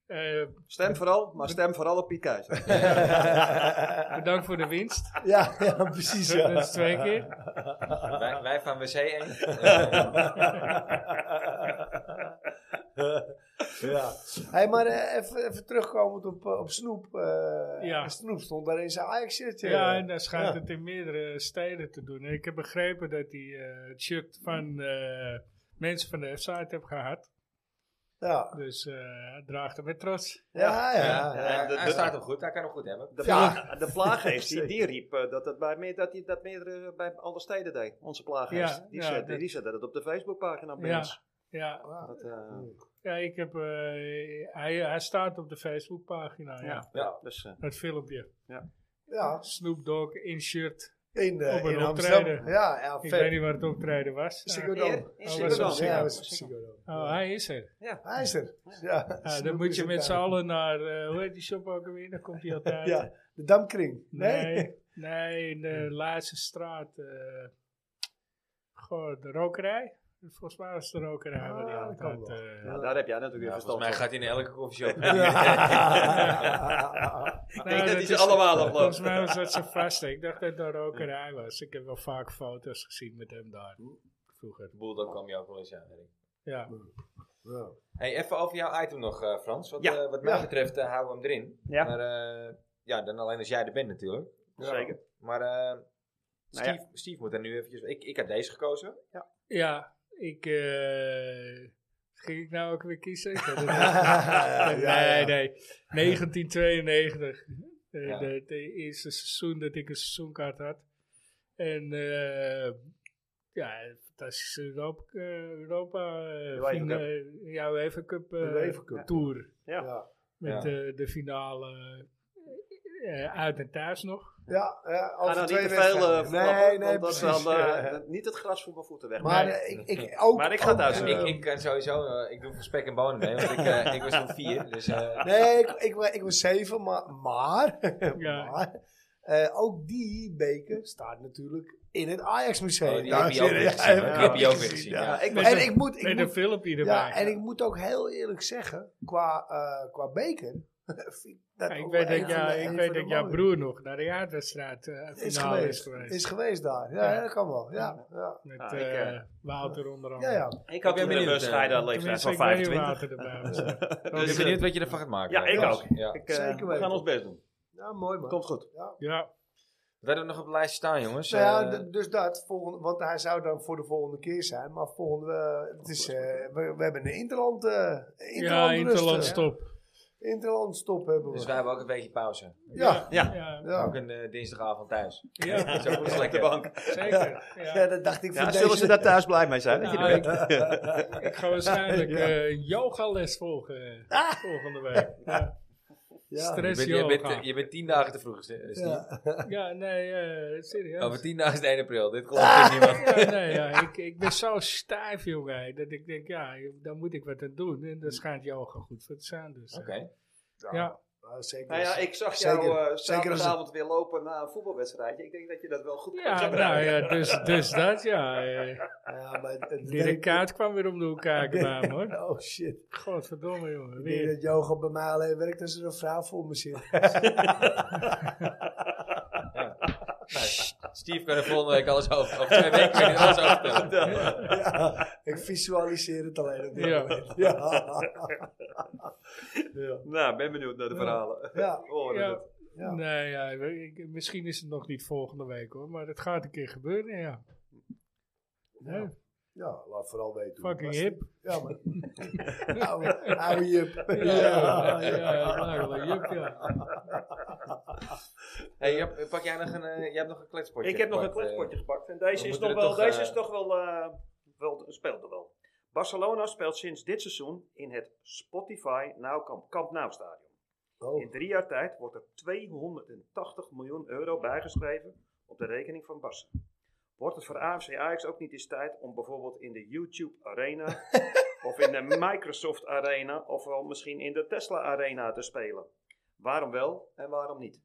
Speaker 2: eh,
Speaker 4: Stem vooral, maar stem vooral op Piet Keizer.
Speaker 2: bedankt voor de winst.
Speaker 3: ja, ja, precies. Ja.
Speaker 2: Dat is twee keer.
Speaker 1: Wij, wij van WC1.
Speaker 3: ja. Hey, maar eh, even, even terugkomend op, eh, op Snoep. eh,
Speaker 2: Ja.
Speaker 3: Snoep stond daar in zijn eh. Ajax-shirtje.
Speaker 2: Ja, en dan schijnt
Speaker 3: Ja.
Speaker 2: het in meerdere steden te doen. Ik heb begrepen dat hij eh, het shirt van eh, mensen van de site heeft gehad.
Speaker 3: Ja.
Speaker 2: Dus eh, hij draagt hem met trots.
Speaker 3: Ja, ja. ja.
Speaker 1: hij,
Speaker 4: de-
Speaker 1: hij
Speaker 4: de-
Speaker 1: staat hem goed, hij kan hem goed hebben.
Speaker 4: De,
Speaker 3: Ja.
Speaker 4: plaag- de plaaggeest die, die riep eh, dat, het bij meer, dat hij dat meer eh, bij alle steden deed. Onze plaaggeest.
Speaker 2: Ja,
Speaker 4: die,
Speaker 2: ja,
Speaker 4: zette,
Speaker 2: dat-
Speaker 4: die zette dat op de Facebookpagina bij
Speaker 2: Ja.
Speaker 4: ons.
Speaker 2: Ja,
Speaker 4: Dat, eh,
Speaker 2: ja ik heb, eh, hij, hij staat op de Facebookpagina, ja.
Speaker 4: ja.
Speaker 1: Ja.
Speaker 4: Dus, eh,
Speaker 2: Het filmpje.
Speaker 3: Ja,
Speaker 2: Snoop Dogg in shirt.
Speaker 3: in, eh,
Speaker 2: Op een
Speaker 3: in
Speaker 2: optreden.
Speaker 3: Amsterdam. Ja, ja,
Speaker 2: Ik
Speaker 3: vet.
Speaker 2: weet niet waar het optreden was.
Speaker 3: Ziggo
Speaker 4: Eer,
Speaker 3: Dome.
Speaker 4: in
Speaker 2: Oh,
Speaker 4: Ziggo
Speaker 2: was dat
Speaker 4: Dome,
Speaker 3: Ja,
Speaker 4: ja.
Speaker 3: dat is Ziggo Dome.
Speaker 2: Oh, hij is er.
Speaker 3: Hij is er. Ja,
Speaker 2: Ja,
Speaker 3: Snoep
Speaker 2: dan moet
Speaker 3: is
Speaker 2: je
Speaker 3: er
Speaker 2: met z'n
Speaker 3: daar.
Speaker 2: allen naar, eh, hoe heet die shop ook alweer? Dan komt hij altijd.
Speaker 3: Ja, de Damkring. Nee.
Speaker 2: Nee, nee, in de laatste straat. eh, goh, de rokerij. Volgens mij was het de rokerij.
Speaker 3: Ah,
Speaker 2: waar die
Speaker 3: dat kan
Speaker 2: altijd,
Speaker 3: wel.
Speaker 2: eh,
Speaker 4: ja, daar heb jij natuurlijk
Speaker 1: Ja,
Speaker 4: weer
Speaker 1: volgens
Speaker 4: verstand
Speaker 1: mij
Speaker 4: van.
Speaker 1: gaat hij in elke koffieshop.
Speaker 4: Ik
Speaker 2: nou,
Speaker 4: denk dat hij ze
Speaker 2: is-
Speaker 4: allemaal afloopt.
Speaker 2: Volgens mij was dat zijn vaste. Ik dacht dat het een rokerij was. Ik heb wel vaak foto's gezien met hem daar. Vroeger.
Speaker 1: Bulldog kwam je ook wel eens aan. Henk.
Speaker 2: Ja.
Speaker 3: Ja.
Speaker 1: Hey, even over jouw item nog, eh, Frans. Wat,
Speaker 4: Ja.
Speaker 1: eh, wat mij
Speaker 3: Ja.
Speaker 1: betreft eh, houden we hem erin.
Speaker 4: Ja.
Speaker 1: Maar eh, ja, dan alleen als jij er bent natuurlijk.
Speaker 4: Zeker.
Speaker 1: Maar eh, Steve,
Speaker 4: ja.
Speaker 1: Steve moet er nu eventjes... Ik, ik heb deze gekozen.
Speaker 2: Ja, ik. eh, ging ik nou ook weer kiezen? Ik weet het niet.
Speaker 3: Ja,
Speaker 4: nou
Speaker 2: nee,
Speaker 3: ja.
Speaker 2: nee. 1992. Eh,
Speaker 1: Ja.
Speaker 2: de, de eerste seizoen dat ik een seizoenkaart had. En eh ja, een fantastische Europa, eh, Europa eh,
Speaker 4: UEFA
Speaker 2: fina- ja, UEFA Cup, eh,
Speaker 3: De UEFA Cup.
Speaker 2: Tour.
Speaker 3: Ja,
Speaker 2: Met
Speaker 1: Ja.
Speaker 2: eh, de finale eh, uit en thuis nog.
Speaker 3: ja, ja over
Speaker 4: Ga nou
Speaker 3: twee
Speaker 4: niet te veel eh,
Speaker 3: wedstrijden.
Speaker 4: verklappen,
Speaker 3: Nee, nee,
Speaker 4: want
Speaker 3: precies.
Speaker 4: dat dan, eh,
Speaker 3: Ja.
Speaker 4: dat- niet het gras voor mijn voeten weg.
Speaker 3: Maar
Speaker 2: Nee.
Speaker 3: eh, ik, ik, ook,
Speaker 4: Maar ik ga het
Speaker 3: ook,
Speaker 4: uitzoeken.
Speaker 3: eh,
Speaker 1: Oh, ik, ik kan sowieso... eh, ik doe voor spek en bonen mee, want ik, eh, ik was toen vier. Dus eh,
Speaker 3: Nee, ik, ik, wa- ik was zeven, maar, maar,
Speaker 2: Ja.
Speaker 3: maar eh, ook die beker staat natuurlijk in het Ajax Museum.
Speaker 1: Oh, die heb je ook weer gezien, hè? Die heb je ook weer gezien, ja.
Speaker 4: ik
Speaker 3: En ik moet, ik
Speaker 2: Met een
Speaker 3: moet,
Speaker 2: filmpje erbij.
Speaker 3: ja, en ik moet ook heel eerlijk zeggen, qua, eh, qua beker, vind ik dat
Speaker 2: Ja, ik
Speaker 3: ook
Speaker 2: weet
Speaker 3: wel
Speaker 2: dat,
Speaker 3: Oh, een van
Speaker 2: ja,
Speaker 3: de-
Speaker 2: ik
Speaker 3: een
Speaker 2: weet
Speaker 3: van de
Speaker 2: dat jouw
Speaker 3: mooie.
Speaker 2: broer nog naar de jaarwedstrijd eh,
Speaker 3: is
Speaker 2: finale
Speaker 3: geweest, is geweest daar. Ja, ja, dat kan wel. Ja, ja.
Speaker 2: Met
Speaker 4: Ah,
Speaker 2: eh,
Speaker 4: ik, eh,
Speaker 2: Wouter onder
Speaker 3: ja,
Speaker 2: andere.
Speaker 3: ja.
Speaker 4: Ik
Speaker 1: had
Speaker 4: had een
Speaker 1: toen een bescheiden
Speaker 4: leeftijd
Speaker 2: Tenminste,
Speaker 4: van
Speaker 2: ik weet niet hoe
Speaker 4: 25.
Speaker 2: Wouter erbij was.
Speaker 1: ik ben
Speaker 2: Dus, eh,
Speaker 1: benieuwd wat je ervan gaat maken.
Speaker 4: Ja, ik
Speaker 1: Frans.
Speaker 4: ook.
Speaker 1: Ja.
Speaker 4: Ik, eh,
Speaker 3: Zeker
Speaker 4: we
Speaker 3: weten.
Speaker 4: gaan ons best doen.
Speaker 3: Ja, mooi man.
Speaker 4: Komt goed.
Speaker 3: Ja.
Speaker 2: ja,
Speaker 1: Wat hebben we nog op het lijstje staan, jongens?
Speaker 3: Nou ja,
Speaker 1: Eh,
Speaker 3: d- dus dat. Volgende, want hij zou dan voor de volgende keer zijn. Maar volgende, eh, het is, eh, we, we hebben een interland, eh
Speaker 2: ja
Speaker 3: interland
Speaker 2: Interland stop.
Speaker 3: Interland stop hebben we.
Speaker 1: dus wij hebben ook een beetje pauze.
Speaker 3: ja,
Speaker 4: Ja.
Speaker 2: Ja,
Speaker 1: Ook
Speaker 3: ja.
Speaker 1: een eh, dinsdagavond thuis.
Speaker 2: ja,
Speaker 1: Dat is ook wel lekker.
Speaker 2: zeker.
Speaker 3: Ja,
Speaker 2: Ja.
Speaker 3: dat dacht ik
Speaker 4: Ja,
Speaker 3: van
Speaker 4: zullen ze
Speaker 3: deze-
Speaker 4: daar thuis blij mee zijn? dat je
Speaker 2: Nou,
Speaker 4: er
Speaker 2: ik,
Speaker 4: bent?
Speaker 2: ik ga waarschijnlijk
Speaker 3: Ja.
Speaker 2: eh, yogales volgen
Speaker 4: Ah!
Speaker 2: eh, volgende week. Ja.
Speaker 3: Ja.
Speaker 1: Je
Speaker 2: Stress
Speaker 1: bent, je,
Speaker 2: yoga.
Speaker 1: bent, je bent tien dagen te vroeg, dus Steve.
Speaker 3: Ja.
Speaker 2: ja, nee, eh, serieus.
Speaker 1: Over tien dagen is het 1 april. Dit
Speaker 3: Ah.
Speaker 1: geloof ik niemand.
Speaker 2: Ja, nee, ja, ik, ik ben zo stijf, jongen, dat ik denk, ja, daar moet ik wat aan doen. En daar schijnt yoga goed voor te zijn. Dus, eh,
Speaker 1: Oké.
Speaker 2: ja.
Speaker 3: Ja, zeker.
Speaker 4: Nou ja, ik zag
Speaker 3: Dus Zeker.
Speaker 4: jou eh
Speaker 3: Zeker als-
Speaker 4: zaterdagavond weer lopen na een voetbalwedstrijdje. Ik denk dat je dat wel goed kan
Speaker 2: Ja, nou
Speaker 4: gebruiken.
Speaker 2: ja, dus, dus dat, ja. eh.
Speaker 3: Ja, maar het- het
Speaker 2: Dirk
Speaker 3: werkt-
Speaker 2: Kaat kwam weer om de hoek kijken bij hem, hoor.
Speaker 3: Oh shit.
Speaker 2: Godverdomme, jongen.
Speaker 3: Ik denk
Speaker 2: Weer.
Speaker 3: dat yoga bij mij alleen werkt als er een vrouw voor me zit.
Speaker 1: Nou, Steve kan er volgende week alles over. Over twee weken kan hij alles over vertellen.
Speaker 3: ja, ik visualiseer het alleen op dit
Speaker 2: Ja.
Speaker 3: moment. Ja. ja.
Speaker 4: Nou, ben benieuwd naar de verhalen.
Speaker 3: ja.
Speaker 4: Oh, dat-
Speaker 2: Ja.
Speaker 3: Ja.
Speaker 2: Nee, ja, ik- misschien is het nog niet volgende week, hoor. Maar het gaat een keer gebeuren, ja. Nee,
Speaker 3: Ja, laat vooral weten. hoe het
Speaker 2: fucking
Speaker 3: was.
Speaker 2: hip.
Speaker 3: Ja, maar. Nou, oude, oude jip.
Speaker 2: Ja, ja, ja, ja, ja, ja, ja.
Speaker 1: Hey, Jap, pak jij nog een, eh, jij hebt nog een kletspotje?
Speaker 4: Ik heb nog een
Speaker 1: gepakt, eh.
Speaker 4: kletspotje gepakt. En
Speaker 1: we
Speaker 4: deze is
Speaker 1: moeten
Speaker 4: nog
Speaker 1: er
Speaker 4: wel,
Speaker 1: toch,
Speaker 4: deze
Speaker 1: eh,
Speaker 4: is toch wel, eh, wel, speelt er wel. Barcelona speelt sinds dit seizoen in het Spotify Nou Camp, Camp Nou Stadion.
Speaker 3: Oh,
Speaker 4: In drie jaar tijd wordt er 280 miljoen euro bijgeschreven op de rekening van Barca. Wordt het voor AFC Ajax ook niet eens tijd om bijvoorbeeld in de YouTube Arena of in de Microsoft Arena of wel misschien in de Tesla Arena te spelen? Waarom wel en waarom niet?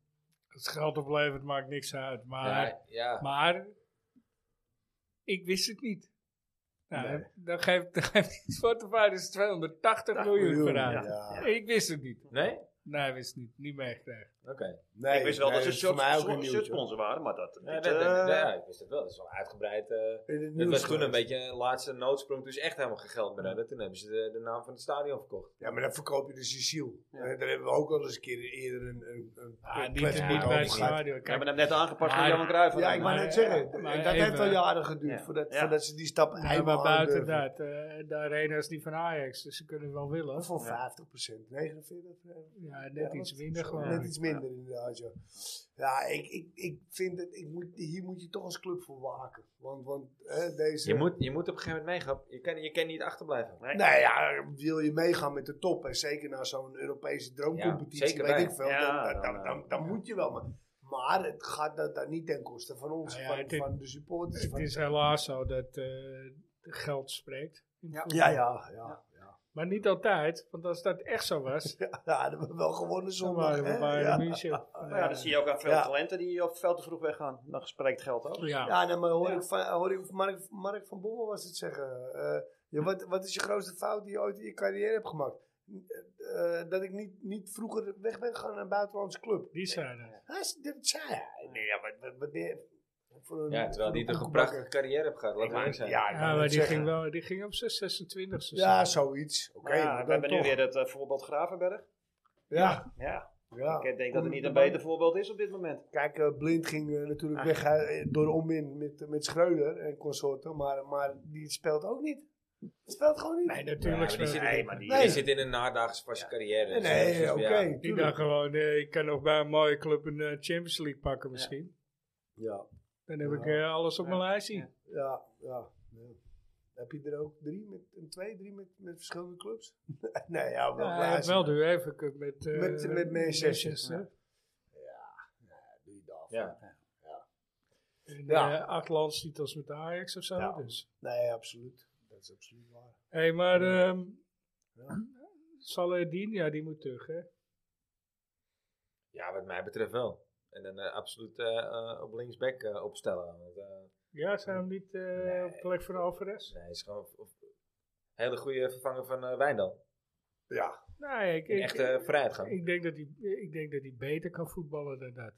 Speaker 2: Het geld oplevert maakt niks uit. Maar,
Speaker 1: Ja, ja.
Speaker 2: maar ik wist het niet. Nou, dan geeft, dan geeft Spotify dus 280 miljoen voor
Speaker 3: ja.
Speaker 2: uit. Ik wist het niet.
Speaker 1: Nee?
Speaker 2: Nee, ik wist het niet. Niet meegekregen.
Speaker 1: Oké.
Speaker 3: Nee,
Speaker 4: ik wist wel
Speaker 3: nee,
Speaker 4: dat ze
Speaker 3: is voor mij ook een
Speaker 4: shirts-
Speaker 3: nieuwtje.
Speaker 4: shirtsponsor waren, maar dat...
Speaker 1: Ja,
Speaker 4: dit,
Speaker 1: dat-
Speaker 4: eh,
Speaker 1: dat- ja, ik wist het wel. Dat is wel uitgebreid. eh,
Speaker 3: In het
Speaker 1: het
Speaker 3: nieuws
Speaker 1: was toen een
Speaker 3: geweest.
Speaker 1: beetje een laatste noodsprong. Toen ze echt helemaal geen geld meer hadden. Toen hebben ze de, de naam van het stadion verkocht.
Speaker 3: Ja, maar dan verkoop je dus je ziel. Eh, Daar hebben we ook wel eens een keer eerder een, een, een
Speaker 2: Ah,
Speaker 3: een
Speaker 2: niet, niet
Speaker 3: kletspot
Speaker 2: bij
Speaker 3: over
Speaker 2: het
Speaker 3: gehad.
Speaker 2: stadion.
Speaker 4: Ja,
Speaker 2: Kijk,
Speaker 4: maar dat net aangepast door
Speaker 2: Maar-
Speaker 4: Johan Cruijff.
Speaker 3: Ja, ik wou
Speaker 2: Maar- eh,
Speaker 3: net zeggen.
Speaker 2: maar
Speaker 3: dat heeft
Speaker 2: even-
Speaker 3: wel jaren geduurd
Speaker 4: Ja.
Speaker 3: voordat,
Speaker 4: Ja.
Speaker 3: voordat ze die stap
Speaker 2: Ja,
Speaker 3: helemaal
Speaker 2: maar buiten
Speaker 3: aandurfden.
Speaker 2: dat, eh, de arena is niet van Ajax, dus ze kunnen het wel willen.
Speaker 3: Voor 50%, 49%. eh,
Speaker 2: Ja, net
Speaker 3: Ja,
Speaker 2: iets
Speaker 3: dat-
Speaker 2: minder gewoon.
Speaker 3: Net iets minder inderdaad, ja. Ja, ik, ik, ik vind dat ik moet, hier moet je toch als club voor waken. Want, want hè, deze...
Speaker 1: Je moet, je moet op een gegeven moment meegaan. Je kan, je kan niet achterblijven.
Speaker 3: Nou ja, wil je meegaan met de top en zeker naar zo'n Europese droomcompetitie,
Speaker 1: Ja, zeker
Speaker 3: weet
Speaker 1: wij.
Speaker 3: ik veel,
Speaker 4: Ja,
Speaker 3: dan, dan,
Speaker 4: dan,
Speaker 3: dan,
Speaker 4: eh,
Speaker 3: dan, dan moet je wel. Maar, maar het gaat dan, dan niet ten koste van ons,
Speaker 2: Nou ja,
Speaker 3: van,
Speaker 2: het is-
Speaker 3: van de supporters.
Speaker 2: Het
Speaker 3: Dus Van,
Speaker 2: is helaas zo dat eh, geld spreekt.
Speaker 3: ja, ja, ja, ja.
Speaker 2: Maar niet altijd, want als dat echt zo was,
Speaker 3: Ja, dat hebben we wel gewonnen
Speaker 2: dan
Speaker 3: zondag.
Speaker 2: waren we
Speaker 3: hè?
Speaker 2: bij
Speaker 3: Ja,
Speaker 2: München.
Speaker 4: Nou ja, dan zie je ook aan veel
Speaker 3: Ja.
Speaker 4: talenten die op het veld te vroeg weggaan. Dan spreekt geld ook.
Speaker 2: Ja.
Speaker 3: ja nee, maar hoor ik, van, hoor ik Mark, Mark van Bommel was het zeggen. eh, ja, wat, wat is je grootste fout die je ooit in je carrière hebt gemaakt? Eh, eh, dat ik niet, niet vroeger weg ben gegaan naar een buitenlandse club.
Speaker 2: Die zijn er.
Speaker 3: Hij is- Dat zei hij. Nee, ja, wat, wat, wat meer- voor een-
Speaker 1: Ja, terwijl
Speaker 3: voor
Speaker 1: die
Speaker 3: een
Speaker 1: toch een
Speaker 3: koekenbakker.
Speaker 1: prachtige carrière heeft gehad. Laten we eerlijk
Speaker 3: Ja,
Speaker 1: zijn.
Speaker 3: ik wou
Speaker 2: Ja,
Speaker 3: net
Speaker 2: maar die
Speaker 3: zeggen.
Speaker 2: ging, wel, die ging op zijn 26 e
Speaker 3: Ja, zoiets. Oké,
Speaker 4: Maar ja,
Speaker 3: maar
Speaker 4: we hebben
Speaker 3: dan
Speaker 4: nu
Speaker 3: toch.
Speaker 4: weer het eh, voorbeeld Gravenberg.
Speaker 3: Ja,
Speaker 4: Ja,
Speaker 3: ja.
Speaker 4: ik eh, denk dat er niet een beter voorbeeld is op dit moment.
Speaker 3: Kijk, eh, Blind ging eh, natuurlijk weg eh, door onmin met, met Schreuder en consorten, maar, maar die speelt ook niet. Die speelt gewoon niet.
Speaker 2: Nee, natuurlijk.
Speaker 1: Ja, maar die
Speaker 2: speelt-
Speaker 1: zit-
Speaker 4: Nee, maar die-
Speaker 1: Je
Speaker 3: Nee.
Speaker 1: zit in een nadaagse van je carrière.
Speaker 3: Nee,
Speaker 1: Dus
Speaker 3: nee,
Speaker 1: dat is-
Speaker 3: oké.
Speaker 1: ja.
Speaker 2: Die
Speaker 3: tuurlijk.
Speaker 2: dacht gewoon, eh, ik kan nog bij een mooie club een eh, Champions League pakken misschien.
Speaker 3: Ja,
Speaker 2: Dan heb
Speaker 3: Ja.
Speaker 2: ik eh, alles op mijn lijstje.
Speaker 3: ja, ja. ja. Heb je er ook drie, met, een twee, drie met, met verschillende clubs? nee, ja, wel.
Speaker 2: Ja,
Speaker 3: ja,
Speaker 2: hij heeft
Speaker 3: ze-
Speaker 2: wel de UEFA Cup met, eh,
Speaker 3: Met- met Manchester. doe je daarvoor.
Speaker 1: Ja.
Speaker 2: En,
Speaker 3: Ja.
Speaker 2: eh, acht landstitels met Ajax of zo.
Speaker 3: Ja.
Speaker 2: Dus.
Speaker 3: Nee, absoluut. Dat is absoluut waar.
Speaker 2: Hé, hey, maar ehm
Speaker 3: Ja.
Speaker 2: Saladin, ja, die moet terug, hè?
Speaker 1: Ja, wat mij betreft wel. En dan eh, absoluut eh, eh, op linksback eh, opstellen. Want, eh,
Speaker 2: Ja, zijn we hem niet eh, op de plek van Alvarez?
Speaker 1: nee, hij is gewoon een hele goede vervanger van eh Wijndal.
Speaker 3: Ja,
Speaker 2: Nee, ik,
Speaker 1: Een
Speaker 2: ik,
Speaker 1: echte eh, vooruitgang.
Speaker 2: ik, denk dat hij, ik denk dat hij beter kan voetballen dan dat.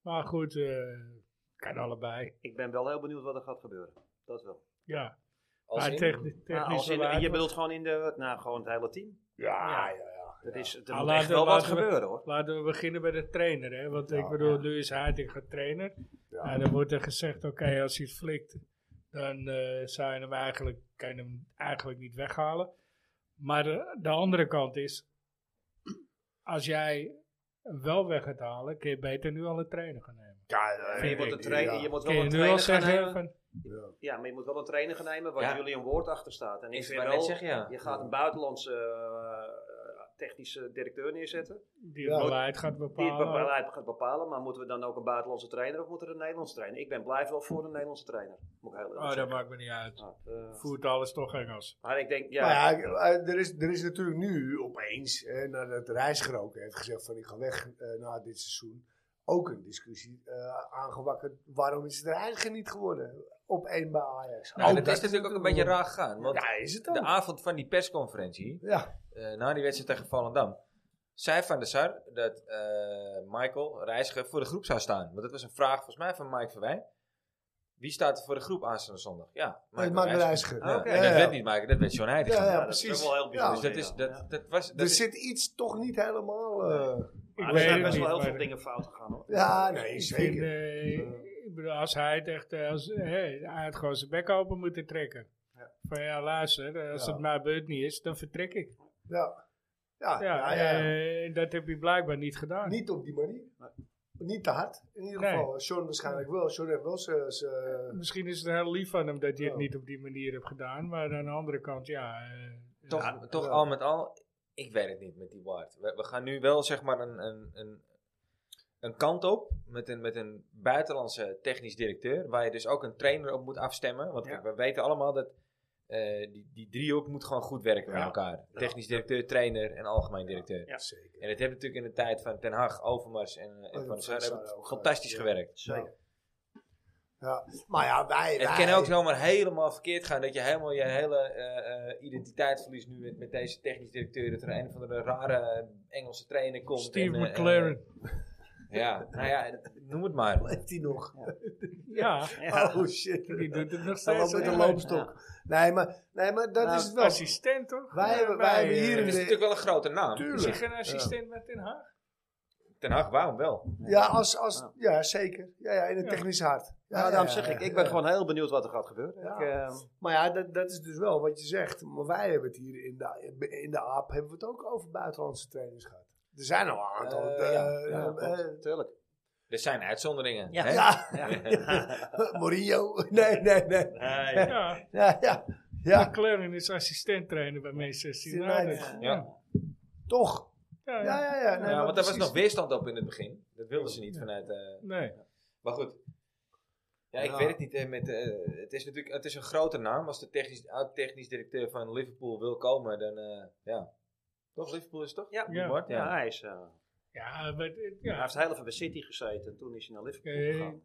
Speaker 2: Maar goed, eh, kan allebei.
Speaker 4: Ik ben wel heel benieuwd wat er gaat gebeuren. Dat wel.
Speaker 2: Ja,
Speaker 1: Als
Speaker 2: maar
Speaker 1: in-
Speaker 2: techni-
Speaker 4: Nou, als
Speaker 2: technische
Speaker 4: in-
Speaker 2: waarde-
Speaker 4: je bedoelt gewoon in de, nou, gewoon het hele team.
Speaker 2: Ah,
Speaker 3: ja, ja. ja.
Speaker 4: Dat is, er
Speaker 2: Nou,
Speaker 4: moet
Speaker 2: laten-
Speaker 4: echt wel wat
Speaker 2: laten we-
Speaker 4: gebeuren hoor.
Speaker 2: Laten we beginnen bij de trainer, hè? Want ik bedoel, nu is Heiting gaat trainer.
Speaker 3: Ja.
Speaker 2: En dan wordt er gezegd, oké, als hij het flikt, dan eh, zou je hem eigenlijk, kan je hem eigenlijk niet weghalen. Maar eh, de, de andere kant is, als jij hem wel weg gaat halen, kun je beter nu al een trainer gaan nemen.
Speaker 3: Ja,
Speaker 4: Maar je moet, een trainer, je moet wel
Speaker 2: Kun je
Speaker 4: een
Speaker 2: nu al
Speaker 4: trainer gaan
Speaker 2: zeggen,
Speaker 4: nemen.
Speaker 2: van,
Speaker 4: Ja, maar je moet wel een trainer gaan nemen waar
Speaker 1: Ja.
Speaker 4: jullie een woord achter staat. En ik
Speaker 1: Ik
Speaker 4: vind
Speaker 1: wou
Speaker 4: wel,
Speaker 1: net zeggen, ja. Nou,
Speaker 4: je gaat een buitenlandse eh, technische directeur neerzetten.
Speaker 2: die
Speaker 3: Ja.
Speaker 2: beleid gaat
Speaker 4: Die het
Speaker 2: bepalen.
Speaker 4: beleid gaat bepalen, maar moeten we dan ook een buitenlandse trainer of moet er een Nederlandse trainer? Ik ben blij wel voor een Nederlandse trainer. Moet ik heel eerlijk
Speaker 2: oh, dat
Speaker 4: zeggen.
Speaker 2: maakt Nou me niet uit.
Speaker 4: Nou, eh,
Speaker 2: Voert alles toch Engels.
Speaker 4: maar ik denk, ja,
Speaker 3: Maar ja, eh, er is, er is natuurlijk nu opeens, eh, nadat Reiziger ook heeft gezegd van ik ga weg eh, na dit seizoen, ook een discussie eh, aangewakkerd. Waarom is het Reiziger niet geworden op één bij Ajax?
Speaker 1: Nou,
Speaker 3: Ook
Speaker 1: dat is natuurlijk ook een beetje raar gegaan. Want
Speaker 3: Ja, is het
Speaker 1: de
Speaker 3: ook.
Speaker 1: avond van die persconferentie,
Speaker 3: Ja,
Speaker 1: eh, na die wedstrijd tegen Volendam, zei Van der Sar dat eh, Michael Reiziger voor de groep zou staan. Want dat was een vraag volgens mij van Mike Verwijn. Wie staat er voor de groep aanstaande zondag? Ja,
Speaker 3: dat maakt een Reiziger.
Speaker 1: Ja,
Speaker 4: Oké.
Speaker 1: en
Speaker 3: Ja,
Speaker 1: dat
Speaker 3: ja.
Speaker 1: werd niet Michael, dat werd John Heidig.
Speaker 3: Ja, ja,
Speaker 4: dat is
Speaker 3: precies.
Speaker 4: ook wel heel
Speaker 3: Oh, Ja. Dus
Speaker 1: Dus dat
Speaker 4: Ja.
Speaker 1: is, dat, dat was, dat
Speaker 3: Er
Speaker 1: is-
Speaker 3: zit iets toch niet helemaal... eh,
Speaker 2: Ik
Speaker 4: maar er zijn
Speaker 2: het
Speaker 4: best wel
Speaker 2: niet,
Speaker 4: heel
Speaker 2: maar-
Speaker 4: veel dingen fout gegaan hoor.
Speaker 3: ja, nee,
Speaker 2: Ik
Speaker 3: zeker.
Speaker 2: vind, eh, ik bedoel, als hij het echt, eh, als, hey, hij had gewoon zijn bek open moeten trekken. Van ja, luister, eh, als
Speaker 3: Ja.
Speaker 2: het mijn beurt niet is, dan vertrek ik.
Speaker 3: ja. Ja,
Speaker 2: Ja,
Speaker 3: Ah, ja, ja, ja.
Speaker 2: eh, dat heb je blijkbaar niet gedaan.
Speaker 3: Niet op die manier. Niet te hard, in ieder
Speaker 2: Nee.
Speaker 3: geval. Sean waarschijnlijk wel. Sean heeft wel zijn... zijn-
Speaker 2: Misschien is het heel lief van hem dat je het
Speaker 3: Ja.
Speaker 2: niet op die manier hebt gedaan. Maar aan de andere kant, ja. eh,
Speaker 1: Toch,
Speaker 2: ja,
Speaker 1: toch
Speaker 3: ja.
Speaker 1: al met al, ik weet het niet met die Ward. We, we gaan nu wel zeg maar een, een, een, een kant op met een, met een buitenlandse technisch directeur. Waar je dus ook een trainer op moet afstemmen. Want
Speaker 2: Ja.
Speaker 1: we weten allemaal dat eh, die, die driehoek moet gewoon goed werken met
Speaker 2: Ja.
Speaker 1: elkaar. Technisch directeur, trainer en algemeen directeur.
Speaker 4: Ja.
Speaker 3: Zeker.
Speaker 1: En dat hebben natuurlijk in de tijd van Ten Hag, Overmars en, eh, en
Speaker 3: Oh,
Speaker 1: Van der Sar
Speaker 3: Van der
Speaker 1: hebben het
Speaker 3: Sar ook,
Speaker 1: fantastisch
Speaker 3: ja.
Speaker 1: gewerkt.
Speaker 3: Zeker. Ja, maar ja, wij...
Speaker 1: Het
Speaker 3: wij-
Speaker 1: kan ook zomaar helemaal verkeerd gaan. Dat je helemaal je hele eh, eh, identiteit verliest nu met, met deze technisch directeur. Dat er een van de rare Engelse trainer komt.
Speaker 2: Steve
Speaker 1: en, eh,
Speaker 2: McLaren.
Speaker 1: eh, ja, nou ja, noem het maar.
Speaker 3: Leeft hij nog?
Speaker 1: eh,
Speaker 2: ja,
Speaker 3: Oh shit.
Speaker 2: die doet het nog
Speaker 3: Hij
Speaker 2: steeds.
Speaker 3: loopt met een
Speaker 2: hè?
Speaker 3: loopstok. Nee, maar, nee, maar dat
Speaker 2: Nou,
Speaker 3: is het wel.
Speaker 2: assistent toch?
Speaker 3: Wij hebben- wij hebben hier
Speaker 1: Het
Speaker 2: eh,
Speaker 1: is natuurlijk wel een grote naam.
Speaker 2: Is hij
Speaker 3: Tuurlijk.
Speaker 2: geen assistent met Den Haag?
Speaker 1: Ten Hag, waarom wel?
Speaker 3: Ja, als, als, ja, zeker. Ja, ja, in het
Speaker 2: Ja.
Speaker 3: technisch hart. Ja,
Speaker 4: Ja,
Speaker 3: ja,
Speaker 4: Nou, daarom
Speaker 3: ja,
Speaker 4: zeg ik,
Speaker 3: ja,
Speaker 4: ik ben
Speaker 3: ja.
Speaker 4: gewoon heel benieuwd wat er gaat gebeuren.
Speaker 3: Ja.
Speaker 4: Ik, eh,
Speaker 3: Maar ja, dat, dat is dus wel wat je zegt. Maar wij hebben het hier in de, in de AAP hebben we het ook over buitenlandse trainers gehad. Er zijn al een aantal.
Speaker 1: Eh,
Speaker 3: eh,
Speaker 1: ja,
Speaker 3: eh,
Speaker 4: ja,
Speaker 3: eh,
Speaker 4: tuurlijk.
Speaker 1: Er zijn uitzonderingen.
Speaker 4: Ja.
Speaker 1: hè?
Speaker 3: ja,
Speaker 4: Ja.
Speaker 3: Mourinho. Nee, nee, nee.
Speaker 4: Nee.
Speaker 2: Ja.
Speaker 3: Ja, ja, ja.
Speaker 2: McLaren is assistent trainer bij Manchester United.
Speaker 3: United.
Speaker 1: Ja.
Speaker 3: toch.
Speaker 2: Ja,
Speaker 3: Ja,
Speaker 2: ja.
Speaker 3: ja, ja. nee,
Speaker 1: Ja,
Speaker 3: maar
Speaker 1: want daar was
Speaker 3: precies.
Speaker 1: nog weerstand op in het begin. Dat wilden ze niet vanuit... eh,
Speaker 2: Nee.
Speaker 1: Maar goed. Ja, ik
Speaker 3: Ja.
Speaker 1: weet het niet. Hè, met, eh, het is natuurlijk het is een grote naam. Als de technisch, oud-technisch directeur van Liverpool wil komen, dan eh, ja. Toch, Liverpool is het toch?
Speaker 4: Ja.
Speaker 2: Ja.
Speaker 1: Bart,
Speaker 4: Ja,
Speaker 1: ja.
Speaker 4: hij, is, eh,
Speaker 2: Ja, maar, eh,
Speaker 4: hij
Speaker 2: ja.
Speaker 4: heeft heel even bij City gezeten en toen is hij naar Liverpool
Speaker 2: Eh,
Speaker 4: gegaan.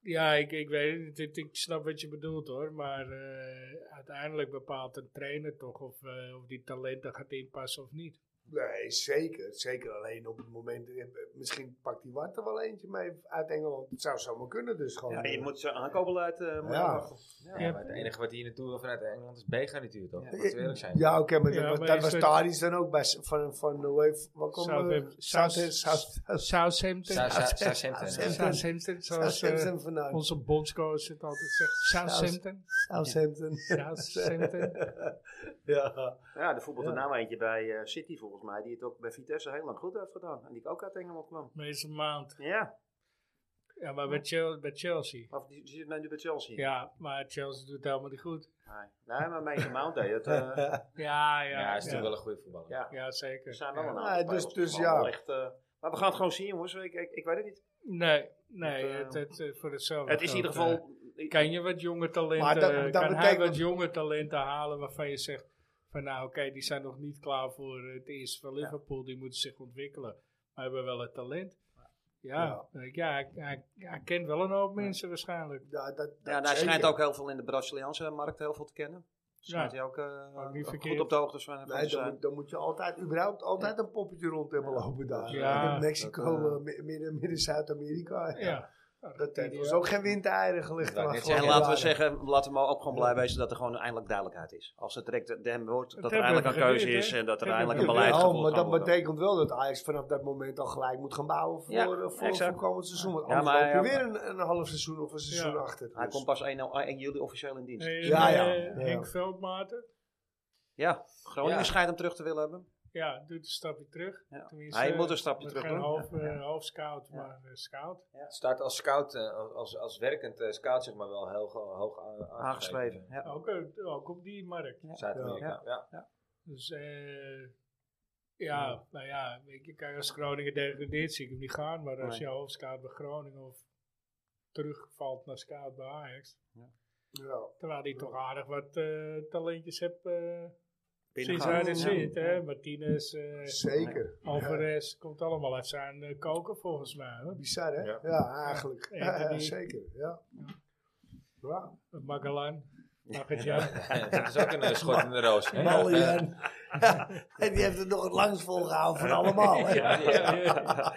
Speaker 2: ja ik, ik weet het. niet. Ik snap wat je bedoelt hoor. Maar eh, uiteindelijk bepaalt een trainer toch of, eh, of die talenten gaat inpassen of niet.
Speaker 3: Nee, zeker. Zeker alleen op het moment. eh, Misschien pakt die Wart er wel eentje mee uit Engeland. Het zou zomaar kunnen, dus gewoon.
Speaker 4: Ja, je
Speaker 3: eh,
Speaker 4: moet zijn aankoopbeleid eh moet je
Speaker 3: Ja.
Speaker 4: afwachten.
Speaker 1: Ja, maar het enige wat hier naartoe wil vanuit Engeland is B-garnituur, toch? Laten we eerlijk zijn.
Speaker 3: Ja, oké, maar
Speaker 2: Ja,
Speaker 3: dat,
Speaker 2: maar
Speaker 3: dat
Speaker 2: is
Speaker 3: was
Speaker 2: het-
Speaker 3: Tadic dan ook bij s- van, van de Wave. Waar komt
Speaker 2: Southampton.
Speaker 3: Southampton.
Speaker 1: Sa-
Speaker 2: Southampton.
Speaker 1: sa- Southampton, hè?
Speaker 3: Southampton.
Speaker 2: Southampton, zoals eh,
Speaker 3: Southampton vandaan.
Speaker 2: onze bondscoach het altijd zegt. Southampton.
Speaker 3: Southampton.
Speaker 2: Southampton.
Speaker 3: Ja.
Speaker 4: Ja, er voetbalt er nou eentje bij eh, City volgens mij, die het ook bij Vitesse heel lang goed heeft gedaan. En die ook uit Engeland kwam.
Speaker 2: Meestal maand.
Speaker 4: Ja,
Speaker 2: Ja, maar bij Chel- bij Chelsea.
Speaker 4: of die, die zit nu bij Chelsea.
Speaker 2: Ja, maar Chelsea doet het helemaal niet goed.
Speaker 4: Nee, nee maar Mason Mount deed het. eh,
Speaker 2: Ja, ja.
Speaker 1: Ja, hij is natuurlijk wel een goede voetballer.
Speaker 4: ja,
Speaker 2: Ja,
Speaker 4: er
Speaker 2: zeker.
Speaker 4: zijn wel
Speaker 2: Ja.
Speaker 4: een
Speaker 3: Ja,
Speaker 4: aantal
Speaker 3: dus-
Speaker 4: spelers
Speaker 3: dus
Speaker 4: die allemaal
Speaker 3: ja.
Speaker 4: echt, eh, maar we gaan het gewoon zien jongens, ik, ik, ik weet het niet.
Speaker 2: Nee, nee,
Speaker 4: Want, eh,
Speaker 2: het, het, eh, voor hetzelfde.
Speaker 4: Het is in
Speaker 2: geld,
Speaker 4: ieder geval...
Speaker 2: eh, kan je wat jonge talenten,
Speaker 3: Maar dat-
Speaker 2: eh,
Speaker 3: dat
Speaker 2: kan hij
Speaker 3: betekent-
Speaker 2: wat jonge talenten halen waarvan je zegt van nou oké, die zijn nog niet klaar voor het eerste van Liverpool, die moeten zich ontwikkelen. Maar hebben wel het talent. Ja, ja. hij, hij, hij kent wel een hoop mensen waarschijnlijk.
Speaker 3: Ja, dat, dat
Speaker 4: Ja, en hij
Speaker 3: zeker.
Speaker 4: schijnt ook heel veel in de Braziliaanse markt heel veel te kennen. Schijnt
Speaker 2: Ja.
Speaker 4: hij ook, eh,
Speaker 2: Ook niet
Speaker 4: goed
Speaker 2: verkeerd.
Speaker 4: op de hoogte van, van
Speaker 3: Nee,
Speaker 4: te
Speaker 3: dan,
Speaker 4: zijn.
Speaker 3: moet- dan moet je altijd, überhaupt altijd een poppetje rond hebben lopen daar.
Speaker 2: Ja,
Speaker 3: In Mexico,
Speaker 4: dat, eh,
Speaker 3: eh, mi- midden, midden Zuid-Amerika. Ja.
Speaker 2: Ja. eh,
Speaker 3: Dat heeft
Speaker 2: Ja.
Speaker 3: ons ook geen windeieren gelicht.
Speaker 1: Wou ik
Speaker 3: maar
Speaker 1: net
Speaker 4: En
Speaker 1: zeggen,
Speaker 3: gewoon
Speaker 4: laten we
Speaker 3: jaren.
Speaker 4: zeggen, laten we ook gewoon blij wezen dat er gewoon eindelijk duidelijkheid is. Als het direct de hem wordt, dat er
Speaker 2: hebben
Speaker 4: eindelijk
Speaker 2: we
Speaker 4: een keuze
Speaker 2: geleerd,
Speaker 4: is
Speaker 2: hè?
Speaker 4: en dat er
Speaker 2: Dat
Speaker 4: eindelijk een
Speaker 2: hebben we
Speaker 4: beleid
Speaker 3: Ja,
Speaker 4: gevoerd
Speaker 3: maar
Speaker 4: kan
Speaker 3: dat
Speaker 4: worden.
Speaker 3: betekent wel dat Ajax vanaf dat moment al gelijk moet gaan bouwen voor,
Speaker 4: Ja,
Speaker 3: eh, voor,
Speaker 4: exact.
Speaker 3: voor komend seizoen. Want
Speaker 4: Ja,
Speaker 3: anders
Speaker 4: maar
Speaker 3: loop je
Speaker 4: ja,
Speaker 3: weer een, een half seizoen of een seizoen
Speaker 2: Ja.
Speaker 3: achter.
Speaker 4: Hij
Speaker 3: Dus-
Speaker 4: komt pas 1, nou- 1 juli officieel in dienst.
Speaker 2: En,
Speaker 3: Ja,
Speaker 2: eh,
Speaker 3: ja, ja.
Speaker 2: Henk Veldmaten,
Speaker 4: Ja, Groningen
Speaker 1: Ja.
Speaker 4: schijnt hem terug te willen hebben.
Speaker 2: ja, doet een stapje terug.
Speaker 4: Ja.
Speaker 2: Tenminste,
Speaker 4: Hij moet een stapje
Speaker 2: met
Speaker 4: terug
Speaker 2: Geen
Speaker 4: doen.
Speaker 2: hoofd,
Speaker 4: Ja.
Speaker 2: eh, hoofdscout,
Speaker 4: Ja.
Speaker 2: maar eh, scout.
Speaker 1: Staat als scout, eh, als- als, als werkend eh, scout zeg maar wel heel go- hoog aan-
Speaker 4: Aangeschreven. Ja.
Speaker 2: Ook, eh, ook op die markt.
Speaker 1: Zuid-Amerika,
Speaker 4: Ja.
Speaker 1: ja.
Speaker 2: Dus eh, ja, nou ja, weet je, kijk, als Groningen degradeert, zie ik hem niet gaan. Maar als
Speaker 4: Nee.
Speaker 2: je hoofdscout bij Groningen of terugvalt naar scout bij Ajax.
Speaker 3: Ja.
Speaker 2: Terwijl hij toch aardig wat eh, talentjes hebt eh sinds
Speaker 4: Binnengehaald.
Speaker 2: hij er
Speaker 4: Ja.
Speaker 2: zit. Hè? Martinez, eh,
Speaker 3: Zeker.
Speaker 2: Alvarez, komt allemaal uit zijn eh, koken volgens mij. Hoor.
Speaker 3: Bizar, hè?
Speaker 1: Ja.
Speaker 3: Ja, eigenlijk.
Speaker 2: Ja,
Speaker 3: Ja, ja,
Speaker 2: Anthony.
Speaker 3: zeker. Ja. Ja.
Speaker 2: Magalan, Magatjan.
Speaker 1: dat is ook een eh, schot in de roos. hè?
Speaker 3: Mallian. en die heeft het nog het langst volgehouden van allemaal, hè?
Speaker 1: Ja, ja.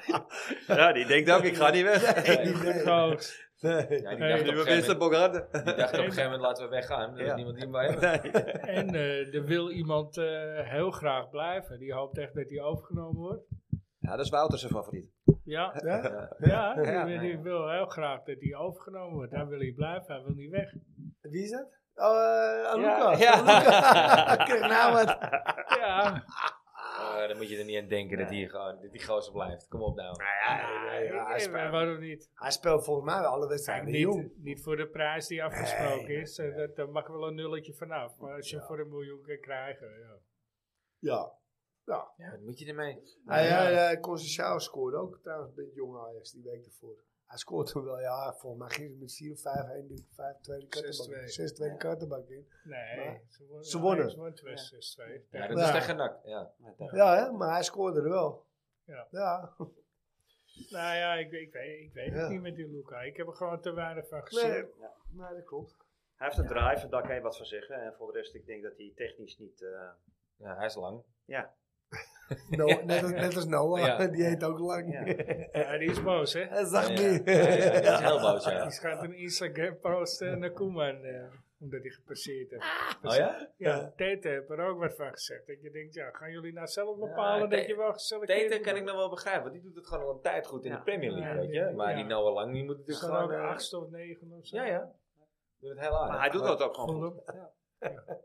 Speaker 4: Ja, die denkt ook, ik ga niet weg.
Speaker 3: Nee, nee,
Speaker 2: Koos.
Speaker 3: nee.
Speaker 1: Ja, die
Speaker 2: Hey,
Speaker 1: dacht op
Speaker 4: Nu
Speaker 1: een
Speaker 4: we
Speaker 1: gegeven
Speaker 4: Winston
Speaker 1: moment-
Speaker 4: Bogarde.
Speaker 1: die dacht op een gegeven moment laten we weggaan. Er is
Speaker 4: Ja.
Speaker 1: niemand die hem wil hebben.
Speaker 2: En eh, er wil iemand eh, heel graag blijven. Die hoopt echt dat hij overgenomen wordt.
Speaker 4: Ja, dat is Wouter zijn favoriet.
Speaker 2: Ja,
Speaker 3: Ja?
Speaker 2: ja, die,
Speaker 4: Ja.
Speaker 2: wil- die wil heel graag dat hij overgenomen wordt. Hij wil hij blijven, hij wil niet weg.
Speaker 3: Wie is dat? Oh, eh, Aluka.
Speaker 4: Ja.
Speaker 3: Aluka. Kijk nou wat.
Speaker 2: Ja,
Speaker 1: eh, dan moet je er niet aan denken dat die, gewoon- dat die gozer blijft. Kom op nou.
Speaker 3: ja, ja, hij
Speaker 2: Nee, maar
Speaker 3: speelt-
Speaker 2: waarom niet?
Speaker 3: Hij speelt volgens mij wel alle
Speaker 2: Kijk,
Speaker 3: wedstrijden jong.
Speaker 2: niet, niet voor de prijs die afgesproken
Speaker 3: Nee,
Speaker 2: is. eh, dat, daar mag wel een nulletje vanaf. Maar als je hem voor een miljoen kan krijgen. Ja.
Speaker 3: Ja.
Speaker 1: Ja, wat moet je ermee?
Speaker 3: Hij,
Speaker 2: ja.
Speaker 3: hij, eh, Conceição scoorde ook trouwens bij het jonge Ajax die week ervoor. Hij scoort toen wel, ja, volgens mij ging het met 4 of 5 1 5 2 de kattenbak
Speaker 2: 6-2.
Speaker 3: in. 6 2 de kattenbak in.
Speaker 2: Nee,
Speaker 3: Maar
Speaker 2: ze wonnen.
Speaker 3: ze wonnen.
Speaker 2: Ajax won het was 6-2.
Speaker 1: Ja, dat
Speaker 3: Ja.
Speaker 1: is tegen NAC. Ja.
Speaker 3: Ja, hè, maar hij scoorde er wel.
Speaker 2: Ja.
Speaker 3: ja.
Speaker 2: Nou ja, ik, ik weet, ik weet
Speaker 3: Ja.
Speaker 2: het niet met die Luca. Ik heb er gewoon te weinig van gezien.
Speaker 3: Nee, nee, dat klopt.
Speaker 4: Hij heeft een drive en daar kan je wat van zeggen. En voor de rest, ik denk dat hij technisch niet... eh,
Speaker 1: Ja, hij is lang.
Speaker 3: No, net, als, net als Noah,
Speaker 1: Ja.
Speaker 3: die heet ook lang.
Speaker 4: Ja.
Speaker 2: Ja, die is boos, hè?
Speaker 3: Hij zag
Speaker 1: Ja,
Speaker 3: die.
Speaker 1: ja, ja, ja, die is heel boos, ja.
Speaker 2: Die gaat een Instagram posten naar Koeman. eh, omdat hij gepasseerd heeft.
Speaker 1: Oh ja?
Speaker 2: Ja, Tete heeft Eh, er ook wat van gezegd. Dat je denkt, ja, gaan jullie nou zelf bepalen
Speaker 1: Ja,
Speaker 2: dat
Speaker 1: Te-
Speaker 2: je wel geselecteerd
Speaker 1: Tete kan ik
Speaker 2: wordt?
Speaker 1: nog wel begrijpen, want die doet het gewoon al een tijd goed in
Speaker 4: Ja.
Speaker 1: de Premier League,
Speaker 2: Ja,
Speaker 1: weet
Speaker 2: ja,
Speaker 1: je. Maar
Speaker 2: ja.
Speaker 1: die Noah Lang, die moet
Speaker 2: Is
Speaker 1: natuurlijk
Speaker 2: dat ook
Speaker 1: gewoon... eh,
Speaker 2: achtste of negen of zo?
Speaker 1: ja, ja. Doet het heel aardig.
Speaker 4: maar hij doet dat ook gewoon goed.
Speaker 2: Vond hem.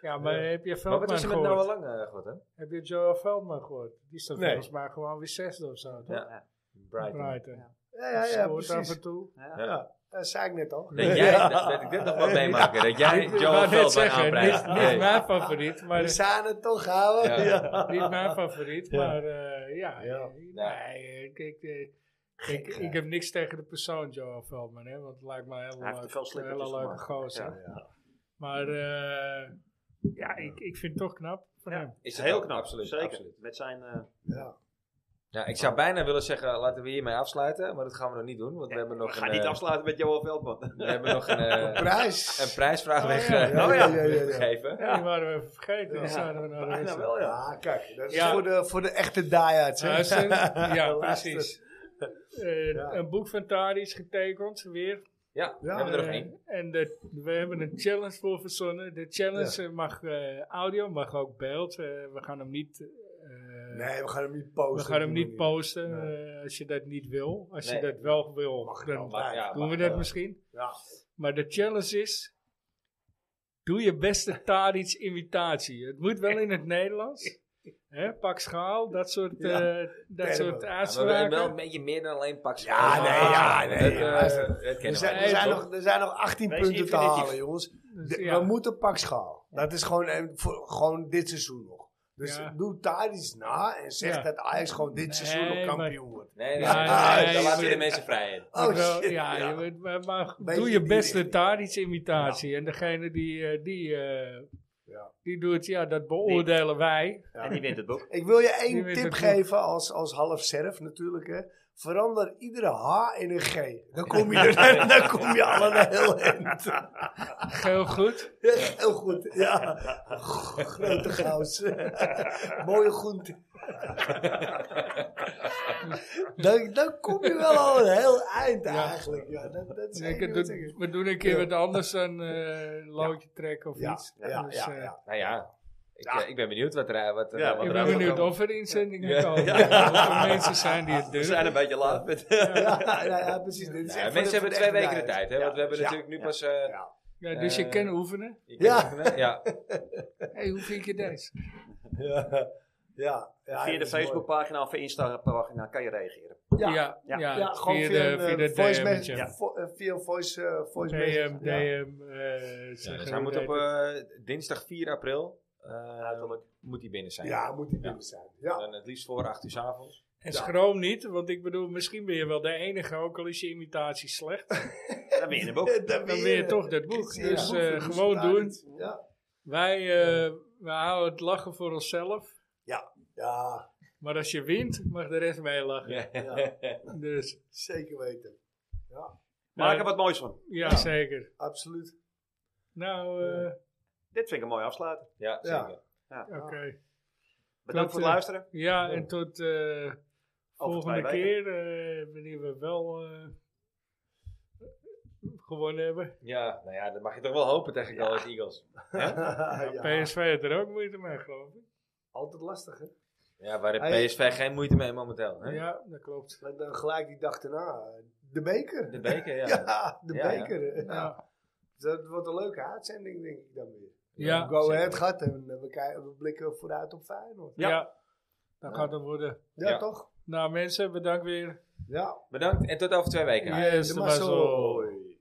Speaker 2: Ja, maar heb je
Speaker 1: eh, Maar wat
Speaker 2: Veldman
Speaker 1: is er met
Speaker 2: gehoord?
Speaker 1: Noah Lang eh, gehad, hè?
Speaker 2: Heb je Joel Veldman gehoord? Die staat
Speaker 3: Nee.
Speaker 2: volgens mij gewoon weer zesde of zo. toch?
Speaker 1: Ja. Brighton.
Speaker 2: Brighton.
Speaker 3: Ja, ja, ja,
Speaker 2: Scoort af
Speaker 3: precies.
Speaker 2: en toe.
Speaker 3: Ja, dat zei ik net al.
Speaker 1: Dat jij, dat, dat ik dit nog wel meemaken, dat jij
Speaker 2: Ik wou
Speaker 1: Joel
Speaker 2: net
Speaker 1: Veldman
Speaker 2: zeggen,
Speaker 1: aanprijst.
Speaker 2: Niet,
Speaker 1: Nee.
Speaker 2: niet mijn favoriet, maar
Speaker 3: We zijn het toch
Speaker 1: Ja.
Speaker 3: houden. Ja.
Speaker 2: niet mijn favoriet,
Speaker 3: Ja.
Speaker 2: maar eh, ja,
Speaker 3: Ja.
Speaker 2: eh, nee, ik, ik, eh, ik,
Speaker 3: Gek, hè?
Speaker 2: ik heb niks tegen de persoon Joel Veldman, hè, want het lijkt me een
Speaker 4: Hij heeft
Speaker 2: hele
Speaker 4: er veel
Speaker 2: leuke,
Speaker 4: slippertjes
Speaker 2: hele leuke
Speaker 4: gemaakt.
Speaker 2: gozer.
Speaker 4: Ja.
Speaker 2: Maar eh, ja, ik, ik vind het toch knap van
Speaker 4: Ja.
Speaker 2: hem.
Speaker 1: Is het
Speaker 4: Heel
Speaker 1: ook,
Speaker 4: knap,
Speaker 1: absoluut,
Speaker 4: zeker.
Speaker 1: absoluut.
Speaker 4: Met zijn... eh,
Speaker 3: Ja.
Speaker 1: Ja, ik zou bijna willen zeggen, laten we hiermee afsluiten, maar dat gaan we nog niet doen, want we hebben
Speaker 4: we
Speaker 1: nog
Speaker 4: gaan
Speaker 1: een,
Speaker 4: niet
Speaker 1: eh,
Speaker 4: afsluiten met Johan Veldman.
Speaker 1: we hebben nog een, eh,
Speaker 3: Prijs.
Speaker 1: een prijsvraag
Speaker 2: Oh,
Speaker 1: weg,
Speaker 2: ja.
Speaker 1: eh,
Speaker 3: Oh, ja, ja, ja, ja.
Speaker 1: weggegeven.
Speaker 2: Die waren we even vergeten, die zouden we nou
Speaker 4: Bijna
Speaker 2: weten.
Speaker 4: wel, ja.
Speaker 3: Ah, kijk, dat is
Speaker 2: Ja.
Speaker 3: voor, de, voor de echte die-hards. hè.
Speaker 2: Luister, ja,
Speaker 3: Luister.
Speaker 2: precies. Eh,
Speaker 3: Ja.
Speaker 2: Een boek van Tari is getekend, weer.
Speaker 1: Ja, we hebben er nog
Speaker 2: Eh,
Speaker 1: één.
Speaker 2: En de, we hebben een challenge voor verzonnen. De challenge eh, mag eh, audio, mag ook beeld. Eh, we gaan hem niet, eh,
Speaker 3: Nee, we gaan hem niet
Speaker 2: we
Speaker 3: posten.
Speaker 2: gaan hem
Speaker 3: op die
Speaker 2: niet
Speaker 3: manier.
Speaker 2: posten eh, als je dat niet wil. Als
Speaker 1: Nee.
Speaker 2: je dat wel wil, dan
Speaker 1: Maar ja, eh,
Speaker 2: doen we
Speaker 1: maar-
Speaker 2: dat misschien.
Speaker 3: Ja.
Speaker 2: Maar de challenge is, doe je beste Tadic imitatie. Het moet wel in het Nederlands. Hè, pak schaal, dat soort, eh
Speaker 3: Ja.
Speaker 2: dat soort
Speaker 1: Ja, maar we hebben wel een
Speaker 2: uitspraken.
Speaker 1: beetje meer dan alleen pak
Speaker 3: Ja,
Speaker 1: spelers.
Speaker 3: nee, ja, nee,
Speaker 1: Dat,
Speaker 3: ja,
Speaker 1: eh,
Speaker 3: luister.
Speaker 1: dat
Speaker 3: Er
Speaker 1: kennen
Speaker 3: zijn,
Speaker 1: we.
Speaker 3: er, zijn
Speaker 1: toch?
Speaker 3: nog, er zijn nog 18
Speaker 4: Wees
Speaker 3: punten te
Speaker 4: infinitief.
Speaker 3: halen, jongens.
Speaker 2: Dus,
Speaker 3: De-
Speaker 2: ja.
Speaker 3: We moeten pak schaal. Dat is gewoon, even voor, gewoon dit seizoen nog. Dus
Speaker 2: Ja.
Speaker 3: doe daar iets na en zeg
Speaker 2: Ja.
Speaker 3: dat Ajax gewoon dit seizoen
Speaker 2: Nee,
Speaker 3: nog
Speaker 2: maar-
Speaker 3: kampioen wordt.
Speaker 1: Nee, nee,
Speaker 2: Ja,
Speaker 1: nee,
Speaker 3: nee,
Speaker 1: daar
Speaker 3: nee,
Speaker 1: laten we de
Speaker 3: shit.
Speaker 1: mensen vrij in.
Speaker 3: Oh
Speaker 2: Wel,
Speaker 3: shit.
Speaker 2: ja,
Speaker 3: ja.
Speaker 2: je moet- maar, maar
Speaker 3: Beetje
Speaker 2: doe je
Speaker 3: die
Speaker 2: beste
Speaker 3: richting.
Speaker 2: Tadic imitatie. En degene die, eh, die, eh,
Speaker 3: Ja.
Speaker 2: die doet, ja, dat beoordelen wij.
Speaker 3: Ja.
Speaker 4: En die wint het boek.
Speaker 3: Ik wil je
Speaker 2: Die
Speaker 3: één
Speaker 2: weet
Speaker 3: tip
Speaker 2: het
Speaker 3: geven als, als half serf natuurlijk. Hè. Verander iedere H in een G. Dan kom je, er, dan kom je al een heel eind.
Speaker 2: Heel goed.
Speaker 3: Heel goed. Ja. Grote gauws. Mooie groente. dan, dan kom je wel al een heel eind eigenlijk. Ja, dat, dat is
Speaker 2: Ik
Speaker 3: zeker
Speaker 2: doe-
Speaker 3: wat ik-
Speaker 2: we doen een keer
Speaker 3: Ja.
Speaker 2: wat anders dan eh loodje trekken of
Speaker 3: Ja,
Speaker 2: iets.
Speaker 3: ja,
Speaker 2: Dus,
Speaker 3: ja,
Speaker 2: eh,
Speaker 3: ja.
Speaker 1: Nou ja, ik, eh, ik ben benieuwd wat er wat, eh, er-
Speaker 4: Ja,
Speaker 1: wat
Speaker 2: Ik
Speaker 1: er
Speaker 2: ben
Speaker 1: aan
Speaker 2: benieuwd
Speaker 1: komt.
Speaker 2: of er inzendingen
Speaker 1: Ja.
Speaker 2: komen. Of er mensen zijn die het
Speaker 4: We
Speaker 2: durven.
Speaker 4: zijn een beetje laat met...
Speaker 2: eh,
Speaker 3: Ja, ja, ja, precies. Dit is
Speaker 1: Ja,
Speaker 3: echt voor
Speaker 1: mensen
Speaker 3: voor
Speaker 1: hebben twee
Speaker 3: echte
Speaker 1: weken de
Speaker 3: diehard.
Speaker 1: tijd, hè?
Speaker 3: Ja.
Speaker 1: Want we hebben
Speaker 3: Ja.
Speaker 1: natuurlijk nu pas. eh,
Speaker 3: Ja.
Speaker 2: Ja, dus je
Speaker 1: Eh,
Speaker 2: kan oefenen.
Speaker 1: ik-
Speaker 3: Ja.
Speaker 1: ja.
Speaker 2: hey, hoe vind je deze?
Speaker 3: Ja. Ja. Ja,
Speaker 4: Via de
Speaker 3: dat is mooi.
Speaker 4: Facebookpagina of via Insta-pagina kan je reageren.
Speaker 3: Ja.
Speaker 2: ja,
Speaker 4: ja.
Speaker 3: Ja, gewoon via, een, eh, voice
Speaker 2: DM'tje.
Speaker 3: message. vo- eh, via voice, eh, voice
Speaker 2: DM,
Speaker 3: message. Ja.
Speaker 2: DM. eh,
Speaker 1: Ja,
Speaker 2: zeggen
Speaker 1: dus
Speaker 2: hoe
Speaker 1: hij moet
Speaker 2: dat
Speaker 1: op
Speaker 2: heet.
Speaker 1: eh, dinsdag 4 april. eh,
Speaker 4: Uiterlijk.
Speaker 1: moet hij binnen zijn.
Speaker 3: Ja, moet die binnen zijn. Ja.
Speaker 1: En het liefst voor 8 uur 's avonds.
Speaker 2: En schroom niet, want ik bedoel, misschien ben je wel de enige, ook al is je imitatie slecht.
Speaker 4: Dan ben je in het boek.
Speaker 3: Dan
Speaker 2: Dan ben je toch dat boek.
Speaker 3: Ja.
Speaker 2: Dus eh,
Speaker 3: Ja.
Speaker 2: gewoon
Speaker 3: Ja.
Speaker 2: doen.
Speaker 3: Ja.
Speaker 2: Wij, eh, we houden het lachen voor onszelf.
Speaker 3: Ja,
Speaker 2: Maar als je wint, mag de rest meelachen.
Speaker 3: ja.
Speaker 2: Dus,
Speaker 3: zeker weten.
Speaker 4: Maak er
Speaker 2: eh,
Speaker 4: wat moois van.
Speaker 2: ja, zeker.
Speaker 3: Absoluut.
Speaker 2: Nou, eh,
Speaker 4: Dit vind ik een mooi afsluiten.
Speaker 1: Ja,
Speaker 3: Ja.
Speaker 1: zeker.
Speaker 2: oké.
Speaker 4: Bedankt
Speaker 2: Tot,
Speaker 4: voor het
Speaker 2: eh,
Speaker 4: luisteren.
Speaker 2: Ja, en tot eh volgende
Speaker 4: twee
Speaker 2: keer, eh, wanneer we wel eh, gewonnen hebben.
Speaker 1: Ja, nou ja, dat mag je toch wel hopen tegen Go Ahead Eagles.
Speaker 3: ja.
Speaker 2: PSV had er ook moeite mee, geloof ik.
Speaker 3: Altijd lastig, hè?
Speaker 1: Ja, waar heeft
Speaker 3: Hey.
Speaker 1: PSV geen moeite mee momenteel. Hè?
Speaker 2: Ja, dat klopt.
Speaker 3: Maar dan gelijk die dag daarna, eh, de beker.
Speaker 1: De beker, ja.
Speaker 3: ja. de
Speaker 1: Ja, ja.
Speaker 3: beker. eh, ja.
Speaker 2: Ja,
Speaker 3: Dat wordt een leuke uitzending, denk ik dan weer.
Speaker 2: ja,
Speaker 3: Go
Speaker 1: zeker.
Speaker 3: ahead gaat en eh, we, kijken, we blikken vooruit op Feyenoord.
Speaker 2: ja. Dat gaat het worden.
Speaker 3: Ja,
Speaker 1: Ja.
Speaker 3: toch?
Speaker 2: Nou mensen, bedankt weer.
Speaker 3: Ja.
Speaker 1: Bedankt en tot over twee weken.
Speaker 2: Yes,
Speaker 3: de
Speaker 2: maar zo.
Speaker 3: mazzel.